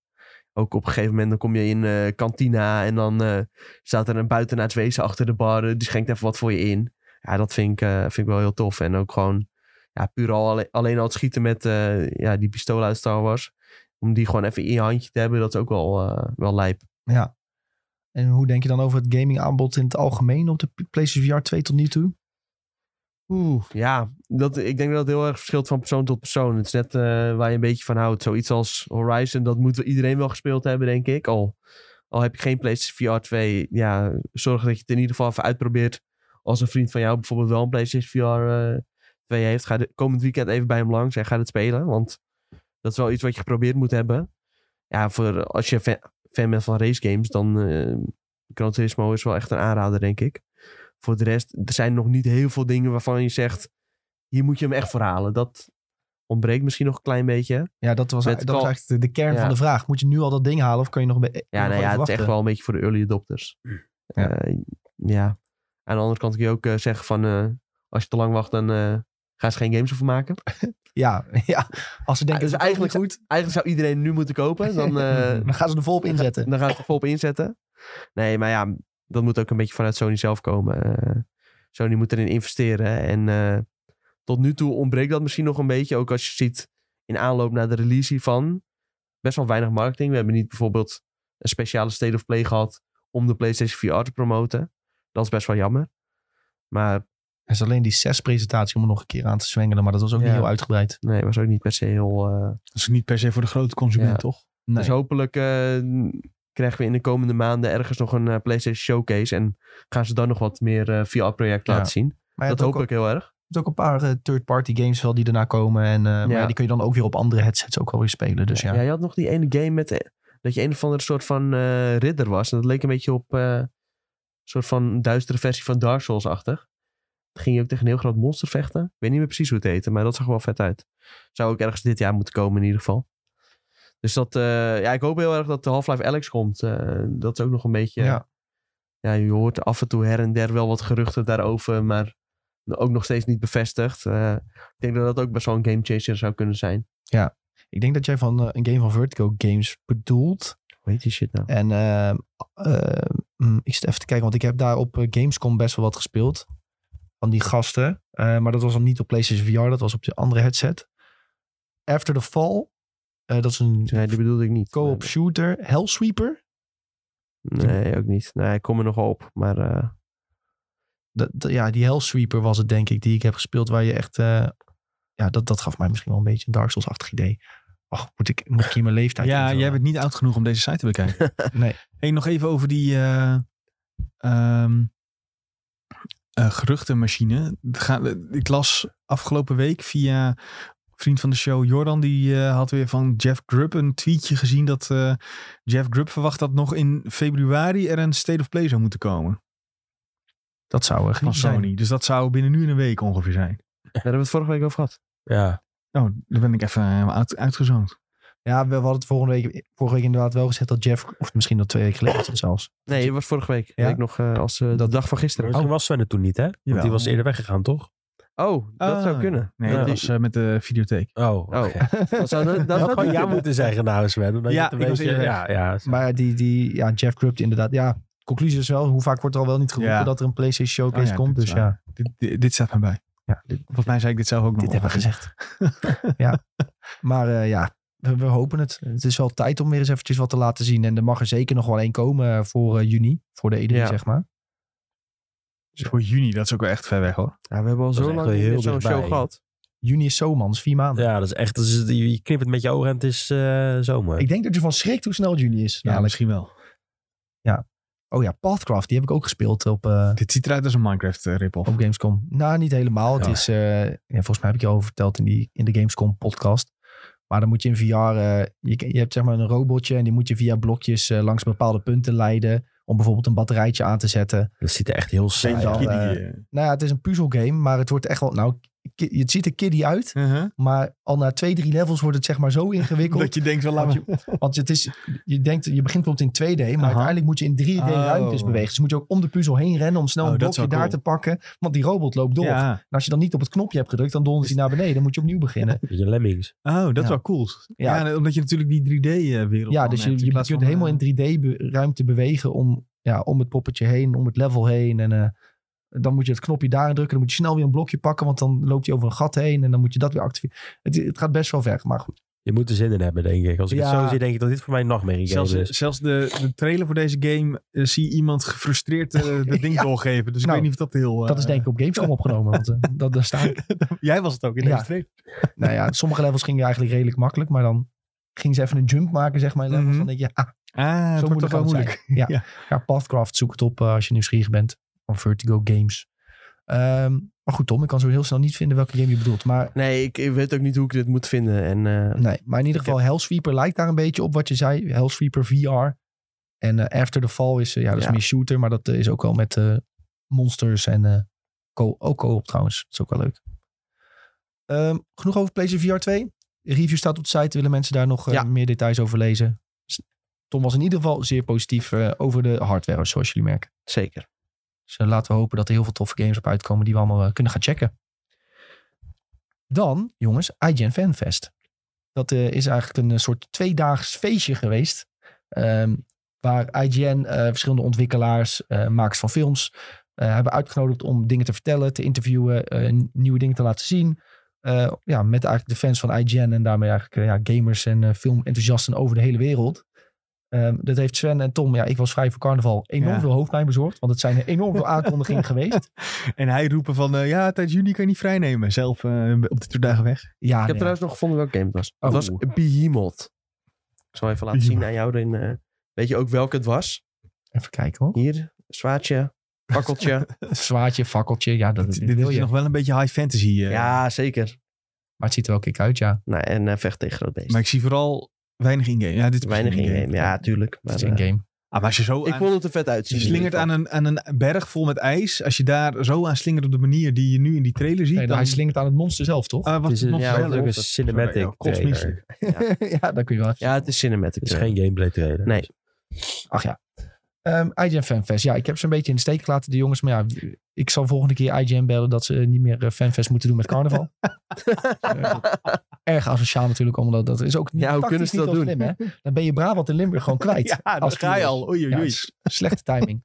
[SPEAKER 3] Ook op een gegeven moment dan kom je in eh kantina... en dan eh, staat er een buitenaards wezen achter de bar. eh, die schenkt even wat voor je in. Ja, dat vind ik, eh, vind ik wel heel tof. En ook gewoon ja, puur al alleen, alleen al het schieten met eh, ja, die pistolen uit Star Wars. Om die gewoon even in je handje te hebben, dat is ook wel, eh, wel lijp.
[SPEAKER 1] Ja. eh, En hoe denk je dan over het gaming aanbod in het algemeen op de P- PlayStation VR 2 tot nu toe?
[SPEAKER 3] Oeh, ja. Dat, ik denk dat het heel erg verschilt van persoon tot persoon. Het is net eh, waar je een beetje van houdt. Zoiets als Horizon, dat moet wel iedereen wel gespeeld hebben, denk ik. Al, al heb je geen PlayStation VR 2, ja, zorg dat je het in ieder geval even uitprobeert. Als een vriend van jou bijvoorbeeld wel een PlayStation VR eh 2 heeft, ga de, komend weekend even bij hem langs en ga het spelen. Want dat is wel iets wat je geprobeerd moet hebben. Ja, voor, als je fan, fan bent van race games, dan eh Gran Turismo is wel echt een aanrader, denk ik voor de rest, er zijn nog niet heel veel dingen waarvan je zegt, hier moet je hem echt voor halen. Dat ontbreekt misschien nog een klein beetje.
[SPEAKER 1] Ja, dat was,
[SPEAKER 3] Met
[SPEAKER 1] dat was
[SPEAKER 3] Call-
[SPEAKER 1] eigenlijk de, de kern
[SPEAKER 3] Ja.
[SPEAKER 1] van de vraag. Moet je nu al dat ding halen of kan je nog... Be-
[SPEAKER 3] Ja, nou ja, het is echt wel een beetje voor de early adopters.
[SPEAKER 1] Ja.
[SPEAKER 3] Eh, ja. Aan de andere kant kun je ook eh, zeggen van, eh, als je te lang wacht, dan eh, gaan ze geen games over maken.
[SPEAKER 1] Ja, ja. Als ze denken,
[SPEAKER 3] dus
[SPEAKER 1] dat is eigenlijk
[SPEAKER 3] eigenlijk,
[SPEAKER 1] goed,
[SPEAKER 3] eigenlijk zou iedereen nu moeten kopen. Dan, eh,
[SPEAKER 1] dan gaan ze er volop inzetten.
[SPEAKER 3] Dan gaan we het er volop inzetten. Nee, maar ja, dat moet ook een beetje vanuit Sony zelf komen. Eh, Sony moet erin investeren. En eh, tot nu toe ontbreekt dat misschien nog een beetje. Ook als je ziet in aanloop naar de release hiervan. Best wel weinig marketing. We hebben niet bijvoorbeeld een speciale State of Play gehad om de PlayStation VR te promoten. Dat is best wel jammer. Maar
[SPEAKER 1] Er is alleen die zes presentatie om er nog een keer aan te zwengelen, maar dat was ook niet
[SPEAKER 3] Ja.
[SPEAKER 1] heel uitgebreid.
[SPEAKER 3] nee, was ook niet per se heel... eh,
[SPEAKER 2] Dat is niet per se voor de grote consument,
[SPEAKER 3] Ja.
[SPEAKER 2] toch? Nee.
[SPEAKER 3] Dus hopelijk eh, krijgen we in de komende maanden ergens nog een eh, PlayStation Showcase. En gaan ze dan nog wat meer eh, VR-projecten
[SPEAKER 1] Ja.
[SPEAKER 3] laten zien.
[SPEAKER 1] Maar ja,
[SPEAKER 3] dat hoop ik heel erg.
[SPEAKER 1] Er zijn ook een paar eh, third-party games wel die erna komen. En, eh, maar
[SPEAKER 3] Ja.
[SPEAKER 1] ja, die kun je dan ook weer op andere headsets ook alweer spelen. Dus ja.
[SPEAKER 3] Ja, je had nog die ene game met eh, dat je een of andere soort van eh, ridder was. En dat leek een beetje op eh, een soort van duistere versie van Dark Souls-achtig. Dan ging je ook tegen een heel groot monster vechten. Ik weet niet meer precies hoe het heette, maar dat zag er wel vet uit. Zou ook ergens dit jaar moeten komen in ieder geval. Dus dat, eh, ja, ik hoop heel erg dat de Half-Life Alex komt. Eh, dat is ook nog een beetje...
[SPEAKER 1] Ja.
[SPEAKER 3] ja, je hoort af en toe her en der wel wat geruchten daarover, maar ook nog steeds niet bevestigd. Eh, ik denk dat dat ook best wel een gamechanger zou kunnen zijn.
[SPEAKER 1] Ik denk dat jij van eh, een game van Vertigo Games bedoelt.
[SPEAKER 3] Hoe heet die shit nou?
[SPEAKER 1] En ehm, ehm, mm, ik zit even te kijken, want ik heb daar op eh, Gamescom best wel wat gespeeld. Van die gasten. Eh, maar dat was dan niet op PlayStation VR, dat was op de andere headset. After the Fall. eh, dat is een
[SPEAKER 3] Nee, die bedoelde ik niet.
[SPEAKER 1] co-op shooter. Hellsweeper.
[SPEAKER 3] Nee, ook niet. Nee, ik kom er nog wel op, maar eh,
[SPEAKER 1] Dat, dat- ja, die Hellsweeper was het denk ik, die ik heb gespeeld. Waar je echt... eh, ja, dat, dat gaf mij misschien wel een beetje een Dark Souls-achtig idee. Ach, moet ik, moet ik hier mijn leeftijd
[SPEAKER 2] Ja,
[SPEAKER 1] invullen?
[SPEAKER 2] jij bent niet oud genoeg om deze site te bekijken.
[SPEAKER 1] Nee.
[SPEAKER 2] Hey, nog even over die eh, ehm, eh, geruchtenmachine. Het gaat- Ik las afgelopen week via vriend van de show Jordan. Die eh, had weer van Jeff Grubb een tweetje gezien dat eh, Jeff Grubb verwacht dat nog in februari er een State of Play zou moeten komen
[SPEAKER 1] Dat zou er
[SPEAKER 2] van
[SPEAKER 1] niet zijn.
[SPEAKER 2] Sony. Dus dat zou binnen nu en een week ongeveer zijn.
[SPEAKER 3] daar hebben we het vorige week over gehad.
[SPEAKER 4] Ja.
[SPEAKER 2] Nou, daar ben ik even eh, uit, uitgezoomd.
[SPEAKER 1] Ja, we hadden het vorige week, vorige week inderdaad wel gezegd dat Jeff, of misschien nog twee weken geleden was het zelfs. Oh.
[SPEAKER 3] Nee, dat was vorige week.
[SPEAKER 1] Ja?
[SPEAKER 3] Week nog eh, als eh, de dag van gisteren.
[SPEAKER 4] Oh, Toen was Sven er toen niet, hè? Want
[SPEAKER 2] Jawel.
[SPEAKER 4] die was eerder weggegaan, toch?
[SPEAKER 3] Oh, dat
[SPEAKER 2] Ah.
[SPEAKER 3] zou kunnen.
[SPEAKER 2] Nee,
[SPEAKER 3] Ja,
[SPEAKER 2] dat
[SPEAKER 3] die-
[SPEAKER 2] was eh, met de videotheek.
[SPEAKER 4] Oh, oké.
[SPEAKER 3] Oh. dat zou, dat,
[SPEAKER 4] Dat
[SPEAKER 3] zou
[SPEAKER 4] had gewoon ja
[SPEAKER 3] kunnen.
[SPEAKER 4] moeten zeggen nou, Sven. omdat je
[SPEAKER 2] Ja,
[SPEAKER 4] het een
[SPEAKER 2] ik was
[SPEAKER 4] beetje-
[SPEAKER 2] eerder
[SPEAKER 4] ja, ja, zo.
[SPEAKER 1] Maar die, die ja, Jeff Grubb inderdaad. Ja, conclusie is wel, hoe vaak wordt er al wel niet geroepen
[SPEAKER 2] Ja.
[SPEAKER 1] dat er een PlayStation Showcase
[SPEAKER 2] Oh ja,
[SPEAKER 1] komt.
[SPEAKER 2] dit
[SPEAKER 1] Dus
[SPEAKER 2] is waar.
[SPEAKER 1] ja,
[SPEAKER 2] Dit, dit, dit staat mij bij.
[SPEAKER 1] Ja, dit-
[SPEAKER 2] Volgens mij zei ik dit zelf ook nog.
[SPEAKER 1] dit hebben we
[SPEAKER 2] wel.
[SPEAKER 1] gezegd. ja, maar eh, ja, we, we hopen het. Het is wel tijd om weer eens eventjes wat te laten zien. En er mag er zeker nog wel één komen voor eh, juni, voor de E3
[SPEAKER 3] Ja.
[SPEAKER 1] zeg maar.
[SPEAKER 2] Dus voor juni, dat is ook wel echt ver weg hoor.
[SPEAKER 3] Ja, we hebben al
[SPEAKER 4] Dat is
[SPEAKER 3] zo
[SPEAKER 4] echt
[SPEAKER 3] lang
[SPEAKER 4] wel
[SPEAKER 3] niet meer
[SPEAKER 4] heel
[SPEAKER 3] zo'n
[SPEAKER 4] dichtbij.
[SPEAKER 3] show gehad.
[SPEAKER 1] Juni is zomans, vier maanden.
[SPEAKER 4] ja, dat is echt. dat is- je knipt het met je ogen en het is eh, zomer.
[SPEAKER 1] Ik denk dat je van schrikt hoe snel juni is.
[SPEAKER 2] Ja,
[SPEAKER 1] namelijk.
[SPEAKER 2] misschien wel.
[SPEAKER 1] Oh ja, Pathcraft, die heb ik ook gespeeld op... eh,
[SPEAKER 2] Dit ziet eruit als een Minecraft eh, rip-off.
[SPEAKER 1] Op Gamescom. Nou, niet helemaal. Het
[SPEAKER 4] Ja.
[SPEAKER 1] is, eh, ja, volgens mij heb ik je al verteld in, die, in de Gamescom podcast. Maar dan moet je in VR, eh, je, je hebt zeg maar een robotje en die moet je via blokjes eh, langs bepaalde punten leiden. Om bijvoorbeeld een batterijtje aan te zetten.
[SPEAKER 4] Dat ziet er echt heel saai
[SPEAKER 1] Denk
[SPEAKER 4] uit.
[SPEAKER 1] dan,
[SPEAKER 2] Kiddie,
[SPEAKER 1] eh,
[SPEAKER 2] eh.
[SPEAKER 1] Nou ja, het is een puzzelgame, maar het wordt echt wel, nou, ki- het ziet er kiddie uit.
[SPEAKER 2] Uh-huh.
[SPEAKER 1] Maar al na twee, drie levels wordt het zeg maar zo ingewikkeld.
[SPEAKER 2] Dat je denkt, wel laat
[SPEAKER 1] Want
[SPEAKER 2] maar-
[SPEAKER 1] Want het is, je denkt, je begint bijvoorbeeld in 2D, maar
[SPEAKER 2] Aha.
[SPEAKER 1] uiteindelijk moet je in 3D
[SPEAKER 2] Oh.
[SPEAKER 1] ruimtes bewegen. Dus moet je ook om de puzzel heen rennen om snel
[SPEAKER 2] Oh,
[SPEAKER 1] een
[SPEAKER 2] dat is
[SPEAKER 1] blokje
[SPEAKER 2] wel
[SPEAKER 1] daar te
[SPEAKER 2] cool.
[SPEAKER 1] pakken. Want die robot loopt door.
[SPEAKER 2] Ja. Dus
[SPEAKER 1] En als je dan niet op het knopje hebt gedrukt, dan dondert hij naar beneden. Dan moet je opnieuw beginnen.
[SPEAKER 4] Een beetje lemmings.
[SPEAKER 2] Oh, dat
[SPEAKER 1] Ja.
[SPEAKER 2] is wel cool.
[SPEAKER 1] Ja.
[SPEAKER 2] Ja. en omdat je natuurlijk die eh, 3D-wereld
[SPEAKER 1] Ja, dus je, je kunt
[SPEAKER 2] eh,
[SPEAKER 1] helemaal in 3D-ruimte bewegen om, ja, om het poppetje heen, om het level heen. En eh, Dan moet je het knopje daarin drukken. Dan moet je snel weer een blokje pakken. Want dan loopt hij over een gat heen. En dan moet je dat weer activeren. Het, het gaat best wel ver. Maar goed.
[SPEAKER 4] Je moet er zin in hebben, denk ik. Als ik het
[SPEAKER 1] Ja.
[SPEAKER 4] zo zie, denk ik dat dit voor mij een nachtmerrie game
[SPEAKER 2] Zelfs,
[SPEAKER 4] is.
[SPEAKER 1] dus.
[SPEAKER 2] zelfs de, de trailer voor deze game eh, zie je iemand gefrustreerd eh dat ding
[SPEAKER 1] Ja.
[SPEAKER 2] doorgeven. Dus
[SPEAKER 1] Nou,
[SPEAKER 2] ik weet niet of dat heel... eh,
[SPEAKER 1] Dat is denk ik op Gamescom opgenomen. Want eh, dat, daar staan.
[SPEAKER 2] Jij was het ook in
[SPEAKER 1] Ja.
[SPEAKER 2] deze trailer.
[SPEAKER 1] Nou ja, sommige levels gingen eigenlijk redelijk makkelijk. Maar dan gingen ze even een jump maken, zeg maar. in Levels.
[SPEAKER 2] Mhm.
[SPEAKER 1] Dan denk je, ah,
[SPEAKER 2] Ah,
[SPEAKER 1] zo
[SPEAKER 2] het wordt
[SPEAKER 1] moet
[SPEAKER 2] toch
[SPEAKER 1] het
[SPEAKER 2] wel moeilijk.
[SPEAKER 1] moeilijk. Ja.
[SPEAKER 2] Ja.
[SPEAKER 1] Ja. Pathcraft zoek het op eh, als je nieuwsgierig bent. Van Vertigo Games. Ehm, maar goed, Tom, ik kan zo heel snel niet vinden welke game je bedoelt. Maar
[SPEAKER 3] Nee, ik, ik weet ook niet hoe ik dit moet vinden. En eh,
[SPEAKER 1] Nee, maar in ieder geval Hellsweeper lijkt daar een beetje op wat je zei. Hellsweeper VR. En eh, After the Fall is, eh, ja, dat is
[SPEAKER 3] Ja.
[SPEAKER 1] meer shooter, maar dat eh, is ook wel met eh, monsters en eh, co ook co-op trouwens. Dat is ook wel leuk. Ehm, genoeg over PlayStation VR 2. De review staat op de site. Willen mensen daar nog eh,
[SPEAKER 3] Ja.
[SPEAKER 1] meer details over lezen? S- Tom was in ieder geval zeer positief eh, over de hardware, zoals jullie merken.
[SPEAKER 3] zeker.
[SPEAKER 1] Dus eh, laten we hopen dat er heel veel toffe games op uitkomen die we allemaal eh, kunnen gaan checken. Dan, jongens, IGN Fanfest. Dat eh, is eigenlijk een eh, soort tweedaags feestje geweest. ehm, waar IGN, eh, verschillende ontwikkelaars, eh, makers van films, eh, hebben uitgenodigd om dingen te vertellen, te interviewen, eh, n- nieuwe dingen te laten zien. Eh, ja, met eigenlijk de fans van IGN en daarmee eigenlijk eh, ja, gamers en eh, filmenthousiasten over de hele wereld. Ehm, dat heeft Sven en Tom, ja, ik was vrij voor carnaval, enorm
[SPEAKER 2] Ja.
[SPEAKER 1] veel hoofdpijn bezorgd. Want het zijn er enorm veel aankondigingen geweest.
[SPEAKER 2] En hij roepen van, eh, ja, tijdens juni kan je niet vrijnemen. Zelf eh, op de twee dagen weg.
[SPEAKER 1] Ja,
[SPEAKER 3] ik heb
[SPEAKER 1] nee, Ah, ja.
[SPEAKER 3] trouwens nog gevonden welke game het was.
[SPEAKER 1] Oh.
[SPEAKER 3] Het was Behemoth. Ik zal even laten zien
[SPEAKER 2] Behemoth.
[SPEAKER 3] aan jou. erin, eh, weet je ook welke het was?
[SPEAKER 1] Even kijken hoor.
[SPEAKER 3] Hier, zwaardje, pakkeltje.
[SPEAKER 1] Zwaardje, fakkeltje, ja, dat,
[SPEAKER 2] Dit
[SPEAKER 1] wil
[SPEAKER 2] is
[SPEAKER 1] je.
[SPEAKER 2] nog wel een beetje high fantasy. eh.
[SPEAKER 3] ja, zeker.
[SPEAKER 1] Maar het ziet er wel kick uit, ja.
[SPEAKER 3] Nou, en eh, vecht tegen groot beest.
[SPEAKER 2] Maar ik zie vooral weinig in-game. Ja, dit is
[SPEAKER 3] Weinig
[SPEAKER 2] misschien
[SPEAKER 3] in-game. Ja, tuurlijk.
[SPEAKER 1] Dat
[SPEAKER 3] Maar,
[SPEAKER 1] is
[SPEAKER 3] eh,
[SPEAKER 1] een game.
[SPEAKER 2] Ah, maar als je zo
[SPEAKER 3] ik
[SPEAKER 2] aan-
[SPEAKER 3] vond het er vet
[SPEAKER 2] je
[SPEAKER 3] uitzien.
[SPEAKER 2] slingert aan een, aan een berg vol met ijs. Als je daar zo aan slingert op de manier die je nu in die trailer ziet.
[SPEAKER 1] Nee, nou,
[SPEAKER 2] dan,
[SPEAKER 1] hij slingert aan het monster zelf, toch?
[SPEAKER 2] Ah,
[SPEAKER 4] Het
[SPEAKER 2] was
[SPEAKER 4] is
[SPEAKER 2] het
[SPEAKER 4] een,
[SPEAKER 2] nog
[SPEAKER 3] ja,
[SPEAKER 4] ja,
[SPEAKER 2] sneller?
[SPEAKER 4] ook een
[SPEAKER 3] Sorry,
[SPEAKER 4] cinematic
[SPEAKER 2] ja,
[SPEAKER 4] trailer.
[SPEAKER 2] kotsmisselijk.
[SPEAKER 1] ja, daar kun je wel.
[SPEAKER 3] Ja, het is cinematic.
[SPEAKER 4] Het is
[SPEAKER 3] eh.
[SPEAKER 4] geen gameplay trailer.
[SPEAKER 3] Nee.
[SPEAKER 1] Ach ja. Ehm IGN Fanfest. Ja, ik heb ze een beetje in de steek gelaten, de jongens. Maar ja, w- ik zal volgende keer IGN bellen dat ze niet meer eh, Fanfest moeten doen met carnaval. Eh, Erg asociaal natuurlijk, omdat dat is ook niet,
[SPEAKER 3] Ja, hoe
[SPEAKER 1] tactisch
[SPEAKER 3] kunnen ze
[SPEAKER 1] niet
[SPEAKER 3] dat
[SPEAKER 1] heel
[SPEAKER 3] doen?
[SPEAKER 1] Slim, hè? Dan ben je Brabant en Limburg gewoon kwijt.
[SPEAKER 2] Ja,
[SPEAKER 1] Als
[SPEAKER 2] dat ga je
[SPEAKER 1] toerist.
[SPEAKER 2] al. Oei, oei,
[SPEAKER 1] eh, Ja,
[SPEAKER 2] oei.
[SPEAKER 1] het is slechte timing.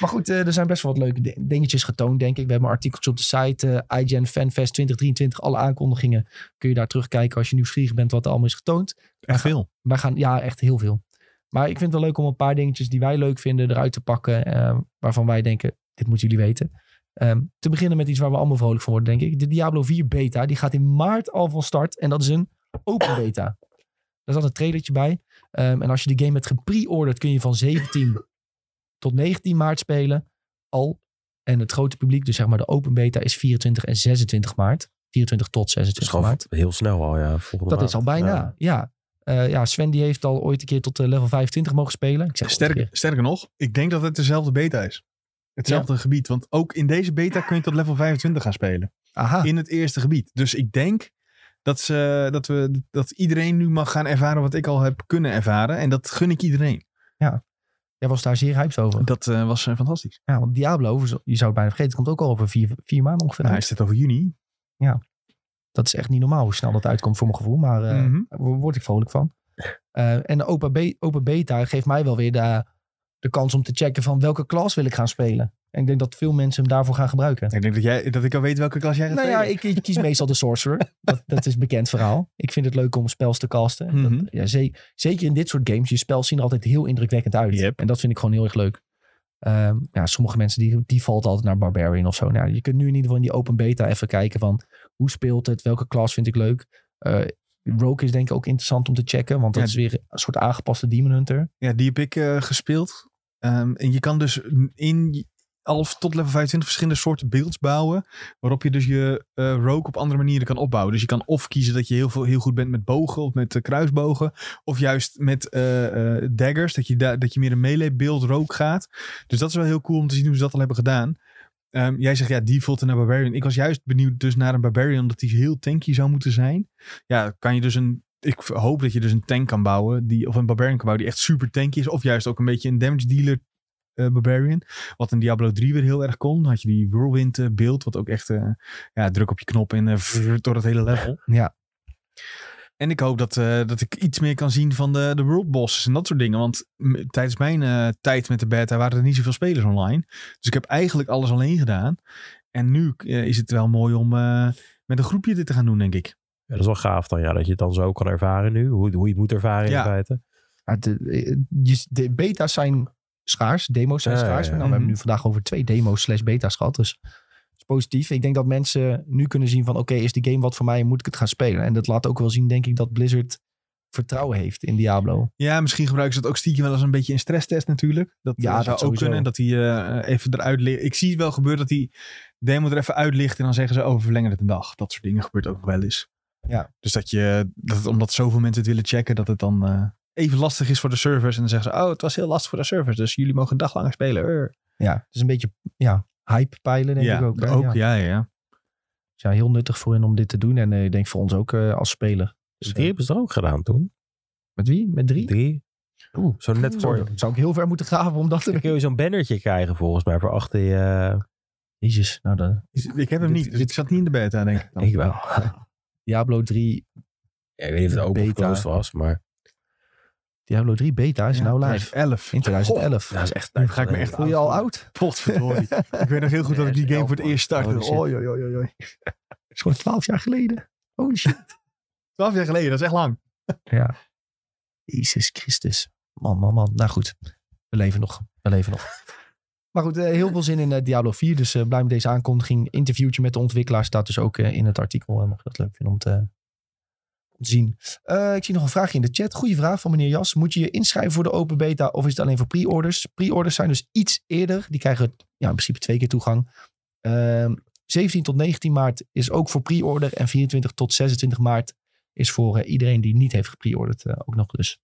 [SPEAKER 1] maar goed, eh, er zijn best wel wat leuke di- dingetjes getoond, denk ik. We hebben artikeltjes op de site. eh IGN Fanfest 2023. Alle aankondigingen kun je daar terugkijken als je nieuwsgierig bent wat er allemaal is getoond.
[SPEAKER 2] Echt veel.
[SPEAKER 1] Wij gaan, ja, echt heel veel. Maar ik vind het wel leuk om een paar dingetjes die wij leuk vinden eruit te pakken. eh, waarvan wij denken, dit moeten jullie weten. Ehm, te beginnen met iets waar we allemaal vrolijk van worden, denk ik. De Diablo 4 beta, die gaat in maart al van start. En dat is een open beta. Daar zat een trailertje bij. Ehm, en als je de game hebt gepre-orderd, kun je van 17 tot 19 maart spelen. Al. En het grote publiek, dus zeg maar de open beta, is 24 en 26 maart. 24 tot
[SPEAKER 4] Het is
[SPEAKER 1] 26
[SPEAKER 4] gewoon
[SPEAKER 1] maart.
[SPEAKER 4] heel snel al, ja. Volgende
[SPEAKER 1] Dat
[SPEAKER 4] maand.
[SPEAKER 1] is al bijna,
[SPEAKER 4] Ja.
[SPEAKER 1] ja. Ja. Eh, ja, Sven die heeft al ooit een keer tot eh, level 25 mogen spelen. Ik zeg ooit een
[SPEAKER 2] Sterker, sterker nog, ik denk dat het dezelfde beta is. Hetzelfde gebied. Want ook in deze beta kun je tot level 25 gaan spelen.
[SPEAKER 1] keer. Aha,
[SPEAKER 2] In het eerste gebied. Dus ik denk dat, ze, dat, we, dat iedereen nu mag gaan ervaren wat ik al heb kunnen ervaren. En dat gun ik iedereen.
[SPEAKER 1] jij was daar zeer hyped over.
[SPEAKER 2] Dat eh, was eh, fantastisch.
[SPEAKER 1] Ja, want Diablo, je zou het bijna vergeten, komt ook al over vier, vier maanden ongeveer.
[SPEAKER 2] Nou,
[SPEAKER 1] uit.
[SPEAKER 2] is dit over juni?
[SPEAKER 1] Dat is echt niet normaal hoe snel dat uitkomt voor mijn gevoel. Maar eh,
[SPEAKER 2] Mhm.
[SPEAKER 1] daar word ik vrolijk van. Eh, en de open, be- open beta geeft mij wel weer de, de kans om te checken van welke klas wil ik gaan spelen. En ik denk dat veel mensen hem daarvoor gaan gebruiken.
[SPEAKER 2] Ik denk dat, jij, dat ik al weet welke klas jij gaat
[SPEAKER 1] Nou ja,
[SPEAKER 2] spelen.
[SPEAKER 1] ik, ik kies meestal de Sorcerer. Dat, dat is een bekend verhaal. Ik vind het leuk om spels te casten. En dat-
[SPEAKER 2] Mhm.
[SPEAKER 1] ja, ze- zeker in dit soort games. Je spels zien er altijd heel indrukwekkend uit.
[SPEAKER 2] Yep.
[SPEAKER 1] En dat vind ik gewoon heel erg leuk. Ehm, ja, sommige mensen die, die valt altijd naar Barbarian of zo. Nou, je kunt nu in ieder geval in die open beta even kijken van hoe speelt het? Welke klas vind ik leuk? Eh Rogue is denk ik ook interessant om te checken. Want dat
[SPEAKER 2] Ja,
[SPEAKER 1] is weer een soort aangepaste Demon Hunter.
[SPEAKER 2] Ja, die heb ik eh, gespeeld. Ehm, en je kan dus in half tot level 25 verschillende soorten builds bouwen. Waarop je dus je eh rogue op andere manieren kan opbouwen. Dus je kan of kiezen dat je heel, veel, heel goed bent met bogen of met eh, kruisbogen. Of juist met eh, eh, daggers. Dat je, daar dat je meer een melee build rogue gaat. Dus dat is wel heel cool om te zien hoe ze dat al hebben gedaan. Ehm, jij zegt ja, default naar Barbarian. Ik was juist benieuwd dus naar een Barbarian omdat die heel tanky zou moeten zijn. Ja, kan je dus een... Ik hoop dat je dus een tank kan bouwen, die, of een Barbarian kan bouwen die echt super tanky is. Of juist ook een beetje een damage dealer eh, Barbarian. Wat in Diablo 3 weer heel erg kon. Dan had je die whirlwind eh, beeld, wat ook echt eh, ja, druk op je knop en eh, vrrr door het hele level.
[SPEAKER 1] Ja.
[SPEAKER 2] En ik hoop dat, eh, dat ik iets meer kan zien van de, de world bosses en dat soort dingen. Want m- tijdens mijn eh, tijd met de beta waren er niet zoveel spelers online. Dus ik heb eigenlijk alles alleen gedaan. En nu eh, is het wel mooi om eh, met een groepje dit te gaan doen, denk ik.
[SPEAKER 4] Ja, dat is wel gaaf dan, ja, dat je het dan zo kan ervaren nu. Hoe, hoe je het moet ervaren
[SPEAKER 2] Ja.
[SPEAKER 4] in feite.
[SPEAKER 1] Maar Nou, de, eh, je- de beta's zijn schaars, demo's zijn
[SPEAKER 4] Ja, ja,
[SPEAKER 1] schaars.
[SPEAKER 4] ja.
[SPEAKER 1] Nou, we hebben
[SPEAKER 2] Mhm.
[SPEAKER 1] nu vandaag over twee demo's slash beta's gehad. Dus dat is positief. Ik denk dat mensen nu kunnen zien van oké, is de game wat voor mij en moet ik het gaan spelen? En dat laat ook wel zien, denk ik, dat Blizzard vertrouwen heeft in Diablo.
[SPEAKER 2] Ja, misschien gebruiken ze dat ook stiekem wel eens een beetje in stresstest natuurlijk. Dat
[SPEAKER 1] Ja,
[SPEAKER 2] eh,
[SPEAKER 1] dat
[SPEAKER 2] zou ook
[SPEAKER 1] sowieso.
[SPEAKER 2] kunnen. Dat hij eh, even eruit ligt. Ik zie het wel gebeuren dat die demo er even uitlicht. En dan zeggen ze, oh, we verlengen het een dag. Dat soort dingen gebeurt ook nog wel eens.
[SPEAKER 1] Ja.
[SPEAKER 2] Dus dat je, dat het, omdat zoveel mensen het willen checken, dat het dan eh, even lastig is voor de servers. En dan zeggen ze, oh, het was heel lastig voor de servers. Dus jullie mogen een dag langer spelen. Eh.
[SPEAKER 1] Ja, het is een beetje ja, hype peilen, denk
[SPEAKER 2] ja,
[SPEAKER 1] ik ook. hè?
[SPEAKER 2] ook
[SPEAKER 1] ja.
[SPEAKER 2] ja, ja.
[SPEAKER 1] Dus ja, heel nuttig voor hen om dit te doen. En eh, ik denk voor ons ook eh, als speler. Dus,
[SPEAKER 4] Drie
[SPEAKER 1] eh,
[SPEAKER 4] hebben ze er ook gedaan toen.
[SPEAKER 1] met wie? Met drie?
[SPEAKER 4] Drie.
[SPEAKER 1] Oeh,
[SPEAKER 4] Zo net voor.
[SPEAKER 1] Sorry, zou ik heel ver moeten graven om dat
[SPEAKER 4] Dan
[SPEAKER 1] te...
[SPEAKER 4] kun je zo'n bannertje krijgen volgens mij voor eh, achter je...
[SPEAKER 1] Jezus, nou dan...
[SPEAKER 2] Is- Ik heb hem
[SPEAKER 1] Dit-
[SPEAKER 2] niet. Dus ik zat niet in de beta, denk ik. dan.
[SPEAKER 4] Ik wel.
[SPEAKER 1] Diablo 3,
[SPEAKER 4] Ja, ik weet niet of het open of
[SPEAKER 1] Beta.
[SPEAKER 4] closed was, maar...
[SPEAKER 1] Diablo 3 beta is
[SPEAKER 2] Ja,
[SPEAKER 1] nou live.
[SPEAKER 2] 2011.
[SPEAKER 1] In 2011.
[SPEAKER 4] Ja, dat is echt...
[SPEAKER 2] Nu ga ik me echt
[SPEAKER 1] Voel je al oud?
[SPEAKER 2] Potverdorie. ik weet nog heel goed dat ik die game voor het eerst startte.
[SPEAKER 1] Holy Oh, shit.
[SPEAKER 2] Oei, oei, oei, oei, oei.
[SPEAKER 1] is gewoon twaalf jaar geleden. Holy shit.
[SPEAKER 2] Twaalf jaar geleden, dat is echt lang.
[SPEAKER 1] Ja. Jezus Christus. Man, man, man. Nou goed. We leven nog. We leven nog. Maar goed, eh, heel veel zin in eh, Diablo 4. Dus eh, blij met deze aankondiging. Interviewtje met de ontwikkelaar staat dus ook eh, in het artikel. En mocht je dat leuk vinden om te, om te zien. Eh, ik zie nog een vraagje in de chat. Goeie vraag van meneer Jas. Moet je je inschrijven voor de open beta of is het alleen voor pre-orders? Pre-orders zijn dus iets eerder. Die krijgen ja, in principe twee keer toegang. Ehm, 17 tot 19 maart is ook voor pre-order. En 24 tot 26 maart is voor eh, iedereen die niet heeft gepreorderd eh, ook nog. Dus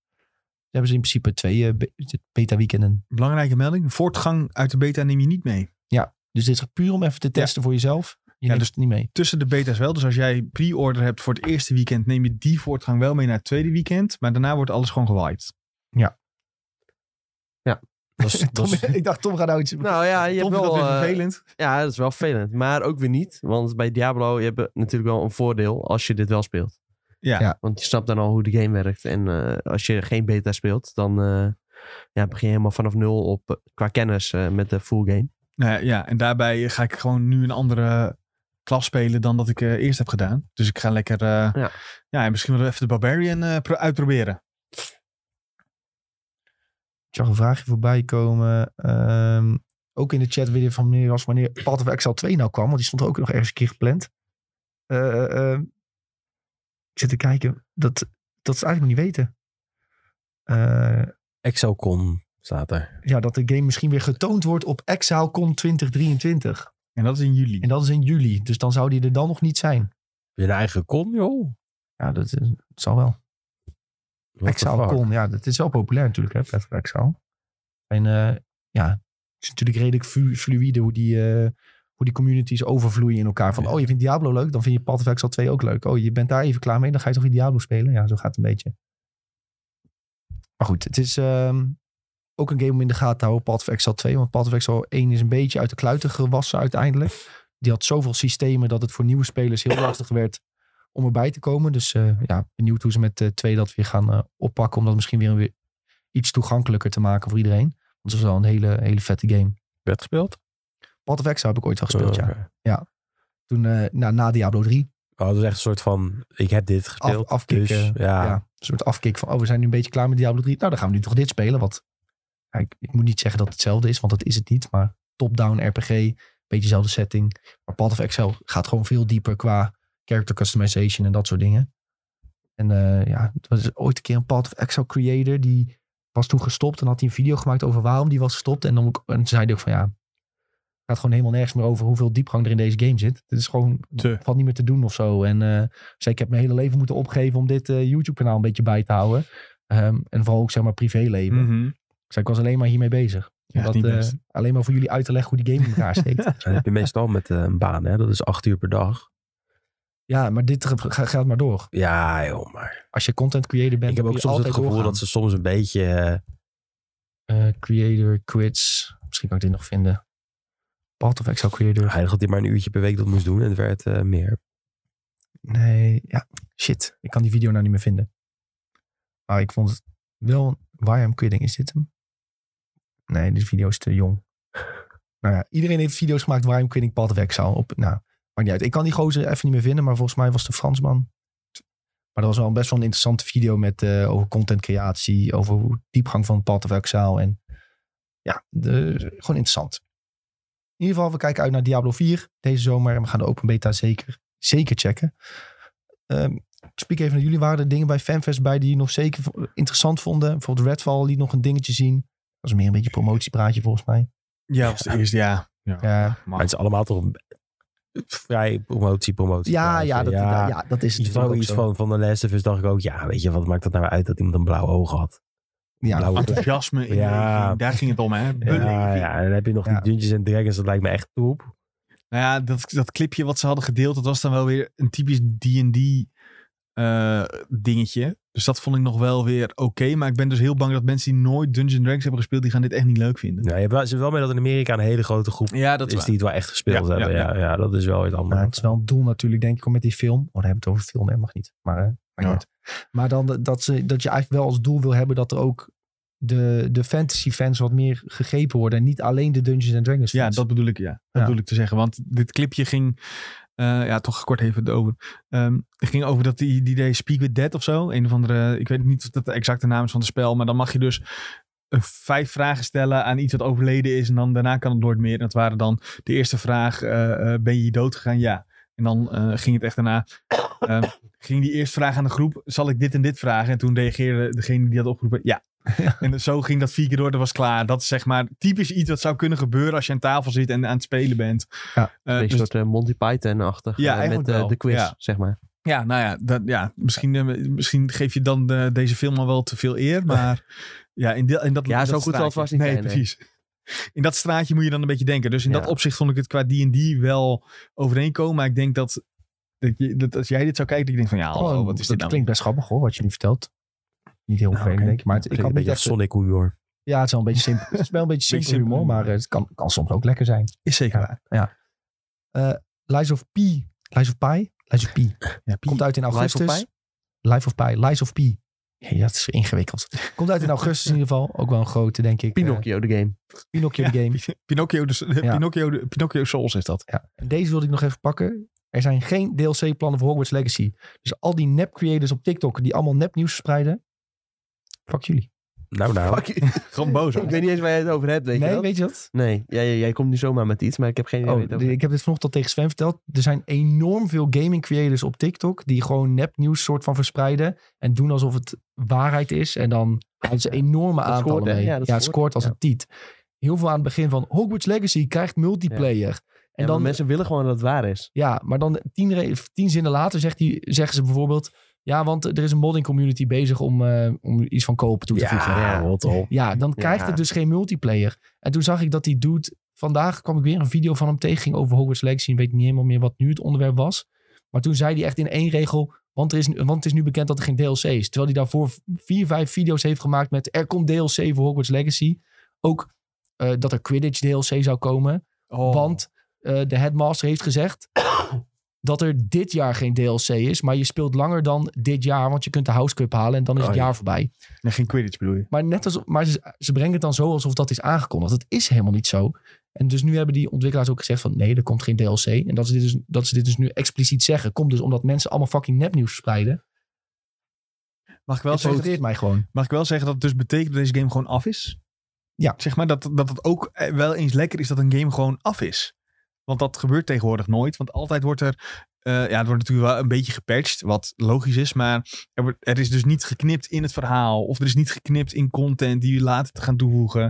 [SPEAKER 1] dan hebben ze in principe twee eh, be- beta-weekenden.
[SPEAKER 2] Belangrijke melding. Voortgang uit de beta neem je niet mee.
[SPEAKER 1] Dus dit is puur om even te testen voor jezelf. Je neemt
[SPEAKER 2] dus-
[SPEAKER 1] het niet mee.
[SPEAKER 2] Tussen de beta's wel. Dus als jij pre-order hebt voor het eerste weekend, neem je die voortgang wel mee naar het tweede weekend. Maar daarna wordt alles gewoon gewiped.
[SPEAKER 4] Dat is, dat is-
[SPEAKER 1] ik dacht, Tom gaat nou iets...
[SPEAKER 3] Nou ja, je hebt
[SPEAKER 2] Tom vindt
[SPEAKER 3] wel...
[SPEAKER 2] dat weer
[SPEAKER 3] eh,
[SPEAKER 2] vervelend.
[SPEAKER 3] ja, dat is wel vervelend. Maar ook weer niet. Want bij Diablo je hebt natuurlijk wel een voordeel als je dit wel speelt.
[SPEAKER 2] Ja.
[SPEAKER 1] Ja.
[SPEAKER 3] Want je snapt dan al hoe de game werkt. En eh, als je geen beta speelt, dan eh, ja, begin je helemaal vanaf nul op eh, qua kennis eh, met de full game.
[SPEAKER 2] Nou ja, ja, en daarbij ga ik gewoon nu een andere klas spelen dan dat ik eh, eerst heb gedaan. Dus ik ga lekker... eh, ja.
[SPEAKER 3] Ja.
[SPEAKER 2] en misschien wel even de Barbarian eh, pro- uitproberen.
[SPEAKER 1] Ik zag een vraagje voorbij komen. Ehm, ook in de chat weer van meneer was wanneer Path of Excel 2 nou kwam. Want die stond er ook nog ergens een keer gepland. Eh, eh, eh, ik zit te kijken. Dat, dat ze eigenlijk nog niet weten. Eh,
[SPEAKER 4] Exocon staat er.
[SPEAKER 1] ja, dat de game misschien weer getoond wordt op ExileCon 2023.
[SPEAKER 2] En dat is in juli.
[SPEAKER 1] En dat is in juli. Dus dan zou die er dan nog niet zijn.
[SPEAKER 4] Heb je een eigen con, joh?
[SPEAKER 1] Ja, dat, is- dat zal wel.
[SPEAKER 4] What the
[SPEAKER 1] Exile
[SPEAKER 4] fuck?
[SPEAKER 1] Con. Ja, dat is wel populair natuurlijk, hè, Path of Exile. En eh, ja, het is natuurlijk redelijk flu- fluïde hoe die, eh, hoe die communities overvloeien in elkaar. Van,
[SPEAKER 4] Ja.
[SPEAKER 1] oh, je vindt Diablo leuk, dan vind je Path of Exile 2 ook leuk. Oh, je bent daar even klaar mee, dan ga je toch weer Diablo spelen. Ja, zo gaat het een beetje. Maar goed, het is ehm, ook een game om in de gaten te houden, Path of Exile 2. Want Path of Exile 1 is een beetje uit de kluiten gewassen uiteindelijk. Die had zoveel systemen dat het voor nieuwe spelers heel lastig werd om erbij te komen. Dus eh, ja, benieuwd hoe ze met eh twee dat weer gaan eh, oppakken. Om dat misschien weer, weer iets toegankelijker te maken voor iedereen. Want het is wel een hele, hele vette game.
[SPEAKER 4] Werd gespeeld?
[SPEAKER 1] Path of Exile heb ik ooit wel gespeeld, ja.
[SPEAKER 4] Oh, Oké.
[SPEAKER 1] Toen, eh, na, na Diablo 3,
[SPEAKER 4] Oh, dat is echt een soort van, ik heb dit
[SPEAKER 1] af,
[SPEAKER 4] gespeeld.
[SPEAKER 1] afkick.
[SPEAKER 4] dus,
[SPEAKER 1] eh, ja.
[SPEAKER 4] ja.
[SPEAKER 1] een soort afkick van, oh, we zijn nu een beetje klaar met Diablo 3. Nou, dan gaan we nu toch dit spelen. Wat, ja, ik, ik moet niet zeggen dat het hetzelfde is, want dat is het niet. Maar top-down RPG, beetje dezelfde setting. Maar Path of Exile gaat gewoon veel dieper qua character customization en dat soort dingen. En eh, ja, er was ooit een keer een Path of Exile creator die was toen gestopt en had hij een video gemaakt over waarom die was gestopt. En dan ook- en toen zei hij ook van ja, het gaat gewoon helemaal nergens meer over hoeveel diepgang er in deze game zit. Het is gewoon,
[SPEAKER 2] Te.
[SPEAKER 1] valt niet meer te doen of zo. En eh, zei ik heb mijn hele leven moeten opgeven om dit eh, YouTube kanaal een beetje bij te houden. Ehm, en vooral ook zeg maar privéleven.
[SPEAKER 2] Mhm.
[SPEAKER 1] Ik zei ik was alleen maar hiermee bezig.
[SPEAKER 2] Ja,
[SPEAKER 1] Omdat,
[SPEAKER 2] niet
[SPEAKER 1] eh,
[SPEAKER 2] best.
[SPEAKER 1] alleen maar voor jullie uit te leggen hoe die game in elkaar steekt.
[SPEAKER 4] Dat heb je meestal met eh, een baan, hè? Dat is acht uur per dag.
[SPEAKER 1] Ja, maar dit ge- ge- gaat maar door.
[SPEAKER 4] Ja, joh, maar...
[SPEAKER 1] Als je content creator bent,
[SPEAKER 4] ik heb
[SPEAKER 1] wil je
[SPEAKER 4] ook soms het
[SPEAKER 1] altijd
[SPEAKER 4] gevoel
[SPEAKER 1] doorgaan.
[SPEAKER 4] dat ze soms een beetje... eh,
[SPEAKER 1] Eh, creator quits. Misschien kan ik dit nog vinden. Path of Exile creator.
[SPEAKER 4] heilig dat hij maar een uurtje per week dat moest doen. En het werd eh, meer.
[SPEAKER 1] Nee, ja, shit. Ik kan die video nou niet meer vinden. Maar ik vond het wel... Why I'm Kidding, is dit hem? Nee, die video is te jong. Nou ja, iedereen heeft video's gemaakt waar I'm Kidding Padweg zou op... Nou, maakt niet uit. Ik kan die gozer even niet meer vinden, maar volgens mij was de Fransman... Maar dat was wel een best wel een interessante video met, eh, over contentcreatie, over hoe- diepgang van Path of Exile. En ja, de, gewoon interessant. In ieder geval, we kijken uit naar Diablo 4 deze zomer. En we gaan de open beta zeker, zeker checken. Ehm, ik spreek even naar jullie. Waren er dingen bij FanFest bij die je nog zeker v- interessant vonden? Bijvoorbeeld Redfall liet nog een dingetje zien. Dat was meer een beetje een promotiepraatje volgens mij.
[SPEAKER 2] Ja, was de eerste, ja. Ja,
[SPEAKER 1] Ja,
[SPEAKER 4] Maar het is allemaal toch een- vrij promotie, promotie.
[SPEAKER 1] ja,
[SPEAKER 4] praatje.
[SPEAKER 1] ja, dat, ja. dat is het
[SPEAKER 4] Iets, van,
[SPEAKER 1] natuurlijk ook
[SPEAKER 4] iets
[SPEAKER 1] zo.
[SPEAKER 4] van, van de Last of Us dacht ik ook, ja, weet je, wat maakt dat nou uit dat iemand een blauw oog had?
[SPEAKER 1] Ja.
[SPEAKER 4] Blauwe oog.
[SPEAKER 2] enthousiasme. in
[SPEAKER 4] Ja.
[SPEAKER 2] de- daar ging het om, hè? Beleving.
[SPEAKER 4] Ja, ja, en dan heb je nog
[SPEAKER 1] Ja.
[SPEAKER 4] die Dungeons and Dragons, dat lijkt me echt top.
[SPEAKER 2] Nou ja, dat, dat clipje wat ze hadden gedeeld, dat was dan wel weer een typisch D&D eh, dingetje. Dus dat vond ik nog wel weer oké. maar ik ben dus heel bang dat mensen die nooit Dungeons Dragons hebben gespeeld, die gaan dit echt niet leuk vinden.
[SPEAKER 4] Nou, je hebt wel, ze hebben wel mee dat in Amerika een hele grote groep
[SPEAKER 2] Ja, dat
[SPEAKER 4] is die het wel echt gespeeld
[SPEAKER 2] Ja,
[SPEAKER 4] hebben.
[SPEAKER 2] ja,
[SPEAKER 4] Ja, ja. dat is wel iets
[SPEAKER 1] Nou,
[SPEAKER 4] anders.
[SPEAKER 1] het is wel een doel natuurlijk, denk ik, om met die film. Oh, dan hebben we het over film, hè? mag niet. Maar, eh, maakt niet
[SPEAKER 2] Ja.
[SPEAKER 1] uit. maar dan de- dat, ze, dat je eigenlijk wel als doel wil hebben dat er ook de, de fantasy fans wat meer gegrepen worden. En niet alleen de Dungeons and Dragons
[SPEAKER 2] Ja,
[SPEAKER 1] fans.
[SPEAKER 2] dat bedoel ik, ja. Dat
[SPEAKER 1] Ja.
[SPEAKER 2] bedoel ik te zeggen. Want dit clipje ging, eh, ja, toch kort even over. Ehm, het ging over dat die, die deed Speak With Dead of zo. Een of andere, ik weet niet of dat de exacte naam is van het spel. Maar dan mag je dus eh, vijf vragen stellen aan iets wat overleden is. En dan daarna kan het nooit meer. En dat waren dan de eerste vraag, eh, eh, ben je dood gegaan? Ja. En dan eh, ging het echt daarna... ehm, ging die eerst vragen aan de groep, zal ik dit en dit vragen? En toen reageerde degene die had opgeroepen, ja. En zo ging dat vier keer door, dat was klaar. Dat is zeg maar typisch iets wat zou kunnen gebeuren als je aan tafel zit en aan het spelen bent.
[SPEAKER 1] Ja,
[SPEAKER 2] Eh,
[SPEAKER 3] Een
[SPEAKER 2] dus-
[SPEAKER 3] soort eh, Monty Python-achtig.
[SPEAKER 2] Ja,
[SPEAKER 3] eh,
[SPEAKER 2] eigenlijk
[SPEAKER 3] met eh,
[SPEAKER 2] wel.
[SPEAKER 3] de quiz,
[SPEAKER 2] Ja.
[SPEAKER 3] zeg maar.
[SPEAKER 2] ja nou ja, dat, ja misschien, eh, misschien geef je dan eh, deze film al wel te veel eer, maar ja, in, die- in dat
[SPEAKER 3] Ja,
[SPEAKER 2] in
[SPEAKER 3] zo
[SPEAKER 2] dat
[SPEAKER 3] goed zal het
[SPEAKER 2] straatje-
[SPEAKER 3] vast niet
[SPEAKER 2] nee,
[SPEAKER 3] zijn, nee.
[SPEAKER 2] precies. In dat straatje moet je dan een beetje denken. Dus in
[SPEAKER 3] Ja.
[SPEAKER 2] dat opzicht vond ik het qua D&D wel overeenkomen. Maar ik denk dat, dat, je- dat als jij dit zou kijken, dat je denkt van ja,
[SPEAKER 1] Oh,
[SPEAKER 2] hallo, wat is
[SPEAKER 1] dat
[SPEAKER 2] dit nou?
[SPEAKER 1] klinkt best grappig hoor, wat je nu vertelt. Niet heel vervelend,
[SPEAKER 2] oké.
[SPEAKER 1] denk ik. Maar het, ik
[SPEAKER 4] Klinkt
[SPEAKER 1] had
[SPEAKER 4] een
[SPEAKER 1] niet
[SPEAKER 4] beetje als
[SPEAKER 1] echt,
[SPEAKER 4] Sonic hoor.
[SPEAKER 1] ja, het is wel een beetje simpel, het is wel een beetje simpel
[SPEAKER 2] Beetje simpel.
[SPEAKER 1] humor, maar eh, het kan, kan soms ook lekker zijn.
[SPEAKER 2] Is zeker
[SPEAKER 1] Ja.
[SPEAKER 2] waar.
[SPEAKER 1] Lies of P. Lies of Pi? Lies of P.
[SPEAKER 2] Ja, Piet.
[SPEAKER 1] Komt uit in augustus.
[SPEAKER 3] Lies of
[SPEAKER 1] Life of Pi. Lies of P. Ja, dat is ingewikkeld. Komt uit in augustus in ieder geval. Ook wel een grote, denk ik. Eh,
[SPEAKER 3] Pinocchio, de game.
[SPEAKER 1] Pinocchio
[SPEAKER 2] Ja,
[SPEAKER 1] de game.
[SPEAKER 2] Pinocchio, dus,
[SPEAKER 1] Ja.
[SPEAKER 2] Pinocchio, de- Pinocchio Souls is dat.
[SPEAKER 1] Ja, en deze wilde ik nog even pakken. Er zijn geen DLC-plannen voor Hogwarts Legacy. Dus al die nep-creators op TikTok die allemaal nepnieuws verspreiden. Fuck jullie.
[SPEAKER 4] Nou, nou.
[SPEAKER 3] Fuck you.
[SPEAKER 2] Gewoon boos.
[SPEAKER 3] ik weet niet eens waar je het over hebt, weet
[SPEAKER 1] nee,
[SPEAKER 3] je dat?
[SPEAKER 1] weet je dat?
[SPEAKER 3] Nee, jij, jij komt nu zomaar met iets, maar ik heb geen idee. waar
[SPEAKER 1] Oh,
[SPEAKER 3] je het over
[SPEAKER 1] ik heb dit vanochtend al tegen Sven verteld. Er zijn enorm veel gaming-creators op TikTok die gewoon nepnieuws soort van verspreiden. En doen alsof het waarheid is. En dan houden ze enorme
[SPEAKER 3] Dat
[SPEAKER 1] aantallen
[SPEAKER 3] scoort, hè?
[SPEAKER 1] mee. het
[SPEAKER 3] Ja, dat
[SPEAKER 1] scoort,
[SPEAKER 3] scoort,
[SPEAKER 1] als
[SPEAKER 3] ja.
[SPEAKER 1] een tiet. Heel veel aan het begin van Hogwarts Legacy krijgt multiplayer. En
[SPEAKER 3] En
[SPEAKER 1] dan
[SPEAKER 3] mensen willen gewoon dat het waar is.
[SPEAKER 1] Ja, maar dan tien, re- tien zinnen later zegt die, zeggen ze bijvoorbeeld... Ja, want er is een modding community bezig om, eh, om iets van kopen toe te voegen.
[SPEAKER 4] Ja,
[SPEAKER 3] Ja.
[SPEAKER 4] rot op.
[SPEAKER 1] Ja, dan
[SPEAKER 3] Ja.
[SPEAKER 1] krijgt het dus geen multiplayer. En toen zag ik dat die dude... Vandaag kwam ik weer een video van hem tegen, ging over Hogwarts Legacy. Ik weet niet helemaal meer wat nu het onderwerp was. Maar toen zei hij echt in één regel... Want, er is, want het is nu bekend dat er geen DLC is. Terwijl hij daarvoor vier, vijf video's heeft gemaakt met... Er komt DLC voor Hogwarts Legacy. Ook eh, dat er Quidditch DLC zou komen.
[SPEAKER 2] Oh.
[SPEAKER 1] Want eh, de headmaster heeft gezegd dat er dit jaar geen DLC is. Maar je speelt langer dan dit jaar, want je kunt de House Cup halen en dan is
[SPEAKER 4] Oh,
[SPEAKER 1] het
[SPEAKER 4] ja.
[SPEAKER 1] jaar voorbij.
[SPEAKER 2] Nee, geen Quidditch bedoel je?
[SPEAKER 1] Maar, net als, maar ze, ze brengen het dan zo alsof dat is aangekondigd. Dat is helemaal niet zo. En dus nu hebben die ontwikkelaars ook gezegd van nee, er komt geen DLC. En dat ze dit dus, dat ze dit dus nu expliciet zeggen, komt dus omdat mensen allemaal fucking nepnieuws verspreiden.
[SPEAKER 2] Mag ik wel
[SPEAKER 1] Dat
[SPEAKER 2] zeggen,
[SPEAKER 1] frustreert mij gewoon.
[SPEAKER 2] mag ik wel zeggen dat het dus betekent dat deze game gewoon af is?
[SPEAKER 1] Ja.
[SPEAKER 2] Zeg maar dat, dat het ook eh, wel eens lekker is dat een game gewoon af is. Want dat gebeurt tegenwoordig nooit. Want altijd wordt er. eh, ja, het wordt natuurlijk wel een beetje gepatcht, wat logisch is. Maar er, wordt- er is dus niet geknipt in het verhaal. Of er is niet geknipt in content die we later te gaan toevoegen.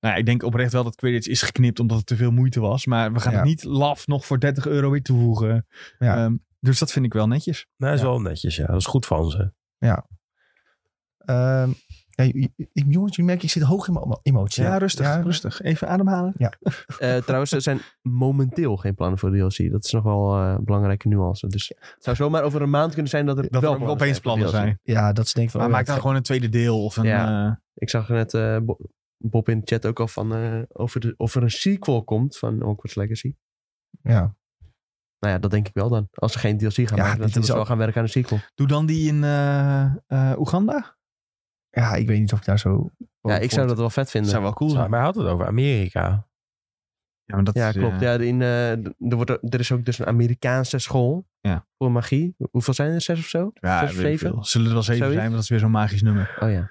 [SPEAKER 2] Nou, ja, ik denk oprecht wel dat Quidditch is geknipt omdat het te veel moeite was. Maar we gaan
[SPEAKER 1] Ja.
[SPEAKER 2] het niet laf nog voor 30 euro weer toevoegen.
[SPEAKER 1] Ja.
[SPEAKER 2] Ehm, dus dat vind ik wel netjes.
[SPEAKER 4] Dat Nou, is
[SPEAKER 1] Ja.
[SPEAKER 4] wel netjes, ja. Dat is goed van ze.
[SPEAKER 1] Ehm, ja, j- j- jongens, je merkt, ik zit hoog in mijn emo- emotie.
[SPEAKER 2] Ja, rustig, rustig. Even ademhalen.
[SPEAKER 3] Eh, trouwens, er zijn momenteel geen plannen voor DLC. Dat is nog wel eh, een belangrijke nuance. Dus het zou zomaar over een maand kunnen zijn dat er
[SPEAKER 2] Dat
[SPEAKER 3] wel
[SPEAKER 2] er ook opeens plannen
[SPEAKER 3] voor
[SPEAKER 2] zijn.
[SPEAKER 1] Ja, dat is denk ik van...
[SPEAKER 2] Maar
[SPEAKER 1] oh ja,
[SPEAKER 2] maak dan
[SPEAKER 1] het-
[SPEAKER 2] gewoon een tweede deel of een...
[SPEAKER 3] Ja.
[SPEAKER 2] eh,
[SPEAKER 3] Ik zag net eh, Bo- Bob in de chat ook al van eh, of, er, of er een sequel komt van Hogwarts Legacy.
[SPEAKER 1] Ja.
[SPEAKER 3] Nou ja, dat denk ik wel dan. Als ze geen DLC gaan
[SPEAKER 1] Ja,
[SPEAKER 3] maken, dan
[SPEAKER 1] dit
[SPEAKER 3] zullen
[SPEAKER 1] is
[SPEAKER 3] ze wel
[SPEAKER 1] ook-
[SPEAKER 3] gaan werken aan een sequel.
[SPEAKER 2] Doe dan die in eh, eh, Oeganda.
[SPEAKER 1] Ja, ik weet niet of ik daar zo...
[SPEAKER 3] Ja, ik zou dat wel vet
[SPEAKER 2] Dat
[SPEAKER 3] vinden.
[SPEAKER 2] zou wel cool
[SPEAKER 4] Zo,
[SPEAKER 2] zijn.
[SPEAKER 4] maar hij had het over Amerika.
[SPEAKER 2] Ja, maar dat
[SPEAKER 3] Ja,
[SPEAKER 2] is, eh,
[SPEAKER 3] klopt. Ja, in, eh, er, wordt, ook- er is ook dus een Amerikaanse school
[SPEAKER 2] Ja.
[SPEAKER 3] voor magie. Hoeveel zijn er? Zes of zo?
[SPEAKER 2] ja,
[SPEAKER 3] Zes of
[SPEAKER 2] weet ik
[SPEAKER 3] zeven?
[SPEAKER 2] veel. Zullen er wel zeven
[SPEAKER 3] Zoiets?
[SPEAKER 2] zijn, want dat is weer zo'n magisch nummer.
[SPEAKER 3] Oh ja.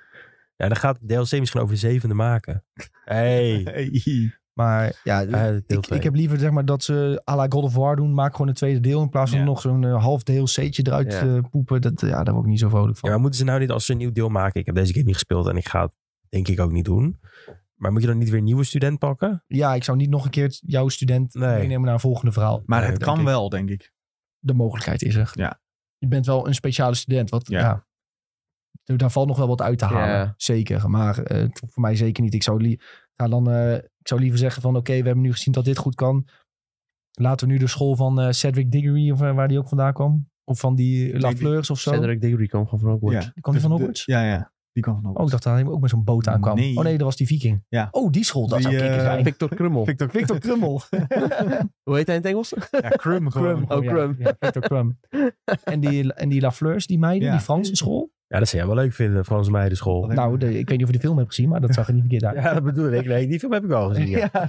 [SPEAKER 4] Ja, dan gaat DLC misschien over de zevende maken. hey.
[SPEAKER 2] Hey.
[SPEAKER 1] Maar ja,
[SPEAKER 4] eh, deel
[SPEAKER 1] ik,
[SPEAKER 4] twee.
[SPEAKER 1] ik heb liever zeg maar, dat ze à la God of War doen. Maak gewoon een tweede deel in plaats van
[SPEAKER 2] Ja.
[SPEAKER 1] nog zo'n eh, half DLC'tje eruit
[SPEAKER 3] Ja.
[SPEAKER 1] eh, poepen. Dat, ja, daar word ik niet zo vrolijk
[SPEAKER 4] Ja,
[SPEAKER 1] van.
[SPEAKER 4] maar moeten ze nou niet als ze een nieuw deel maken? Ik heb deze game niet gespeeld en ik ga het denk ik ook niet doen. Maar moet je dan niet weer een nieuwe student pakken?
[SPEAKER 1] Ja, ik zou niet nog een keer jouw student
[SPEAKER 4] Nee.
[SPEAKER 1] meenemen naar een volgende verhaal.
[SPEAKER 2] Maar
[SPEAKER 4] Nee,
[SPEAKER 2] het
[SPEAKER 4] denk
[SPEAKER 2] kan
[SPEAKER 4] ik.
[SPEAKER 2] wel, denk ik.
[SPEAKER 1] De mogelijkheid is er.
[SPEAKER 2] Ja.
[SPEAKER 1] Je bent wel een speciale student. Wat,
[SPEAKER 2] Ja.
[SPEAKER 1] ja. Dus daar valt nog wel wat uit te halen.
[SPEAKER 3] Ja.
[SPEAKER 1] Zeker. Maar eh, het hoeft voor mij zeker niet. Ik zou, li- ga dan, eh, ik zou liever zeggen van oké, we hebben nu gezien dat dit goed kan. Laten we nu de school van eh, Cedric Diggory, of eh, waar die ook vandaan kwam. Of van die Lafleurs of zo.
[SPEAKER 3] Cedric Diggory kwam gewoon van Hogwarts.
[SPEAKER 2] Ja.
[SPEAKER 1] Kwam die van
[SPEAKER 2] De- de-
[SPEAKER 1] Hogwarts?
[SPEAKER 2] Ja, ja. Die kwam van
[SPEAKER 1] Oh, ik
[SPEAKER 2] Hogwarts.
[SPEAKER 1] dacht dat hij ook met zo'n boot aankwam.
[SPEAKER 2] Nee.
[SPEAKER 1] Oh nee, dat was die viking.
[SPEAKER 2] Ja.
[SPEAKER 1] Oh, die school, dat
[SPEAKER 2] Die,
[SPEAKER 1] zou kicken
[SPEAKER 2] eh,
[SPEAKER 1] zijn.
[SPEAKER 3] Victor Krummel.
[SPEAKER 2] Victor,
[SPEAKER 1] Victor Krummel.
[SPEAKER 3] Hoe heet hij in het Engels?
[SPEAKER 2] Ja, Krum gewoon.
[SPEAKER 1] Krum.
[SPEAKER 3] Oh,
[SPEAKER 1] ja.
[SPEAKER 3] Krum.
[SPEAKER 1] Ja, Victor Krum. en die, en die Lafleurs, die meiden,
[SPEAKER 2] Ja.
[SPEAKER 1] die Franse school.
[SPEAKER 4] Ja, dat zou jij wel leuk vinden, Frans meidenschool.
[SPEAKER 2] Alleen
[SPEAKER 1] Nou,
[SPEAKER 2] maar.
[SPEAKER 1] de- ik weet niet of je de film hebt gezien, maar dat zag er niet verkeerd uit.
[SPEAKER 4] Ja, dat bedoel ik. Nee, die film heb ik al gezien. Ja.
[SPEAKER 1] Ja.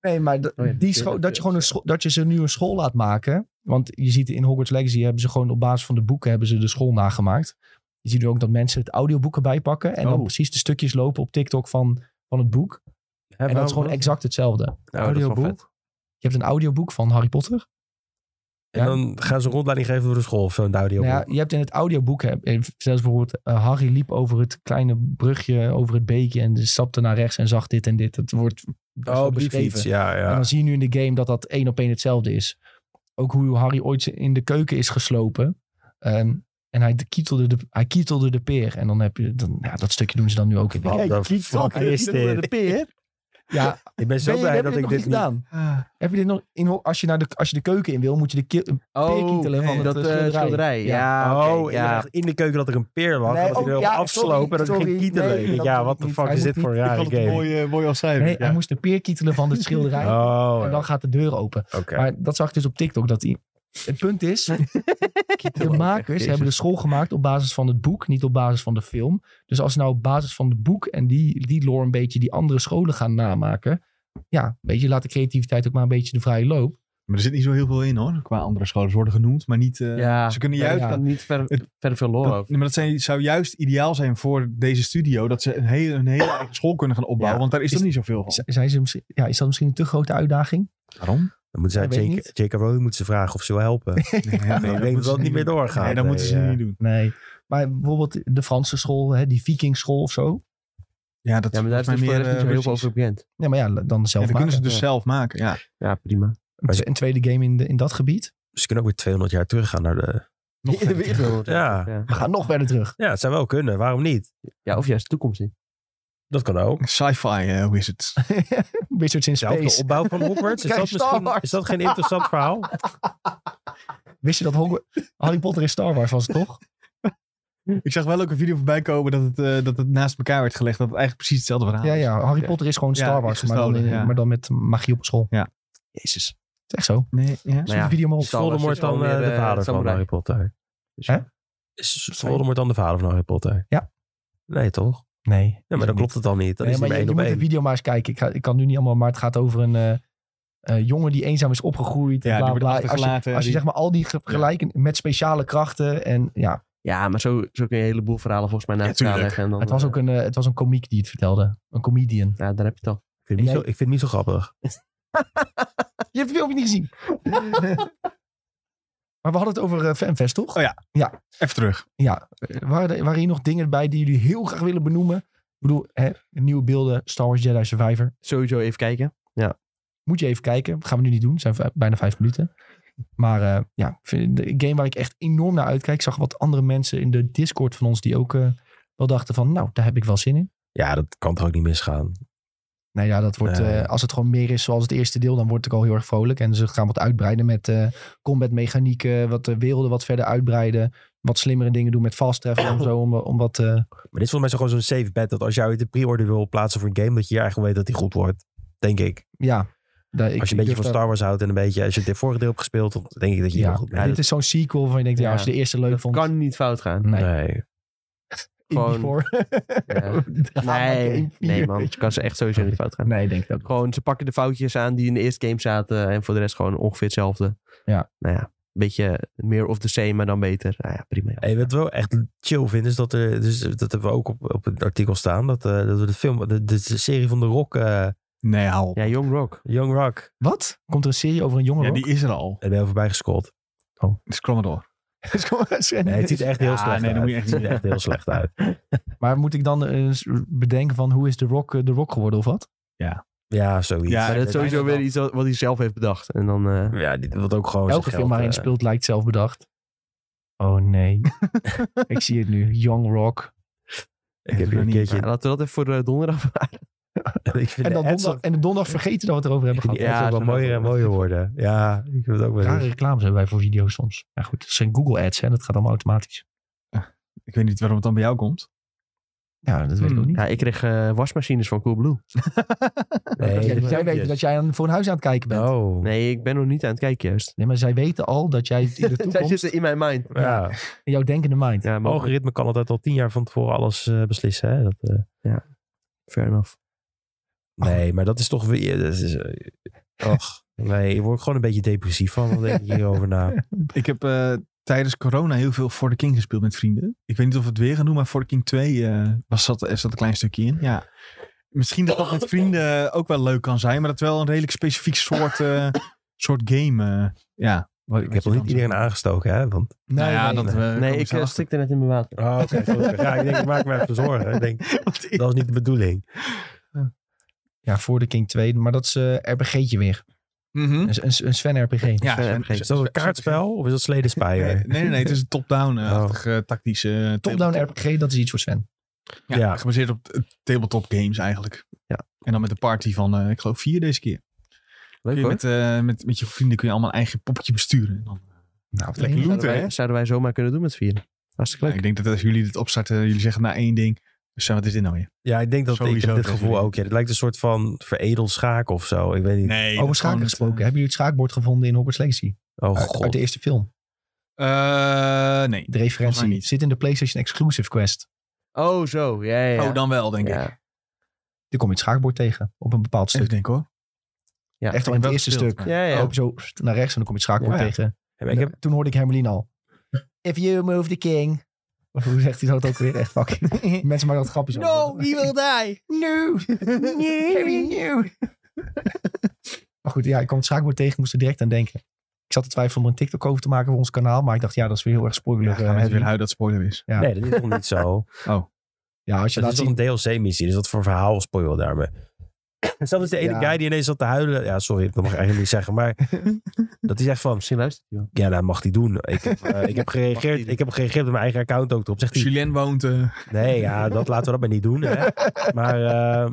[SPEAKER 1] Nee, maar d-
[SPEAKER 3] Oh ja,
[SPEAKER 1] die
[SPEAKER 3] natuurlijk,
[SPEAKER 1] school, dat, je gewoon een
[SPEAKER 3] natuurlijk,
[SPEAKER 1] school, dat je ze nu een school laat maken. Want je ziet in Hogwarts Legacy hebben ze gewoon op basis van de boeken hebben ze de school nagemaakt. Je ziet nu ook dat mensen het audioboek erbij pakken. En dan
[SPEAKER 2] Oh.
[SPEAKER 1] precies de stukjes lopen op TikTok van, van het boek. En dat is gewoon exact hetzelfde.
[SPEAKER 3] Nou, dat is wel vet.
[SPEAKER 1] Je hebt een audioboek van Harry Potter.
[SPEAKER 4] En dan gaan ze een rondleiding geven door de school of zo'n audio.
[SPEAKER 1] Nou ja, je hebt in het audioboek, heb- eh, zelfs bijvoorbeeld eh, Harry liep over het kleine brugje, over het beekje en dus stapte naar rechts en zag dit en dit. Het wordt best wel
[SPEAKER 4] oh, brieffiets. Ja,
[SPEAKER 1] En
[SPEAKER 4] ja.
[SPEAKER 1] dan zie je nu in de game dat dat één op één hetzelfde is. Ook hoe Harry ooit in de keuken is geslopen. Ehm, en hij kietelde, de, hij kietelde de peer. En dan heb je, dan, ja, dat stukje doen ze dan nu ook in de game.
[SPEAKER 4] Wat de fuck is dit?
[SPEAKER 1] Ja,
[SPEAKER 4] Ik ben zo
[SPEAKER 1] ben je-
[SPEAKER 4] blij
[SPEAKER 1] heb
[SPEAKER 4] dat
[SPEAKER 1] je
[SPEAKER 4] ik
[SPEAKER 1] nog
[SPEAKER 4] dit
[SPEAKER 1] niet
[SPEAKER 4] niet...
[SPEAKER 1] gedaan? Heb je dit nog in, als, je naar de, als je de keuken in wil, moet je de ki- peer kietelen van het,
[SPEAKER 2] nee,
[SPEAKER 3] dat
[SPEAKER 1] eh,
[SPEAKER 3] Oh, eh,
[SPEAKER 1] schilderij.
[SPEAKER 3] schilderij.
[SPEAKER 1] Ja.
[SPEAKER 3] Ja,
[SPEAKER 4] Oh,
[SPEAKER 3] oké,
[SPEAKER 4] ik
[SPEAKER 3] ja.
[SPEAKER 4] dacht in de keuken dat er een peer lag.
[SPEAKER 1] Nee,
[SPEAKER 4] dat ik
[SPEAKER 1] oh,
[SPEAKER 4] wilde
[SPEAKER 1] ja,
[SPEAKER 4] afslopen en dat
[SPEAKER 1] sorry,
[SPEAKER 4] ik ging
[SPEAKER 1] sorry,
[SPEAKER 4] kietelen.
[SPEAKER 1] nee, dat
[SPEAKER 4] ja,
[SPEAKER 1] doe
[SPEAKER 4] wat
[SPEAKER 1] ik
[SPEAKER 4] de
[SPEAKER 1] niet.
[SPEAKER 4] fuck
[SPEAKER 1] Hij
[SPEAKER 4] is
[SPEAKER 1] moet
[SPEAKER 4] dit voor een
[SPEAKER 1] niet-
[SPEAKER 4] rare game?
[SPEAKER 2] mooi, mooi
[SPEAKER 1] Nee,
[SPEAKER 2] afcijferen.
[SPEAKER 1] hij moest de peer kietelen van het schilderij.
[SPEAKER 4] Oh,
[SPEAKER 1] En
[SPEAKER 4] ja.
[SPEAKER 1] dan gaat de deur open.
[SPEAKER 4] oké.
[SPEAKER 1] Maar dat zag ik dus op TikTok. Dat die... Het punt is, de makers hebben de school gemaakt op basis van het boek, niet op basis van de film. Dus als ze nou op basis van het boek en die, die lore een beetje die andere scholen gaan namaken. Ja, weet je, laat de creativiteit ook maar een beetje de vrije loop.
[SPEAKER 2] Maar er zit niet zo heel veel in hoor. Qua andere scholen. Ze worden genoemd, maar niet. eh,
[SPEAKER 3] Ja.
[SPEAKER 2] Ze kunnen juist.
[SPEAKER 1] Ja.
[SPEAKER 2] Dat,
[SPEAKER 3] Niet ver,
[SPEAKER 2] Het-
[SPEAKER 3] verder veel lore
[SPEAKER 2] dat-
[SPEAKER 3] over.
[SPEAKER 2] maar dat zijn, zou juist ideaal zijn voor deze studio. Dat ze een hele, een hele eigen school kunnen gaan opbouwen.
[SPEAKER 4] Ja.
[SPEAKER 2] Want daar is, er niet zoveel van.
[SPEAKER 1] Z- Zijn ze, misschien- ja, is dat misschien een te grote uitdaging?
[SPEAKER 2] Waarom?
[SPEAKER 4] Dan moeten
[SPEAKER 1] Ik
[SPEAKER 4] zij
[SPEAKER 1] weet
[SPEAKER 4] Jake-
[SPEAKER 1] niet.
[SPEAKER 4] J.K. Rowling moeten ze vragen of ze wil helpen.
[SPEAKER 2] Nee,
[SPEAKER 4] Nee, ik denk dat dat niet meer doorgaat.
[SPEAKER 2] Nee, dat moeten ze
[SPEAKER 4] Nee,
[SPEAKER 2] nu
[SPEAKER 4] eh.
[SPEAKER 2] niet doen.
[SPEAKER 1] Nee. Maar bijvoorbeeld de Franse school, hè, die Vikingschool of zo.
[SPEAKER 2] Ja, dat
[SPEAKER 3] Ja, maar daar is dus
[SPEAKER 2] volgens mij
[SPEAKER 3] voor de
[SPEAKER 2] meer,
[SPEAKER 3] rest niet
[SPEAKER 2] eh,
[SPEAKER 3] zo heel veel
[SPEAKER 2] Russisch.
[SPEAKER 3] over bekend.
[SPEAKER 1] Ja, maar ja, dan
[SPEAKER 2] Ja,
[SPEAKER 1] zelf
[SPEAKER 2] dat kunnen
[SPEAKER 1] maken.
[SPEAKER 2] ze dus zelf maken. Ja.
[SPEAKER 3] Ja, prima.
[SPEAKER 1] Een- Een tweede game in, de, in dat gebied.
[SPEAKER 4] Ze kunnen ook weer 200 jaar teruggaan naar de...
[SPEAKER 2] Nog verder.
[SPEAKER 4] Ja.
[SPEAKER 3] ja.
[SPEAKER 1] We gaan nog verder terug.
[SPEAKER 4] Ja, het zou wel kunnen. Waarom niet?
[SPEAKER 3] Ja, of juist de toekomst in.
[SPEAKER 4] Dat kan ook.
[SPEAKER 2] Sci-fi eh, wizards.
[SPEAKER 1] Wizards in
[SPEAKER 4] Zelfde
[SPEAKER 1] Space.
[SPEAKER 4] opbouw van Hogwarts. Is
[SPEAKER 1] Kijk,
[SPEAKER 4] dat,
[SPEAKER 1] Star
[SPEAKER 4] misschien,
[SPEAKER 1] Wars.
[SPEAKER 4] is dat geen interessant verhaal?
[SPEAKER 1] Wist je dat Hogwa- Harry Potter in Star Wars was, het toch?
[SPEAKER 2] Ik zag wel ook een video voorbij komen dat het, eh, dat het naast elkaar werd gelegd. Dat het eigenlijk precies hetzelfde verhaal
[SPEAKER 1] Ja,
[SPEAKER 2] is.
[SPEAKER 1] ja. Harry
[SPEAKER 2] Ja.
[SPEAKER 1] Potter is gewoon
[SPEAKER 2] Ja,
[SPEAKER 1] Star
[SPEAKER 2] is
[SPEAKER 1] Wars, maar, dan,
[SPEAKER 2] gestolen,
[SPEAKER 1] in-
[SPEAKER 2] ja.
[SPEAKER 1] maar dan met magie op school.
[SPEAKER 2] Ja.
[SPEAKER 1] Jezus. Het is echt zo.
[SPEAKER 2] Nee, ja.
[SPEAKER 1] Zoek
[SPEAKER 3] ja,
[SPEAKER 1] de video maar op.
[SPEAKER 3] Star Wars
[SPEAKER 4] Voldemort
[SPEAKER 3] is wel
[SPEAKER 4] dan eh,
[SPEAKER 3] meer,
[SPEAKER 4] de
[SPEAKER 3] eh,
[SPEAKER 4] vader van
[SPEAKER 3] samurai.
[SPEAKER 4] Harry Potter.
[SPEAKER 3] Dus-
[SPEAKER 1] Hè?
[SPEAKER 4] Is Voldemort dan de vader van Harry Potter?
[SPEAKER 1] Ja.
[SPEAKER 4] Nee, toch?
[SPEAKER 1] Nee.
[SPEAKER 4] Ja, maar dan klopt het dan niet. Dan
[SPEAKER 1] Nee, maar
[SPEAKER 4] is het maar
[SPEAKER 1] je,
[SPEAKER 4] één
[SPEAKER 1] je
[SPEAKER 4] op
[SPEAKER 1] moet de
[SPEAKER 4] één.
[SPEAKER 1] video maar eens kijken. Ik, ga, ik kan nu niet allemaal, maar het gaat over een eh, eh, jongen die eenzaam is opgegroeid. en
[SPEAKER 2] Ja, die
[SPEAKER 1] bla,
[SPEAKER 2] wordt
[SPEAKER 1] bla. Als je,
[SPEAKER 2] achtergelaten.
[SPEAKER 1] als je
[SPEAKER 2] Die-
[SPEAKER 1] zeg maar al die ge- gelijken met speciale krachten en ja,
[SPEAKER 3] Ja, maar zo, zo kun je een heleboel verhalen volgens mij naar
[SPEAKER 2] Ja,
[SPEAKER 3] elkaar
[SPEAKER 2] tuurlijk.
[SPEAKER 3] leggen. En dan,
[SPEAKER 1] het was
[SPEAKER 3] eh,
[SPEAKER 1] ook een, eh, het was een komiek die het vertelde. Een comedian.
[SPEAKER 3] Ja, daar heb je het al.
[SPEAKER 4] Ik vind het niet
[SPEAKER 1] Jij-
[SPEAKER 4] zo- ik vind het niet zo grappig.
[SPEAKER 1] Je hebt het filmpje niet gezien. maar we hadden het over eh, fanfest, toch?
[SPEAKER 2] Oh ja. Even terug.
[SPEAKER 1] Ja, eh, waren, er, waren hier nog dingen bij die jullie heel graag willen benoemen? Ik bedoel, hè, nieuwe beelden, Star Wars Jedi Survivor.
[SPEAKER 3] Sowieso even kijken.
[SPEAKER 1] Moet je even kijken. Gaan we nu niet doen. zijn v- bijna vijf minuten. Maar eh, ja, ik vind het een game waar ik echt enorm naar uitkijk. Ik zag wat andere mensen in de Discord van ons die ook eh, wel dachten van... Nou, daar heb ik wel zin in.
[SPEAKER 4] Ja, dat kan toch ook niet misgaan.
[SPEAKER 1] Nou ja, dat wordt,
[SPEAKER 4] Nee.
[SPEAKER 1] eh, als het gewoon meer is zoals het eerste deel, dan word ik al heel erg vrolijk. En ze gaan wat uitbreiden met eh combat mechanieken, wat de werelden wat verder uitbreiden. Wat slimmere dingen doen met fast travel en zo, om, om wat... eh,
[SPEAKER 4] Maar dit is volgens mij zo gewoon zo'n safe bet. Dat als jij ooit de pre-order wil plaatsen voor een game, dat je eigenlijk weet dat die goed wordt. Denk ik.
[SPEAKER 1] ja, Daar- ik-
[SPEAKER 4] als je
[SPEAKER 1] ik
[SPEAKER 4] een beetje
[SPEAKER 1] durf
[SPEAKER 4] van
[SPEAKER 1] daar-
[SPEAKER 4] Star Wars houdt en een beetje, als je het vorige deel hebt gespeeld, dan denk ik dat je
[SPEAKER 1] Ja.
[SPEAKER 4] heel goed
[SPEAKER 1] Ja,
[SPEAKER 4] bent.
[SPEAKER 1] dit is zo'n sequel waarvan je denkt, ja,
[SPEAKER 3] Ja,
[SPEAKER 1] als je de eerste leuk
[SPEAKER 3] dat
[SPEAKER 1] vond,
[SPEAKER 3] kan niet fout gaan.
[SPEAKER 1] nee,
[SPEAKER 4] nee.
[SPEAKER 1] in
[SPEAKER 3] gewoon-
[SPEAKER 1] die voor.
[SPEAKER 3] Ja.
[SPEAKER 1] Ga maar
[SPEAKER 3] Nee,
[SPEAKER 1] game vier,
[SPEAKER 3] nee man,
[SPEAKER 1] weet
[SPEAKER 3] het
[SPEAKER 1] je.
[SPEAKER 3] kan ze echt sowieso niet fout gaan.
[SPEAKER 1] Nee, denk ik ook.
[SPEAKER 3] Gewoon, ze pakken de foutjes aan die in de eerste game zaten en voor de rest gewoon ongeveer hetzelfde.
[SPEAKER 1] Ja.
[SPEAKER 3] Nou ja, een beetje meer of the same, maar dan beter. Nou ja, prima. joh.
[SPEAKER 4] Hey, wat we wel echt chill vinden is dat er, dus dat hebben we ook op, op het artikel staan, dat, eh, dat we de film, de, de serie van de Rock, eh,
[SPEAKER 2] Nee, hou op.
[SPEAKER 3] Ja, Young Rock.
[SPEAKER 4] Young Rock,
[SPEAKER 1] Wat? Komt er een serie over een jongen?
[SPEAKER 2] Ja,
[SPEAKER 1] ook?
[SPEAKER 2] die is er al.
[SPEAKER 4] daar ben je voorbij gescrollt.
[SPEAKER 2] Scroll maar door.
[SPEAKER 1] Is gewoon- is-
[SPEAKER 4] Nee, het ziet er echt heel
[SPEAKER 2] Ja,
[SPEAKER 4] slecht
[SPEAKER 2] nee,
[SPEAKER 4] uit.
[SPEAKER 2] dat moet je echt
[SPEAKER 4] het
[SPEAKER 2] niet
[SPEAKER 4] ziet er echt heel slecht uit.
[SPEAKER 1] Maar moet ik dan eens bedenken van hoe is The Rock eh, The Rock geworden of wat?
[SPEAKER 4] Ja, zoiets.
[SPEAKER 2] Ja,
[SPEAKER 3] Maar dat is sowieso weer iets wat wat hij zelf heeft bedacht. En dan, eh,
[SPEAKER 4] Ja, dit wordt ook gewoon
[SPEAKER 1] Elke
[SPEAKER 4] zijn
[SPEAKER 1] film
[SPEAKER 4] geld,
[SPEAKER 1] waarin
[SPEAKER 4] eh,
[SPEAKER 1] speelt lijkt zelf bedacht. Oh nee. ik zie het nu. Young Rock.
[SPEAKER 4] Ik heb
[SPEAKER 2] Ja,
[SPEAKER 4] hier een
[SPEAKER 2] niet.
[SPEAKER 4] keertje...
[SPEAKER 3] ja, laten we dat even voor eh, donderdag bewaren.
[SPEAKER 4] ik vind
[SPEAKER 1] En dan
[SPEAKER 4] de ads
[SPEAKER 1] donderdag, en de donderdag vergeten dat we het erover hebben
[SPEAKER 4] ook-
[SPEAKER 1] gehad.
[SPEAKER 4] die
[SPEAKER 3] Ja,
[SPEAKER 4] ads ook wel
[SPEAKER 3] zo
[SPEAKER 4] mooier
[SPEAKER 3] wel.
[SPEAKER 1] eh,
[SPEAKER 4] en mooier worden. Ja, ik vind het ook wel
[SPEAKER 1] Rare
[SPEAKER 4] eens.
[SPEAKER 1] reclames hebben wij voor video's soms. Ja goed, het zijn Google ads en dat gaat allemaal automatisch.
[SPEAKER 2] Ik weet niet waarom het dan bij jou komt.
[SPEAKER 1] Ja, dat weet ik
[SPEAKER 2] Hmm.
[SPEAKER 1] ook niet.
[SPEAKER 3] Ja, ik kreeg eh, wasmachines van Coolblue.
[SPEAKER 1] Dat jij,
[SPEAKER 4] Nee,
[SPEAKER 1] dat jij weet dat jij aan, voor een huis aan het kijken bent.
[SPEAKER 4] Oh.
[SPEAKER 3] Nee, ik ben nog niet aan het kijken juist.
[SPEAKER 1] Nee, maar zij weten al dat jij in de
[SPEAKER 3] Zij
[SPEAKER 1] toekomst,
[SPEAKER 3] zitten in mijn mind.
[SPEAKER 4] Ja,
[SPEAKER 1] in jouw denkende mind.
[SPEAKER 3] Ja, maar
[SPEAKER 4] algoritme kan altijd al tien jaar van tevoren alles eh, beslissen. Hè? Dat, eh,
[SPEAKER 3] fair enough.
[SPEAKER 4] nee, maar dat is toch weer... Dat is, eh, och, nee, je wordt gewoon een beetje depressief van. Wat denk je hierover na?
[SPEAKER 2] Ik heb eh, tijdens corona heel veel For the King gespeeld met vrienden. Ik weet niet of we het weer gaan doen, maar For the King 2 eh was, zat, er zat een klein stukje in. Ja. Misschien dat dat met vrienden eh, ook wel leuk kan zijn, maar dat wel een redelijk specifiek soort, eh, soort game. eh, ja. Wat-
[SPEAKER 4] Ik
[SPEAKER 2] wat
[SPEAKER 4] heb
[SPEAKER 2] je
[SPEAKER 4] nog
[SPEAKER 2] dan
[SPEAKER 4] niet iedereen aangestoken, hè? Want,
[SPEAKER 2] zegt. Nou
[SPEAKER 1] Nee,
[SPEAKER 2] ja,
[SPEAKER 1] nee,
[SPEAKER 2] dat,
[SPEAKER 1] nee.
[SPEAKER 2] eh,
[SPEAKER 3] Nee,
[SPEAKER 2] komen
[SPEAKER 3] ik
[SPEAKER 2] ze
[SPEAKER 3] eh,
[SPEAKER 2] achter.
[SPEAKER 3] stikte net in mijn water.
[SPEAKER 4] oh, oké. ja, ik denk, ik maak me even zorgen. Ik denk,
[SPEAKER 2] Want ik-
[SPEAKER 4] dat was niet de bedoeling.
[SPEAKER 1] Ja, voor de King 2, maar dat is eh RPG'tje weer.
[SPEAKER 2] Mhm.
[SPEAKER 1] Een, een, een Sven-RPG.
[SPEAKER 2] Ja,
[SPEAKER 3] Sven
[SPEAKER 2] Sven-
[SPEAKER 3] RPG's.
[SPEAKER 4] Is dat een kaartspel of is dat
[SPEAKER 2] Nee,
[SPEAKER 4] sledenspijer?
[SPEAKER 2] nee, nee, nee, het is een top-down eh, achtige tactische... eh,
[SPEAKER 1] Top-down RPG, dat is iets voor Sven.
[SPEAKER 2] Ja,
[SPEAKER 4] Ja.
[SPEAKER 2] gebaseerd op eh, tabletop games eigenlijk.
[SPEAKER 3] Ja.
[SPEAKER 2] En dan met een party van, eh, ik geloof, vier deze keer. Kun
[SPEAKER 3] Leuk
[SPEAKER 2] je
[SPEAKER 3] hoor.
[SPEAKER 2] met, eh, met, met je vrienden kun je allemaal een eigen poppetje besturen. En dan, eh,
[SPEAKER 1] Nou, wat
[SPEAKER 2] Lekker
[SPEAKER 1] een-
[SPEAKER 2] looten,
[SPEAKER 3] zouden,
[SPEAKER 2] hè?
[SPEAKER 3] wij, zouden wij zomaar kunnen doen met z'n vieren. Hartstikke leuk.
[SPEAKER 2] Nou, ik denk dat als jullie dit opstarten, jullie zeggen na één ding. Dus wat is dit nou weer?
[SPEAKER 4] Ja, ik denk dat ik
[SPEAKER 2] Sowieso
[SPEAKER 4] heb dit
[SPEAKER 2] dat
[SPEAKER 4] gevoel
[SPEAKER 2] jullie-
[SPEAKER 4] ook. Ja, het lijkt een soort van veredeld schaak of zo. Ik weet niet.
[SPEAKER 2] Nee. dat
[SPEAKER 1] Over Oh,
[SPEAKER 2] is
[SPEAKER 1] schaken
[SPEAKER 2] gewoon het,
[SPEAKER 1] gesproken. Hebben jullie het schaakbord gevonden in Hogwarts Legacy?
[SPEAKER 4] Oh
[SPEAKER 1] uit, uit
[SPEAKER 4] god.
[SPEAKER 1] de eerste film.
[SPEAKER 2] eh,
[SPEAKER 1] De
[SPEAKER 2] eh, nee. Volgens mij
[SPEAKER 1] referentie
[SPEAKER 2] niet.
[SPEAKER 1] zit in de PlayStation Exclusive Quest.
[SPEAKER 3] Oh, zo. Ja, ja, ja.
[SPEAKER 2] Oh, dan wel, denk ik.
[SPEAKER 3] Ja.
[SPEAKER 1] Daar kom je het schaakbord tegen op een bepaald
[SPEAKER 2] Even
[SPEAKER 1] stuk.
[SPEAKER 2] denken hoor.
[SPEAKER 3] Ja,
[SPEAKER 1] Echt al in het
[SPEAKER 2] Ik heb
[SPEAKER 1] eerste
[SPEAKER 2] wel
[SPEAKER 1] stuk.
[SPEAKER 2] gespeeld, maar-
[SPEAKER 3] Ja, ja.
[SPEAKER 1] Loop zo naar rechts en dan kom je het schaakbord
[SPEAKER 2] Ja.
[SPEAKER 1] tegen.
[SPEAKER 4] Ja, maar ik heb,
[SPEAKER 1] Toen hoorde ik Hermeline al. If you move the king. Of hoe zegt hij dat ook weer? Echt fucking. Mensen maken dat grapjes over.
[SPEAKER 3] he will die.
[SPEAKER 1] No. Harry, no. maar goed, ja, ik kwam het schaakbord tegen. Ik moest er direct aan denken. Ik zat te twijfelen om er een TikTok over te maken voor ons kanaal. Maar ik dacht, ja, dat is weer heel erg
[SPEAKER 2] Ja,
[SPEAKER 1] spoiler. eh,
[SPEAKER 2] gaan we
[SPEAKER 1] Ja,
[SPEAKER 2] even weer huid dat spoiler is.
[SPEAKER 1] Ja.
[SPEAKER 4] Nee, dat is nog niet zo.
[SPEAKER 1] ja als je
[SPEAKER 4] Het
[SPEAKER 1] laat
[SPEAKER 4] is toch
[SPEAKER 1] zien.
[SPEAKER 4] een DLC-missie, dus dat voor verhaal spoil daarmee. Zelfs is de ene
[SPEAKER 1] Ja.
[SPEAKER 4] guy die ineens zat te huilen. Ja, sorry, dat mag ik eigenlijk niet zeggen. Maar dat hij zegt van,
[SPEAKER 3] Misschien luistert hij wel.
[SPEAKER 4] ja, dat mag hij doen. Ik heb, eh, ik heb,
[SPEAKER 3] Mag
[SPEAKER 4] gereageerd,
[SPEAKER 3] die
[SPEAKER 4] ik heb gereageerd op mijn eigen account ook erop. Zegt hij,
[SPEAKER 2] Julien woont. eh,
[SPEAKER 4] nee, ja, dat laten we dat maar niet doen. Hè. Maar eh,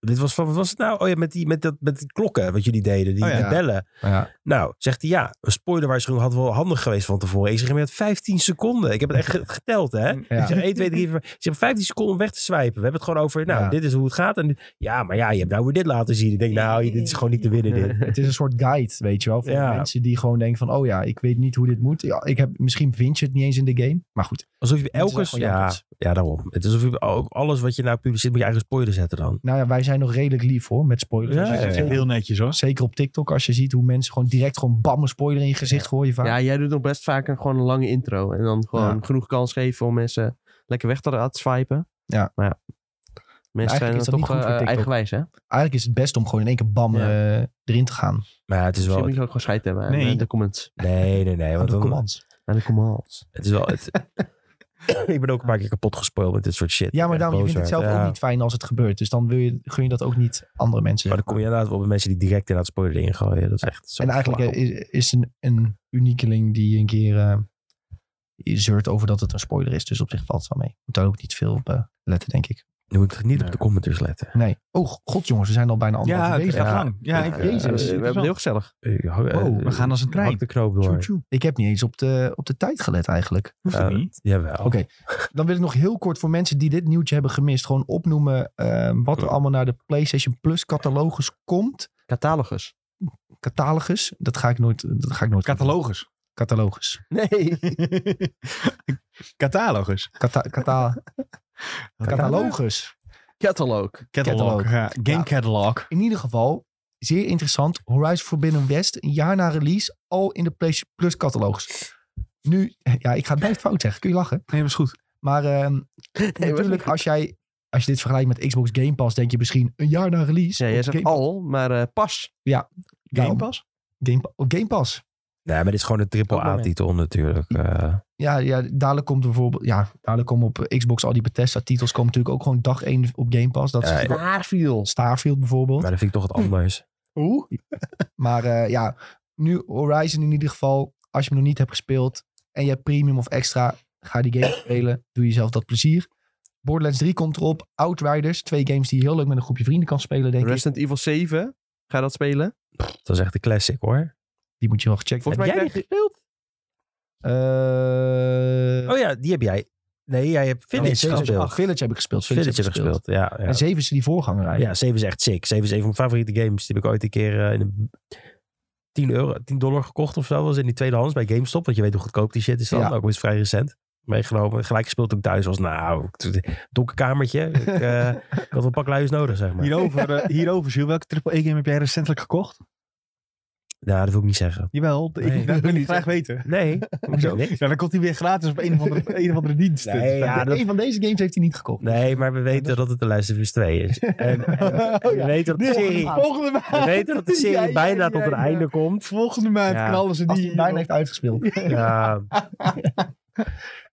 [SPEAKER 4] dit was van, wat was het nou? Oh ja, met die, met dat, met die klokken wat jullie deden, die,
[SPEAKER 2] Oh ja.
[SPEAKER 4] die bellen.
[SPEAKER 1] Ja.
[SPEAKER 4] Nou, zegt hij, ja, een spoilerwaarschuwing had wel handig geweest van tevoren. Ik zeg, maar met 15 seconden. Ik heb het echt ge- geteld, hè.
[SPEAKER 1] Ja.
[SPEAKER 4] Ik zeg 1, 2, 3, 4. Ik zeg 15 seconden om weg te swipen. We hebben het gewoon over, nou,
[SPEAKER 1] Ja.
[SPEAKER 4] dit is hoe het gaat. En dit- ja, maar ja, je hebt nou weer dit laten zien. Ik denk, nou, dit is gewoon niet te winnen dit.
[SPEAKER 1] Het is een soort guide, weet je wel. Voor
[SPEAKER 4] Ja.
[SPEAKER 1] mensen die gewoon denken van... Oh ja, ik weet niet hoe dit moet. Ja, ik heb, misschien vind je het niet eens in de game. Maar goed.
[SPEAKER 4] Alsof je
[SPEAKER 1] is
[SPEAKER 4] elke...
[SPEAKER 1] echt wel
[SPEAKER 4] Ja,
[SPEAKER 1] jankers.
[SPEAKER 4] ja, daarom. Het is alsof je ook alles wat je nou publiceert moet je eigen spoiler zetten dan.
[SPEAKER 1] Nou ja, wij zijn nog redelijk lief hoor. Met spoilers.
[SPEAKER 4] Ja,
[SPEAKER 1] Dus
[SPEAKER 4] ja, ja.
[SPEAKER 1] zeker-
[SPEAKER 2] Heel netjes hoor.
[SPEAKER 1] Zeker op TikTok. Als je ziet hoe mensen gewoon direct gewoon bam een spoiler in je gezicht gooien vaak.
[SPEAKER 3] Ja, jij doet nog best vaak een, gewoon een lange intro. En dan gewoon
[SPEAKER 1] Ja.
[SPEAKER 3] genoeg kans geven om mensen lekker weg te laten swipen.
[SPEAKER 1] Ja.
[SPEAKER 3] Maar ja, mensen
[SPEAKER 1] Eigenlijk is
[SPEAKER 3] zijn
[SPEAKER 1] dat
[SPEAKER 3] dan
[SPEAKER 1] niet
[SPEAKER 3] toch
[SPEAKER 1] goed voor
[SPEAKER 3] eh,
[SPEAKER 1] TikTok.
[SPEAKER 3] eigenwijs, hè? Misschien
[SPEAKER 1] Eigenlijk is het best om gewoon in één keer bam eh, erin te gaan.
[SPEAKER 4] Maar ja, het is wel...
[SPEAKER 3] moet je ook gewoon scheid hebben aan
[SPEAKER 2] Nee.
[SPEAKER 3] eh, de comments.
[SPEAKER 4] Nee, nee, nee.
[SPEAKER 1] Aan
[SPEAKER 4] Want
[SPEAKER 1] de
[SPEAKER 4] dan,
[SPEAKER 1] commands.
[SPEAKER 3] Aan de comments.
[SPEAKER 4] het is wel... Het, ik ben ook een paar keer kapot gespoild met dit soort shit.
[SPEAKER 1] Ja, maar
[SPEAKER 4] Echt
[SPEAKER 1] daarom, je
[SPEAKER 4] boos
[SPEAKER 1] vindt het zelf
[SPEAKER 4] werd. Ja.
[SPEAKER 1] ook niet fijn als het gebeurt. Dus dan wil je, gun je dat ook niet andere mensen.
[SPEAKER 4] Maar dan kom je inderdaad wel bij mensen die direct inderdaad spoiler erin gooien. Dat is echt zo
[SPEAKER 1] en eigenlijk
[SPEAKER 4] flauw.
[SPEAKER 1] eh, is, is een, een uniekeling die een keer eh, zeurt over dat het een spoiler is. Dus op zich valt het wel mee. Moet daar ook niet veel op eh, letten, denk ik.
[SPEAKER 4] Nu moet ik niet op
[SPEAKER 2] Nee.
[SPEAKER 4] de commenters letten.
[SPEAKER 1] Nee. Oh god jongens, we zijn al bijna anderhalf
[SPEAKER 2] Ja,
[SPEAKER 1] uur
[SPEAKER 2] het
[SPEAKER 1] bezig.
[SPEAKER 2] gaat lang. Ja,
[SPEAKER 1] Ja,
[SPEAKER 2] ik,
[SPEAKER 1] Jezus,
[SPEAKER 3] Eh,
[SPEAKER 1] dat is
[SPEAKER 3] we hebben het heel gezellig.
[SPEAKER 4] Eh, ho- eh,
[SPEAKER 2] Wow, we gaan als een trein.
[SPEAKER 4] hak de knoop door.
[SPEAKER 2] Tjoe, tjoe.
[SPEAKER 1] Ik heb niet eens op de, op de tijd gelet eigenlijk.
[SPEAKER 2] Hoeft
[SPEAKER 4] Eh,
[SPEAKER 2] het niet.
[SPEAKER 4] jawel.
[SPEAKER 1] Oké. Dan wil ik nog heel kort voor mensen die dit nieuwtje hebben gemist. Gewoon opnoemen eh, wat er allemaal naar de PlayStation Plus catalogus komt.
[SPEAKER 3] Catalogus.
[SPEAKER 1] Catalogus. Dat ga ik nooit. Dat ga ik nooit
[SPEAKER 2] Catalogus.
[SPEAKER 1] Catalogus.
[SPEAKER 3] Nee.
[SPEAKER 2] Catalogus.
[SPEAKER 1] Cata, cata, catalogus.
[SPEAKER 3] Catalog.
[SPEAKER 2] Catalog.
[SPEAKER 1] Catalog.
[SPEAKER 2] Ja, game
[SPEAKER 1] Ja.
[SPEAKER 2] catalog.
[SPEAKER 1] In ieder geval, zeer interessant. Horizon Forbidden West, een jaar na release, al in de PlayStation Plus catalogus. Nu, eh, ja, ik ga het blijft fout zeggen. Kun je lachen?
[SPEAKER 2] Nee, maar is goed.
[SPEAKER 1] Maar ehm, natuurlijk, als jij... Als je dit vergelijkt met Xbox Game Pass, denk je misschien een jaar na release.
[SPEAKER 3] Ja, jij
[SPEAKER 1] op
[SPEAKER 3] zegt
[SPEAKER 1] Game,
[SPEAKER 3] al, maar eh, pas.
[SPEAKER 2] Game
[SPEAKER 1] daarom-
[SPEAKER 2] Pass?
[SPEAKER 1] Game, Pa- op Game Pass.
[SPEAKER 4] Nee, maar dit is gewoon een triple
[SPEAKER 3] Ook wel
[SPEAKER 4] A-titel natuurlijk. eh.
[SPEAKER 1] Ja, ja, dadelijk komt er bijvoorbeeld... Ja, dadelijk komen op Xbox al die Bethesda-titels komen natuurlijk ook gewoon dag één op Game Pass. Dat is
[SPEAKER 4] Ja,
[SPEAKER 1] natuurlijk ook
[SPEAKER 3] Starfield.
[SPEAKER 1] Starfield bijvoorbeeld.
[SPEAKER 4] maar dat vind ik toch wat anders.
[SPEAKER 2] Oeh.
[SPEAKER 1] Maar eh, ja, nu Horizon in ieder geval. Als je hem nog niet hebt gespeeld en je hebt premium of extra, ga die game spelen. Doe jezelf dat plezier. Borderlands 3 komt erop. Outriders, twee games die je heel leuk met een groepje vrienden kan spelen, denk ik.
[SPEAKER 3] Resident Evil 7. Ga je dat spelen?
[SPEAKER 4] Dat is echt een classic hoor.
[SPEAKER 1] Die moet je wel gecheckt
[SPEAKER 3] Volgens mij
[SPEAKER 4] jij
[SPEAKER 3] krijg je gespeeld.
[SPEAKER 1] hebben. Eh,
[SPEAKER 4] Oh ja, die heb jij. Nee, jij hebt
[SPEAKER 1] nee,
[SPEAKER 4] Village
[SPEAKER 1] Village heb ik-
[SPEAKER 4] gespeeld.
[SPEAKER 1] oh, Village heb ik gespeeld. Village,
[SPEAKER 4] Village heb ik gespeeld. Ja, ja.
[SPEAKER 1] En 7 is die voorganger eigenlijk.
[SPEAKER 4] Ja, 7 is echt sick. 7 is een van mijn favoriete games. Die heb ik ooit een keer eh, in een 10, euro, 10 dollar gekocht of zo. Dat was in die tweedehands bij GameStop. Want je weet hoe goedkoop die shit is dan. Nou,
[SPEAKER 1] Ja.
[SPEAKER 4] Ook is vrij recent. Meegenomen. Gelijk gespeeld toen ik thuis was. Nou, donker kamertje. Ik, eh, ik had wel een pak luiers nodig, zeg maar.
[SPEAKER 2] Hierover, eh, hierover Jules, welke AAA game heb jij recentelijk gekocht?
[SPEAKER 4] Nou, dat wil ik niet zeggen.
[SPEAKER 2] Jawel, ik
[SPEAKER 4] Nee.
[SPEAKER 2] dat wil ik graag weten.
[SPEAKER 4] Nee, hoezo? Niks.
[SPEAKER 2] Ja, dan komt hij weer gratis op een of andere, een of andere dienst.
[SPEAKER 4] Nee,
[SPEAKER 2] Dus
[SPEAKER 4] ja,
[SPEAKER 2] dat-
[SPEAKER 1] Eén van deze games heeft hij niet gekocht.
[SPEAKER 4] Nee, maar we weten dat het de Luistervers 2 is. En, en
[SPEAKER 2] Oh
[SPEAKER 4] we
[SPEAKER 2] ja.
[SPEAKER 4] weten dat de
[SPEAKER 2] Volgende
[SPEAKER 4] serie,
[SPEAKER 2] maand. Volgende
[SPEAKER 4] we
[SPEAKER 2] maand.
[SPEAKER 4] weten dat de
[SPEAKER 2] Ja, ja,
[SPEAKER 4] serie bijna
[SPEAKER 2] ja,
[SPEAKER 4] tot een
[SPEAKER 2] ja.
[SPEAKER 4] einde komt.
[SPEAKER 2] Volgende maand
[SPEAKER 3] Ja.
[SPEAKER 2] knallen ze
[SPEAKER 1] Als
[SPEAKER 2] die.
[SPEAKER 1] hij hem bijna heeft uitgespeeld.
[SPEAKER 4] Ja,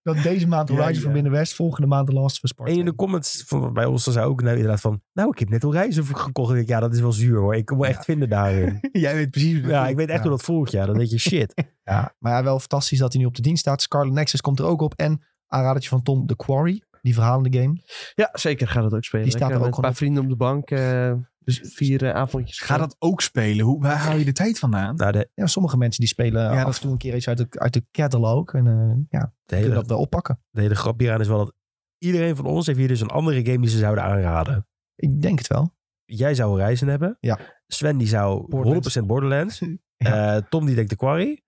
[SPEAKER 1] Dat deze maand Horizon
[SPEAKER 2] Ja, ja.
[SPEAKER 1] van Binnenwest, volgende maand The Last of Us Part
[SPEAKER 4] En in de
[SPEAKER 1] 2.
[SPEAKER 4] comments van, bij ons zei ook nou, inderdaad van... Nou, ik heb net Horizon gekocht. En ik, ja, dat is wel zuur hoor. Ik moet echt vinden daarin.
[SPEAKER 2] Jij weet precies. hoe
[SPEAKER 4] Ja,
[SPEAKER 2] het
[SPEAKER 4] ik weet echt
[SPEAKER 1] Ja.
[SPEAKER 4] hoe dat voelt. Ja, dan denk je shit.
[SPEAKER 1] Ja, maar ja, wel fantastisch dat hij nu op de dienst staat. Scarlet Nexus komt er ook op. En aanradertje van Tom, The Quarry. Die verhalende game.
[SPEAKER 3] Ja, zeker ga dat ook spelen.
[SPEAKER 1] Die staat
[SPEAKER 3] Ik,
[SPEAKER 1] er
[SPEAKER 3] eh,
[SPEAKER 1] ook
[SPEAKER 3] met
[SPEAKER 1] gewoon
[SPEAKER 3] een paar
[SPEAKER 1] op.
[SPEAKER 3] vrienden op de bank. eh, dus vier eh, avondjes.
[SPEAKER 2] Ga dat ook spelen? Hoe, waar haal je de tijd vandaan?
[SPEAKER 4] Nou, de,
[SPEAKER 1] Ja, sommige mensen die spelen af
[SPEAKER 2] dat-
[SPEAKER 1] en toe een keer iets uit de, uit de catalog. En eh ja,
[SPEAKER 4] de,
[SPEAKER 1] kunnen
[SPEAKER 4] hele,
[SPEAKER 1] dat wel oppakken.
[SPEAKER 4] de hele grap hieraan is wel dat... Iedereen van ons heeft hier dus een andere game die ze zouden aanraden.
[SPEAKER 1] Ik denk het wel.
[SPEAKER 4] Jij zou Horizon hebben.
[SPEAKER 1] Ja.
[SPEAKER 4] Sven die zou
[SPEAKER 1] Borderlands.
[SPEAKER 4] 100% Borderlands. Eh, Tom die denkt de Quarry.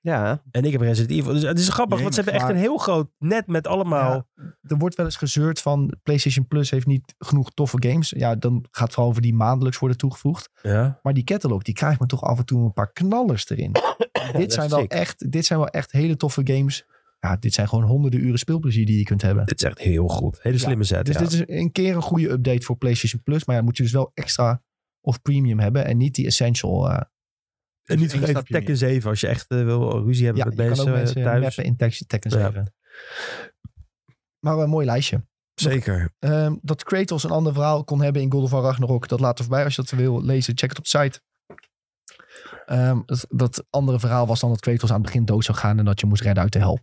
[SPEAKER 3] Ja,
[SPEAKER 4] En ik heb Resident Evil. Dus het is grappig, want ze hebben echt
[SPEAKER 1] maar-
[SPEAKER 4] een heel groot net met allemaal...
[SPEAKER 1] Er wordt wel eens gezeurd van PlayStation Plus heeft niet genoeg toffe games. Ja, dan gaat het vooral over die maandelijks worden toegevoegd.
[SPEAKER 4] Ja.
[SPEAKER 1] Maar die catalog, die krijgt me toch af en toe een paar knallers erin.
[SPEAKER 4] dat
[SPEAKER 1] dit,
[SPEAKER 4] is
[SPEAKER 1] zijn wel
[SPEAKER 4] sick.
[SPEAKER 1] echt, dit zijn wel echt hele toffe games. Ja, dit zijn gewoon honderden uren speelplezier die je kunt hebben.
[SPEAKER 4] Dit is echt heel goed. Hele
[SPEAKER 1] Ja,
[SPEAKER 4] slimme set.
[SPEAKER 1] Dus
[SPEAKER 4] ja.
[SPEAKER 1] dit is een keer een goede update voor PlayStation Plus. Maar ja, moet je dus wel extra of premium hebben. En niet die essential. eh,
[SPEAKER 4] En niet
[SPEAKER 2] Eén
[SPEAKER 4] vergeten
[SPEAKER 2] stapje
[SPEAKER 4] Tekken 7 als je echt eh, wil ruzie hebben
[SPEAKER 1] ja, je kan
[SPEAKER 4] met mensen,
[SPEAKER 1] ook mensen
[SPEAKER 4] eh, thuis.
[SPEAKER 1] mappen in Tekken Tekken
[SPEAKER 4] Ja.
[SPEAKER 1] 7. Maar een mooi lijstje.
[SPEAKER 4] Zeker. Oh,
[SPEAKER 1] Ehm, dat Kratos een ander verhaal kon hebben in God of War Ragnarok. Dat laat er voorbij. Als je dat wil lezen, check het op de site. Ehm, dat, dat andere verhaal was dan dat Kratos aan het begin dood zou gaan. En dat je moest redden uit de hel.
[SPEAKER 4] Oh,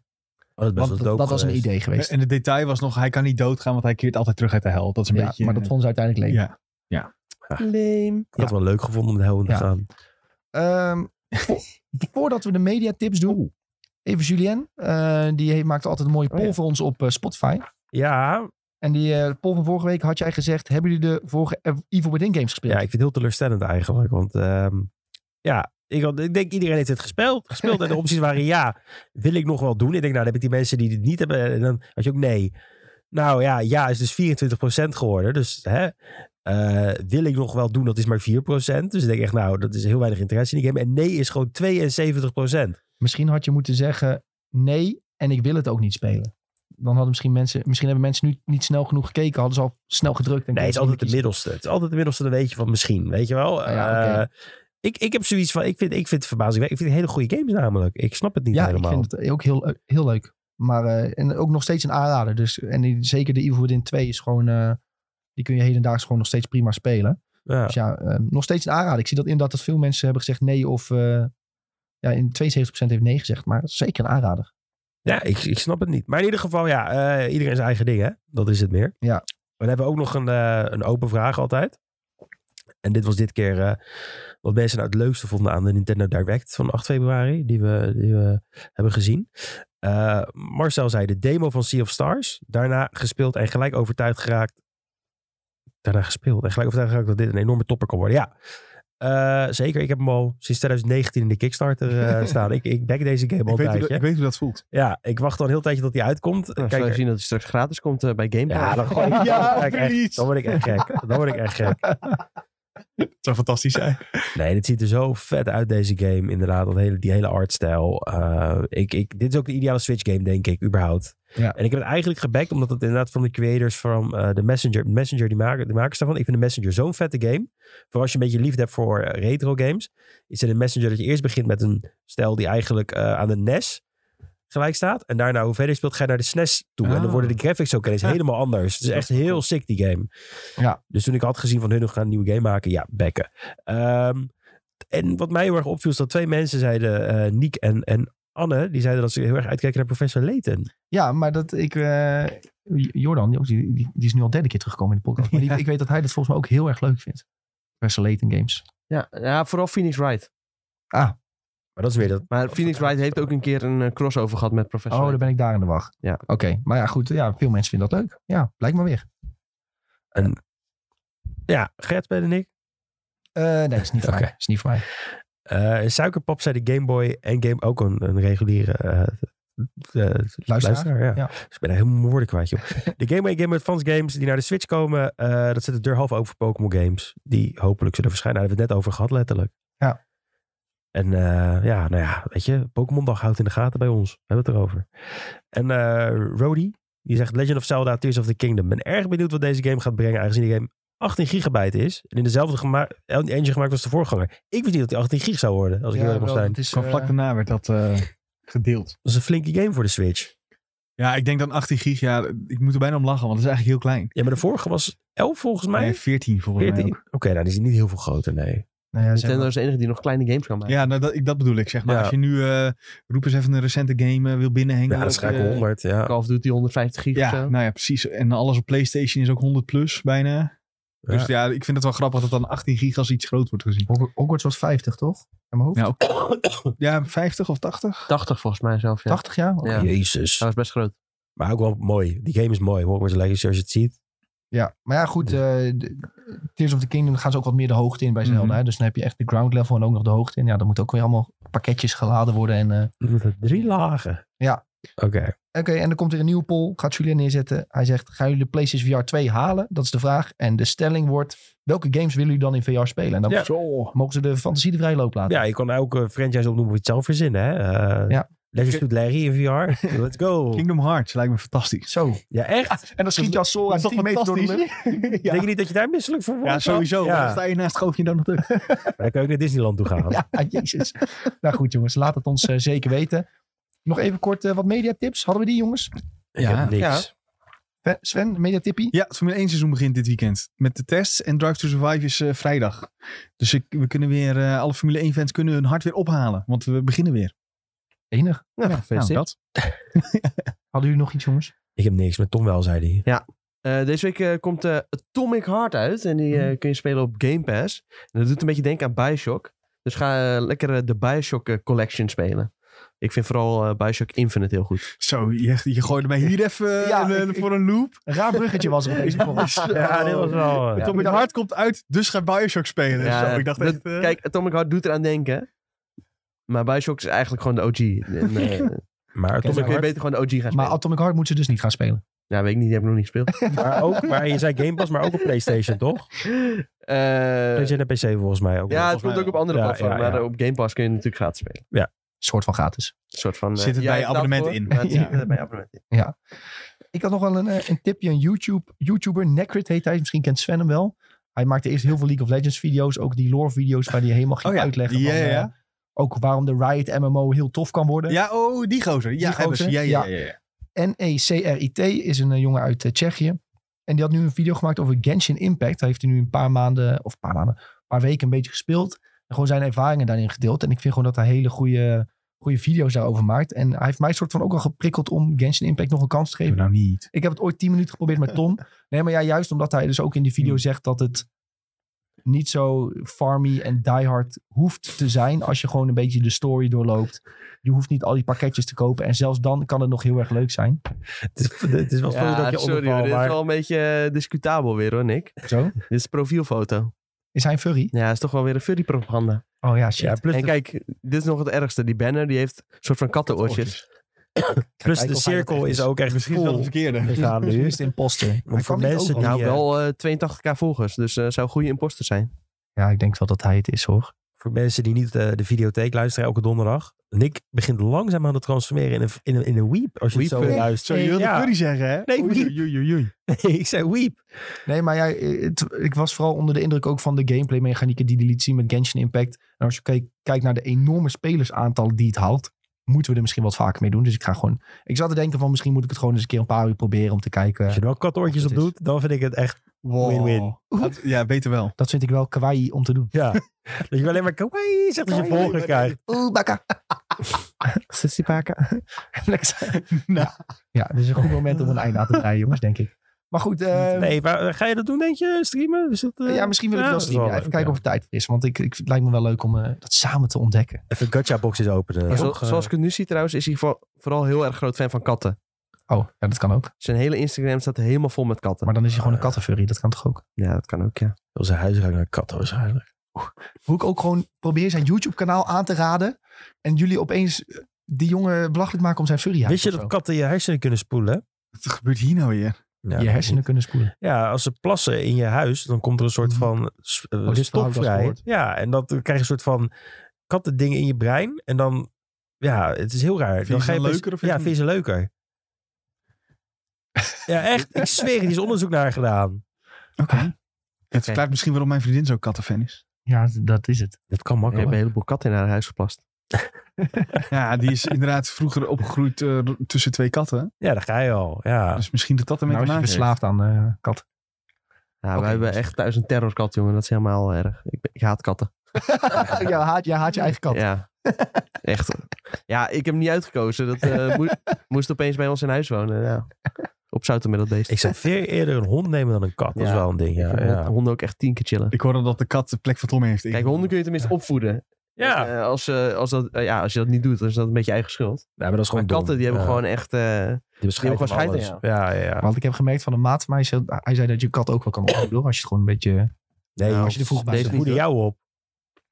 [SPEAKER 4] dat is
[SPEAKER 1] Want
[SPEAKER 4] best wel
[SPEAKER 1] dat,
[SPEAKER 4] dope
[SPEAKER 1] dat was een
[SPEAKER 4] geweest.
[SPEAKER 1] idee geweest.
[SPEAKER 2] En het detail was nog, hij kan niet doodgaan, want hij keert altijd terug uit de hel. Dat is een
[SPEAKER 1] ja,
[SPEAKER 2] beetje...
[SPEAKER 4] eh,
[SPEAKER 1] maar dat vonden ze uiteindelijk leuk.
[SPEAKER 2] ja.
[SPEAKER 3] claim.
[SPEAKER 4] Ik had het wel leuk gevonden om de hel in te
[SPEAKER 1] Ja.
[SPEAKER 4] gaan.
[SPEAKER 1] Ehm, vo- voordat we de mediatips doen. Even Julien. eh, die heeft- maakt altijd een mooie poll
[SPEAKER 3] Oh ja.
[SPEAKER 1] voor ons op eh, Spotify.
[SPEAKER 4] Ja,
[SPEAKER 1] En die eh, poll van vorige week had jij gezegd. Hebben jullie de vorige Ev- Evil Within games
[SPEAKER 4] ja,
[SPEAKER 1] gespeeld?
[SPEAKER 4] ik vind het heel teleurstellend eigenlijk. Want ehm, ja, ik, had- ik denk iedereen heeft het gespeeld. gespeeld en de opties waren ja, wil ik nog wel doen? Ik denk nou, dan heb ik die mensen die dit niet hebben. En dan had je ook nee. Nou ja, ja is dus 24% geworden. Dus hè, eh, wil ik nog wel doen, dat is maar 4%. Dus ik denk echt nou, dat is heel weinig interesse in die game. En nee is gewoon 72%.
[SPEAKER 1] Misschien had je moeten zeggen nee en ik wil het ook niet spelen. Dan hadden misschien mensen, misschien hebben mensen nu niet snel genoeg gekeken, hadden ze al snel gedrukt. En
[SPEAKER 4] Nee, het is altijd de
[SPEAKER 1] kiezen.
[SPEAKER 4] middelste. Het is altijd de middelste, dan weet je van misschien, weet je wel.
[SPEAKER 1] Ah ja, oké.
[SPEAKER 4] Eh, ik, ik heb zoiets van, ik vind, ik vind het verbazingwekkend. Ik vind het hele goede games namelijk. Ik snap het niet
[SPEAKER 1] Ja,
[SPEAKER 4] helemaal.
[SPEAKER 1] ik vind het ook heel, eh, heel leuk. Maar eh, en ook nog steeds een aanrader. Dus, en die- zeker de Evil Within 2 is gewoon, eh, die kun je hedendaags gewoon nog steeds prima spelen.
[SPEAKER 4] ja.
[SPEAKER 1] Dus ja, eh, nog steeds een aanrader. Ik zie dat inderdaad dat veel mensen hebben gezegd nee of... eh, ja, in 72% heeft nee gezegd, maar zeker een aanrader.
[SPEAKER 4] Ja, ik, ik snap het niet. Maar in ieder geval, ja, eh, iedereen zijn eigen ding, hè. Dat is het meer.
[SPEAKER 1] Ja.
[SPEAKER 4] Dan hebben we ook nog een, eh, een open vraag altijd. En dit was dit keer eh, wat mensen nou het leukste vonden aan de Nintendo Direct van 8 februari, die we, die we hebben gezien. Eh, Marcel zei de demo van Sea of Stars, daarna gespeeld en gelijk overtuigd geraakt. Daarna gespeeld en gelijk overtuigd geraakt dat dit een enorme topper kan worden. Ja, Eh, zeker. Ik heb hem al sinds 2019 in de Kickstarter eh, staan. Ik, ik back deze game
[SPEAKER 2] Ik
[SPEAKER 4] al een
[SPEAKER 2] weet, hoe dat,
[SPEAKER 4] tijdje.
[SPEAKER 2] ik weet hoe dat voelt.
[SPEAKER 4] Ja, ik wacht al een heel tijdje tot die uitkomt.
[SPEAKER 3] Nou,
[SPEAKER 4] Kijk,
[SPEAKER 3] zou je zien dat hij straks gratis komt eh, bij Game Pass?
[SPEAKER 4] ja, dan, gooi ik-
[SPEAKER 1] Ja,
[SPEAKER 4] dan word ik echt, dan word ik echt gek. Dan word ik echt gek.
[SPEAKER 2] Het zou fantastisch zijn.
[SPEAKER 4] Nee, dit ziet er zo vet uit deze game. Inderdaad, dat hele, die hele artstijl. Eh, ik, ik, dit is ook de ideale Switch game, denk ik, überhaupt.
[SPEAKER 1] Ja.
[SPEAKER 4] En ik heb het eigenlijk gebackt, omdat het inderdaad van de creators van eh, de Messenger, Messenger die maken, de makers daarvan. Ik vind de Messenger zo'n vette game. Voor als je een beetje liefde hebt voor eh, retro games. Is het een Messenger dat je eerst begint met een stijl die eigenlijk eh, aan de NES gelijk staat. En daarna hoe verder je speelt, ga je naar de SNES toe. En dan
[SPEAKER 2] Ah.
[SPEAKER 4] worden de graphics ook ineens
[SPEAKER 2] Ja.
[SPEAKER 4] helemaal anders. Het is
[SPEAKER 2] Dat
[SPEAKER 4] echt
[SPEAKER 2] is wel
[SPEAKER 4] heel
[SPEAKER 2] cool.
[SPEAKER 4] sick, die game.
[SPEAKER 1] Ja.
[SPEAKER 4] Dus toen ik had gezien van hun gaan een nieuwe game maken, ja, bekken. Ehm, en wat mij heel erg opviel is dat twee mensen zeiden, eh Niek en, en Anne, die zeiden dat ze heel erg uitkijken naar Professor Layton.
[SPEAKER 1] Ja, maar dat ik. eh, J- Jordan, die, ook- die, die die is nu al derde keer teruggekomen in de podcast. Maar die-
[SPEAKER 2] Ja.
[SPEAKER 1] ik weet dat hij dat volgens mij ook heel erg leuk vindt. Professor Layton Games.
[SPEAKER 3] Ja, ja, vooral Phoenix Wright.
[SPEAKER 4] Maar dat is weer dat.
[SPEAKER 3] Maar Phoenix Wright heeft ook een keer een eh, crossover gehad met Professor.
[SPEAKER 1] Oh, dan
[SPEAKER 3] Layton.
[SPEAKER 1] ben ik daar in de wacht.
[SPEAKER 3] Ja.
[SPEAKER 1] Oké, maar ja, goed. Ja, veel mensen vinden dat leuk. Ja, blijkt maar weer.
[SPEAKER 4] Ja, Gert bij de Nick.
[SPEAKER 1] Eh, nee, is niet voor
[SPEAKER 4] Oké.
[SPEAKER 1] mij. Is niet voor mij.
[SPEAKER 4] Eh, Suikerpap zei de Game Boy en Game ook een, een reguliere eh, eh, luisteraar. Ja.
[SPEAKER 1] ja.
[SPEAKER 4] Dus ik ben er helemaal mijn woorden kwijt, joh. de Game Boy en Game Advance games die naar de Switch komen, eh, dat zet de deur half open voor Pokémon games. Die hopelijk zullen verschijnen. Daar hebben we het net over gehad, letterlijk.
[SPEAKER 1] Ja.
[SPEAKER 4] En eh, ja, nou ja, weet je, Pokémon dag houdt in de gaten bij ons. We hebben het erover. En eh Rody, die zegt Legend of Zelda Tears of the Kingdom. Ben erg benieuwd wat deze game gaat brengen, aangezien de game 18 gigabyte is. En in dezelfde gema- engine gemaakt als de voorganger. Ik wist niet dat die 18 gig zou worden, als ik
[SPEAKER 1] Ja,
[SPEAKER 4] heel eerlijk mag
[SPEAKER 1] wel,
[SPEAKER 4] zijn.
[SPEAKER 1] het is,
[SPEAKER 2] Van
[SPEAKER 1] eh,
[SPEAKER 2] vlak daarna werd dat eh, gedeeld.
[SPEAKER 4] Dat is een flinke game voor de Switch.
[SPEAKER 2] Ja, ik denk dan 18 gig. Ja, ik moet er bijna om lachen, want het is eigenlijk heel klein.
[SPEAKER 4] Ja, maar de vorige was 11 volgens mij.
[SPEAKER 2] Nee, 14 volgens
[SPEAKER 4] 14?
[SPEAKER 2] mij.
[SPEAKER 4] Oké, nou die is niet heel veel groter, nee.
[SPEAKER 1] nou ja, zeg
[SPEAKER 3] Nintendo
[SPEAKER 1] maar.
[SPEAKER 3] is de enige die nog kleine games kan
[SPEAKER 2] ook.
[SPEAKER 3] maken.
[SPEAKER 2] Ja, nou, dat, ik- dat bedoel ik. Zeg maar.
[SPEAKER 4] Ja.
[SPEAKER 2] Als je nu eh roep eens even een recente game eh, wil binnenhengen.
[SPEAKER 4] Ja, dat is
[SPEAKER 2] op,
[SPEAKER 4] gelijk
[SPEAKER 2] eh,
[SPEAKER 4] 100, ja.
[SPEAKER 3] Call of Duty eh, 150 gig of
[SPEAKER 2] Ja,
[SPEAKER 3] zo.
[SPEAKER 2] nou ja, precies. En alles op PlayStation is ook 100 plus bijna. Dus ja, ik vind het wel grappig dat dan 18 gig als iets groot wordt gezien.
[SPEAKER 1] Hog- Hogwarts was 50, toch? In mijn hoofd?
[SPEAKER 2] Ja, Ja, 50 of 80?
[SPEAKER 3] 80 volgens mij zelf, ja.
[SPEAKER 1] 80 jaar? Oké.
[SPEAKER 3] Ja.
[SPEAKER 4] Jezus.
[SPEAKER 3] Dat was best groot.
[SPEAKER 4] Maar ook wel mooi. Die game is mooi. Hogwarts Legacy, als je het ziet.
[SPEAKER 1] Ja, maar ja, goed. eh, de- Tears of the Kingdom gaan ze ook wat meer de hoogte in bij Zelda.
[SPEAKER 2] Mhm.
[SPEAKER 1] hè. Dus dan heb je echt de ground level en ook nog de hoogte in. Ja, dan moet ook weer allemaal pakketjes geladen worden. En, eh,
[SPEAKER 4] Drie lagen.
[SPEAKER 1] Ja.
[SPEAKER 4] Oké.
[SPEAKER 1] Oké, en dan komt er een nieuwe poll. Gaat Julien neerzetten. Hij zegt, gaan jullie de PlayStation VR 2 halen? Dat is de vraag. En de stelling wordt, welke games willen jullie dan in VR spelen? En dan
[SPEAKER 4] Ja.
[SPEAKER 2] Zo.
[SPEAKER 1] mogen ze de fantasie de vrije loop laten.
[SPEAKER 4] Ja, je kan elke franchise opnoemen of je het zelf verzinnen, hè. Eh
[SPEAKER 1] Ja.
[SPEAKER 4] Legends to Larry in VR. Let's go.
[SPEAKER 2] Kingdom Hearts lijkt me fantastisch.
[SPEAKER 1] Zo.
[SPEAKER 4] Ja, echt?
[SPEAKER 1] En dan schiet je als Sora 10 meter door de lucht.
[SPEAKER 4] Denk je niet dat je daar misselijk voor wordt?
[SPEAKER 2] Ja, sowieso.
[SPEAKER 4] Ja.
[SPEAKER 2] Dan sta je naast Goofy dan nog terug.
[SPEAKER 4] Maar dan kan je ook naar Disneyland toe gaan.
[SPEAKER 1] Ja, jezus. nou goed jongens, laat het ons eh, zeker weten. Nog even kort eh, wat mediatips. Hadden we die jongens?
[SPEAKER 4] Ik heb
[SPEAKER 2] Ja.
[SPEAKER 4] niks.
[SPEAKER 1] Sven, Sven mediatippie?
[SPEAKER 2] Ja, het Formule 1 seizoen begint dit weekend. Met de tests en Drive to Survive is eh, vrijdag. Dus ik, we kunnen weer, eh, alle Formule 1 fans kunnen hun hart weer ophalen. Want we beginnen weer.
[SPEAKER 1] Enig.
[SPEAKER 3] Nou,
[SPEAKER 2] Nou,
[SPEAKER 3] gefeliciteerd.
[SPEAKER 2] dat.
[SPEAKER 1] Hadden jullie nog iets jongens?
[SPEAKER 4] Ik heb niks, maar Tom wel, zei hij.
[SPEAKER 3] Eh, deze week eh, komt eh, Atomic Heart uit. En die eh,
[SPEAKER 2] Mm.
[SPEAKER 3] kun je spelen op Game Pass. En dat doet een beetje denken aan Bioshock. Dus ga eh, lekker eh, de Bioshock eh, Collection spelen. Ik vind vooral eh, Bioshock Infinite heel goed.
[SPEAKER 2] Zo, je, je gooide mij hier even eh,
[SPEAKER 1] Ja,
[SPEAKER 2] eh,
[SPEAKER 1] ik-
[SPEAKER 2] voor een loop.
[SPEAKER 1] Een raar bruggetje was er opeens. voor ons.
[SPEAKER 4] Ja, dit was wel... eh,
[SPEAKER 2] Tommy de Hart komt uit, dus ga Bioshock spelen.
[SPEAKER 3] Ja,
[SPEAKER 2] Zo, ik dacht
[SPEAKER 3] dat-
[SPEAKER 2] echt... eh,
[SPEAKER 3] Kijk, Atomic Heart doet eraan denken. Maar Bioshock is eigenlijk gewoon de OG. En, eh,
[SPEAKER 4] Maar
[SPEAKER 3] dus dan
[SPEAKER 4] Atomic
[SPEAKER 3] kun je
[SPEAKER 4] Heart,
[SPEAKER 3] beter gewoon de OG gaan
[SPEAKER 1] Maar
[SPEAKER 3] spelen.
[SPEAKER 1] Atomic Heart moet ze dus niet gaan spelen.
[SPEAKER 3] Ja, weet ik niet. Die heb ik nog niet gespeeld.
[SPEAKER 4] maar ook... Maar je zei Game Pass, maar ook op PlayStation, toch?
[SPEAKER 3] Eh,
[SPEAKER 4] PlayStation en PC volgens mij ook.
[SPEAKER 3] ja, het
[SPEAKER 2] volgens
[SPEAKER 3] komt
[SPEAKER 2] mij
[SPEAKER 3] ook op andere
[SPEAKER 4] Ja,
[SPEAKER 3] platformen.
[SPEAKER 4] ja,
[SPEAKER 3] Maar
[SPEAKER 4] ja.
[SPEAKER 3] eh, op Game Pass kun je natuurlijk gratis spelen.
[SPEAKER 1] Soort van gratis.
[SPEAKER 3] Een soort van... eh,
[SPEAKER 2] Zit het
[SPEAKER 3] jij
[SPEAKER 2] bij je
[SPEAKER 3] betaalt
[SPEAKER 2] abonnement
[SPEAKER 3] voor,
[SPEAKER 2] in?
[SPEAKER 3] maar het zit
[SPEAKER 1] Ja.
[SPEAKER 3] er bij je abonnement in.
[SPEAKER 1] Ik had nog wel een, eh, een tipje. Een YouTube, YouTuber, Necrit heet hij. Misschien kent Sven hem wel. Hij maakte eerst heel veel League of Legends video's. Ook die lore video's waar hij helemaal ging
[SPEAKER 2] Oh ja,
[SPEAKER 1] uitleggen.
[SPEAKER 2] ja,
[SPEAKER 1] van,
[SPEAKER 2] ja,
[SPEAKER 1] eh,
[SPEAKER 2] ja.
[SPEAKER 1] ook waarom de Riot MMO heel tof kan worden.
[SPEAKER 2] Ja, oh, die gozer. Ja,
[SPEAKER 1] Die
[SPEAKER 2] hebben ze.
[SPEAKER 1] gozer,
[SPEAKER 2] Ja, ja, ja. ja.
[SPEAKER 1] E NECRIT is een eh, jongen uit eh, Tsjechië. En die had nu een video gemaakt over Genshin Impact. Hij heeft hij nu een paar maanden, of een paar maanden, een paar weken een beetje gespeeld. En gewoon zijn ervaringen daarin gedeeld. En ik vind gewoon dat hij hele goede, goede video's daarover maakt. En hij heeft mij soort van ook al geprikkeld om Genshin Impact nog een kans te geven.
[SPEAKER 2] Nou niet.
[SPEAKER 1] Ik heb het ooit 10 minuten geprobeerd met Tom. Nee, maar ja, juist omdat hij dus ook in die video zegt dat het niet zo farmy en diehard hoeft te zijn als je gewoon een beetje de story doorloopt. Je hoeft niet al die pakketjes te kopen en zelfs dan kan het nog heel erg leuk zijn.
[SPEAKER 4] Het is, het is wel
[SPEAKER 3] Ja,
[SPEAKER 4] goed dat je
[SPEAKER 3] sorry hoor,
[SPEAKER 4] onderval,
[SPEAKER 3] dit is
[SPEAKER 4] maar
[SPEAKER 3] wel een beetje eh, discutabel weer hoor, Nick.
[SPEAKER 1] Zo.
[SPEAKER 3] Dit is profielfoto.
[SPEAKER 1] Is hij een furry?
[SPEAKER 3] Ja, is toch wel weer een furry propaganda.
[SPEAKER 1] Oh ja, shit.
[SPEAKER 4] ja, plus,
[SPEAKER 3] En
[SPEAKER 4] de,
[SPEAKER 3] kijk, dit is nog het ergste. Die banner, die heeft een soort van kattenoortjes.
[SPEAKER 4] plus
[SPEAKER 1] kijk
[SPEAKER 4] de
[SPEAKER 1] of hij dat
[SPEAKER 4] cirkel
[SPEAKER 1] echt
[SPEAKER 4] is
[SPEAKER 1] is.
[SPEAKER 4] ook echt
[SPEAKER 2] Misschien is dat het verkeerde.
[SPEAKER 4] vol gegaan
[SPEAKER 1] Nu
[SPEAKER 4] nu.
[SPEAKER 1] is het imposter.
[SPEAKER 4] voor mensen
[SPEAKER 3] Nou,
[SPEAKER 4] die, eh,
[SPEAKER 3] wel eh, 82k volgers. Dus eh, zou een goede imposter zijn.
[SPEAKER 1] Ja, ik denk wel dat hij het is hoor.
[SPEAKER 4] Voor mensen die niet eh, de videotheek luisteren elke donderdag. Nick begint langzaam aan het transformeren in een, in een, in een weep. Als je het
[SPEAKER 3] Weep,
[SPEAKER 4] zo
[SPEAKER 3] eh,
[SPEAKER 4] luistert.
[SPEAKER 2] Zo, je wilde
[SPEAKER 4] Dus- Ja.
[SPEAKER 2] curry zeggen, hè?
[SPEAKER 4] Nee,
[SPEAKER 2] Oei,
[SPEAKER 4] niet.
[SPEAKER 2] oei, oei, oei, oei.
[SPEAKER 4] ik zei weep.
[SPEAKER 1] Nee, maar ja, het- ik was vooral onder de indruk ook van de gameplay mechanieken die hij liet zien met Genshin Impact. En als je keek- kijkt naar de enorme spelersaantallen die het haalt, moeten we er misschien wat vaker mee doen. Dus ik ga gewoon... Ik zat te denken van misschien moet ik het gewoon eens een keer een paar uur proberen om te kijken.
[SPEAKER 4] Als je er wel katoortjes
[SPEAKER 1] Of
[SPEAKER 4] op
[SPEAKER 1] het is-
[SPEAKER 4] doet, dan vind ik het echt... Win-win.
[SPEAKER 2] Dat- Ja, beter wel.
[SPEAKER 1] Dat vind ik wel kawaii om te doen.
[SPEAKER 4] Ja. dat je alleen maar kawaii zegt als je
[SPEAKER 1] Kawaii,
[SPEAKER 4] volgen krijgt.
[SPEAKER 1] Oeh, baka. Sissy baka. Lekker zijn.
[SPEAKER 2] Nou.
[SPEAKER 1] Ja, dit is een goed moment om een einde aan te draaien, jongens, denk ik. Maar goed, eh,
[SPEAKER 4] Nee, maar eh, ga je dat doen, denk je? Streamen? Is dat, eh,
[SPEAKER 1] ja, misschien wil ik
[SPEAKER 4] ja,
[SPEAKER 1] wel
[SPEAKER 4] dat is
[SPEAKER 1] streamen.
[SPEAKER 4] wel
[SPEAKER 1] Even
[SPEAKER 4] leuk,
[SPEAKER 1] kijken of er tijd voor is. Want ik, ik, het lijkt me wel leuk om eh, dat samen te ontdekken.
[SPEAKER 4] Even gacha-boxes openen.
[SPEAKER 3] Maar zo-
[SPEAKER 4] Toch, eh,
[SPEAKER 3] zoals ik het nu zie trouwens, is hij voor- vooral heel erg groot fan van katten. Dus
[SPEAKER 1] Oh, ja, dat eh, kan ook.
[SPEAKER 3] Zijn hele Instagram staat helemaal vol met katten.
[SPEAKER 1] Maar dan is je gewoon een kattenfurry. Dat kan toch ook?
[SPEAKER 3] Ja, dat kan ook, ja.
[SPEAKER 4] Wil zijn huisruik naar kat waarschijnlijk.
[SPEAKER 1] Hoe ik ook gewoon probeer zijn YouTube-kanaal aan te raden. En jullie opeens eh, die jongen belachelijk maken om zijn furry
[SPEAKER 4] Wist je dat katten je hersenen kunnen spoelen?
[SPEAKER 2] Wat gebeurt hier nou weer?
[SPEAKER 4] Ja,
[SPEAKER 1] je hersenen kunnen spoelen?
[SPEAKER 4] Ja, als ze plassen in je huis, dan komt er een soort van s- eh,
[SPEAKER 1] Mhm. Oh, dit verhaal
[SPEAKER 4] stof
[SPEAKER 1] heb ik al
[SPEAKER 4] vrij.
[SPEAKER 1] gehoord.
[SPEAKER 4] Ja, en dat dan krijg je een soort van kattendingen in je brein. En dan, ja, het is heel raar.
[SPEAKER 2] Vind je
[SPEAKER 4] dan
[SPEAKER 2] ze
[SPEAKER 4] ga
[SPEAKER 2] dan
[SPEAKER 4] best-
[SPEAKER 2] leuker of
[SPEAKER 4] Ja,
[SPEAKER 2] vind je
[SPEAKER 4] vind je ze leuker. ja, echt. Ik zweer, er is onderzoek naar gedaan.
[SPEAKER 2] Oké. Het
[SPEAKER 3] Oké.
[SPEAKER 2] verklaart misschien waarom mijn vriendin zo'n kattenfan is.
[SPEAKER 1] Ja, dat Nou is het.
[SPEAKER 4] Dat kan
[SPEAKER 3] Ik heb een
[SPEAKER 4] makkelijk.
[SPEAKER 3] heleboel katten in haar huis geplast.
[SPEAKER 2] Ja, die is inderdaad vroeger opgegroeid eh, r- tussen twee katten.
[SPEAKER 4] Ja, daar ga je al. Ja.
[SPEAKER 2] Dus misschien dat dat ermee
[SPEAKER 1] Nou is
[SPEAKER 2] te
[SPEAKER 1] je
[SPEAKER 2] maken heeft.
[SPEAKER 1] verslaafd aan eh katten.
[SPEAKER 3] Ja,
[SPEAKER 1] Oké,
[SPEAKER 3] wij hebben
[SPEAKER 4] dus-
[SPEAKER 1] jongens.
[SPEAKER 3] echt thuis een terrorkat, jongen. Dat is helemaal erg. Ik, ben- ik haat katten.
[SPEAKER 1] ja, haat, jij haat je eigen kat.
[SPEAKER 3] Ja, echt. Ja, ik heb hem niet uitgekozen. Dat eh, moe- moest opeens bij ons in huis wonen. Ja. Opzouten met dat beest.
[SPEAKER 4] Ik zou veel eerder een hond nemen dan een kat. Dat is
[SPEAKER 3] Ja,
[SPEAKER 4] wel een ding.
[SPEAKER 3] Ik
[SPEAKER 4] Ja,
[SPEAKER 3] vind
[SPEAKER 4] ja.
[SPEAKER 3] dat honden ook echt tien keer chillen.
[SPEAKER 2] Ik hoorde dat de kat de plek van Tom heeft.
[SPEAKER 3] Kijk, honden kun je tenminste opvoeden.
[SPEAKER 4] Ja.
[SPEAKER 3] Eh, als, eh, als, dat, eh, ja, als je dat niet doet, dan is dat een beetje eigen schuld.
[SPEAKER 4] Nee, maar dat is gewoon
[SPEAKER 3] Maar katten,
[SPEAKER 4] dom.
[SPEAKER 3] die hebben
[SPEAKER 4] Ja.
[SPEAKER 3] gewoon echt... eh,
[SPEAKER 4] Die beschrijven
[SPEAKER 3] Die hebben gewoon
[SPEAKER 4] alles. Ja, ja, ja.
[SPEAKER 1] Want ik heb gemerkt van een maat van mij, zei- hij zei dat je kat ook wel kan opvoeden. hoor, Als je het gewoon een beetje...
[SPEAKER 4] Nee,
[SPEAKER 3] Nou,
[SPEAKER 4] als je er vroeg bij
[SPEAKER 3] deze
[SPEAKER 4] zit,
[SPEAKER 3] niet,
[SPEAKER 4] voeden jou op.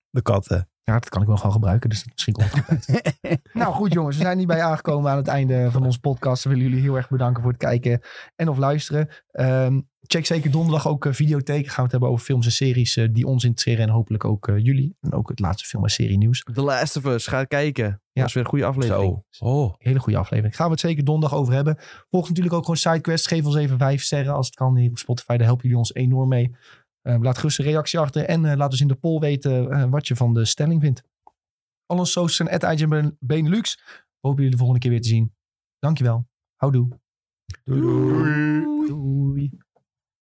[SPEAKER 4] De katten.
[SPEAKER 1] Ja, dat kan ik wel gewoon gebruiken, dus dat- misschien komt het goed uit. nou goed jongens, we zijn hierbij aangekomen aan het einde van onze podcast. We willen jullie heel erg bedanken voor het kijken en of luisteren. Ehm, check zeker donderdag ook eh, videotheek. Gaan we het hebben over films en series eh, die ons interesseren en hopelijk ook eh, jullie. En ook het laatste film en serie nieuws.
[SPEAKER 3] The Last of Us, ga kijken.
[SPEAKER 1] Ja.
[SPEAKER 3] Dat is weer een goede aflevering.
[SPEAKER 4] Zo. Oh.
[SPEAKER 1] Hele goede aflevering. Gaan we het zeker donderdag over hebben. Volg natuurlijk ook gewoon SideQuest. Geef ons even vijf sterren als het kan hier op Spotify. Daar helpen jullie ons enorm mee. Eh, laat gerust een reactie achter. En eh, laat ons in de poll weten eh, wat je van de stelling vindt. Al onze socials zijn at IGN Benelux. Hopen jullie de volgende keer weer te zien. Dankjewel. Houdoe.
[SPEAKER 4] Doei. doei.
[SPEAKER 1] Doei.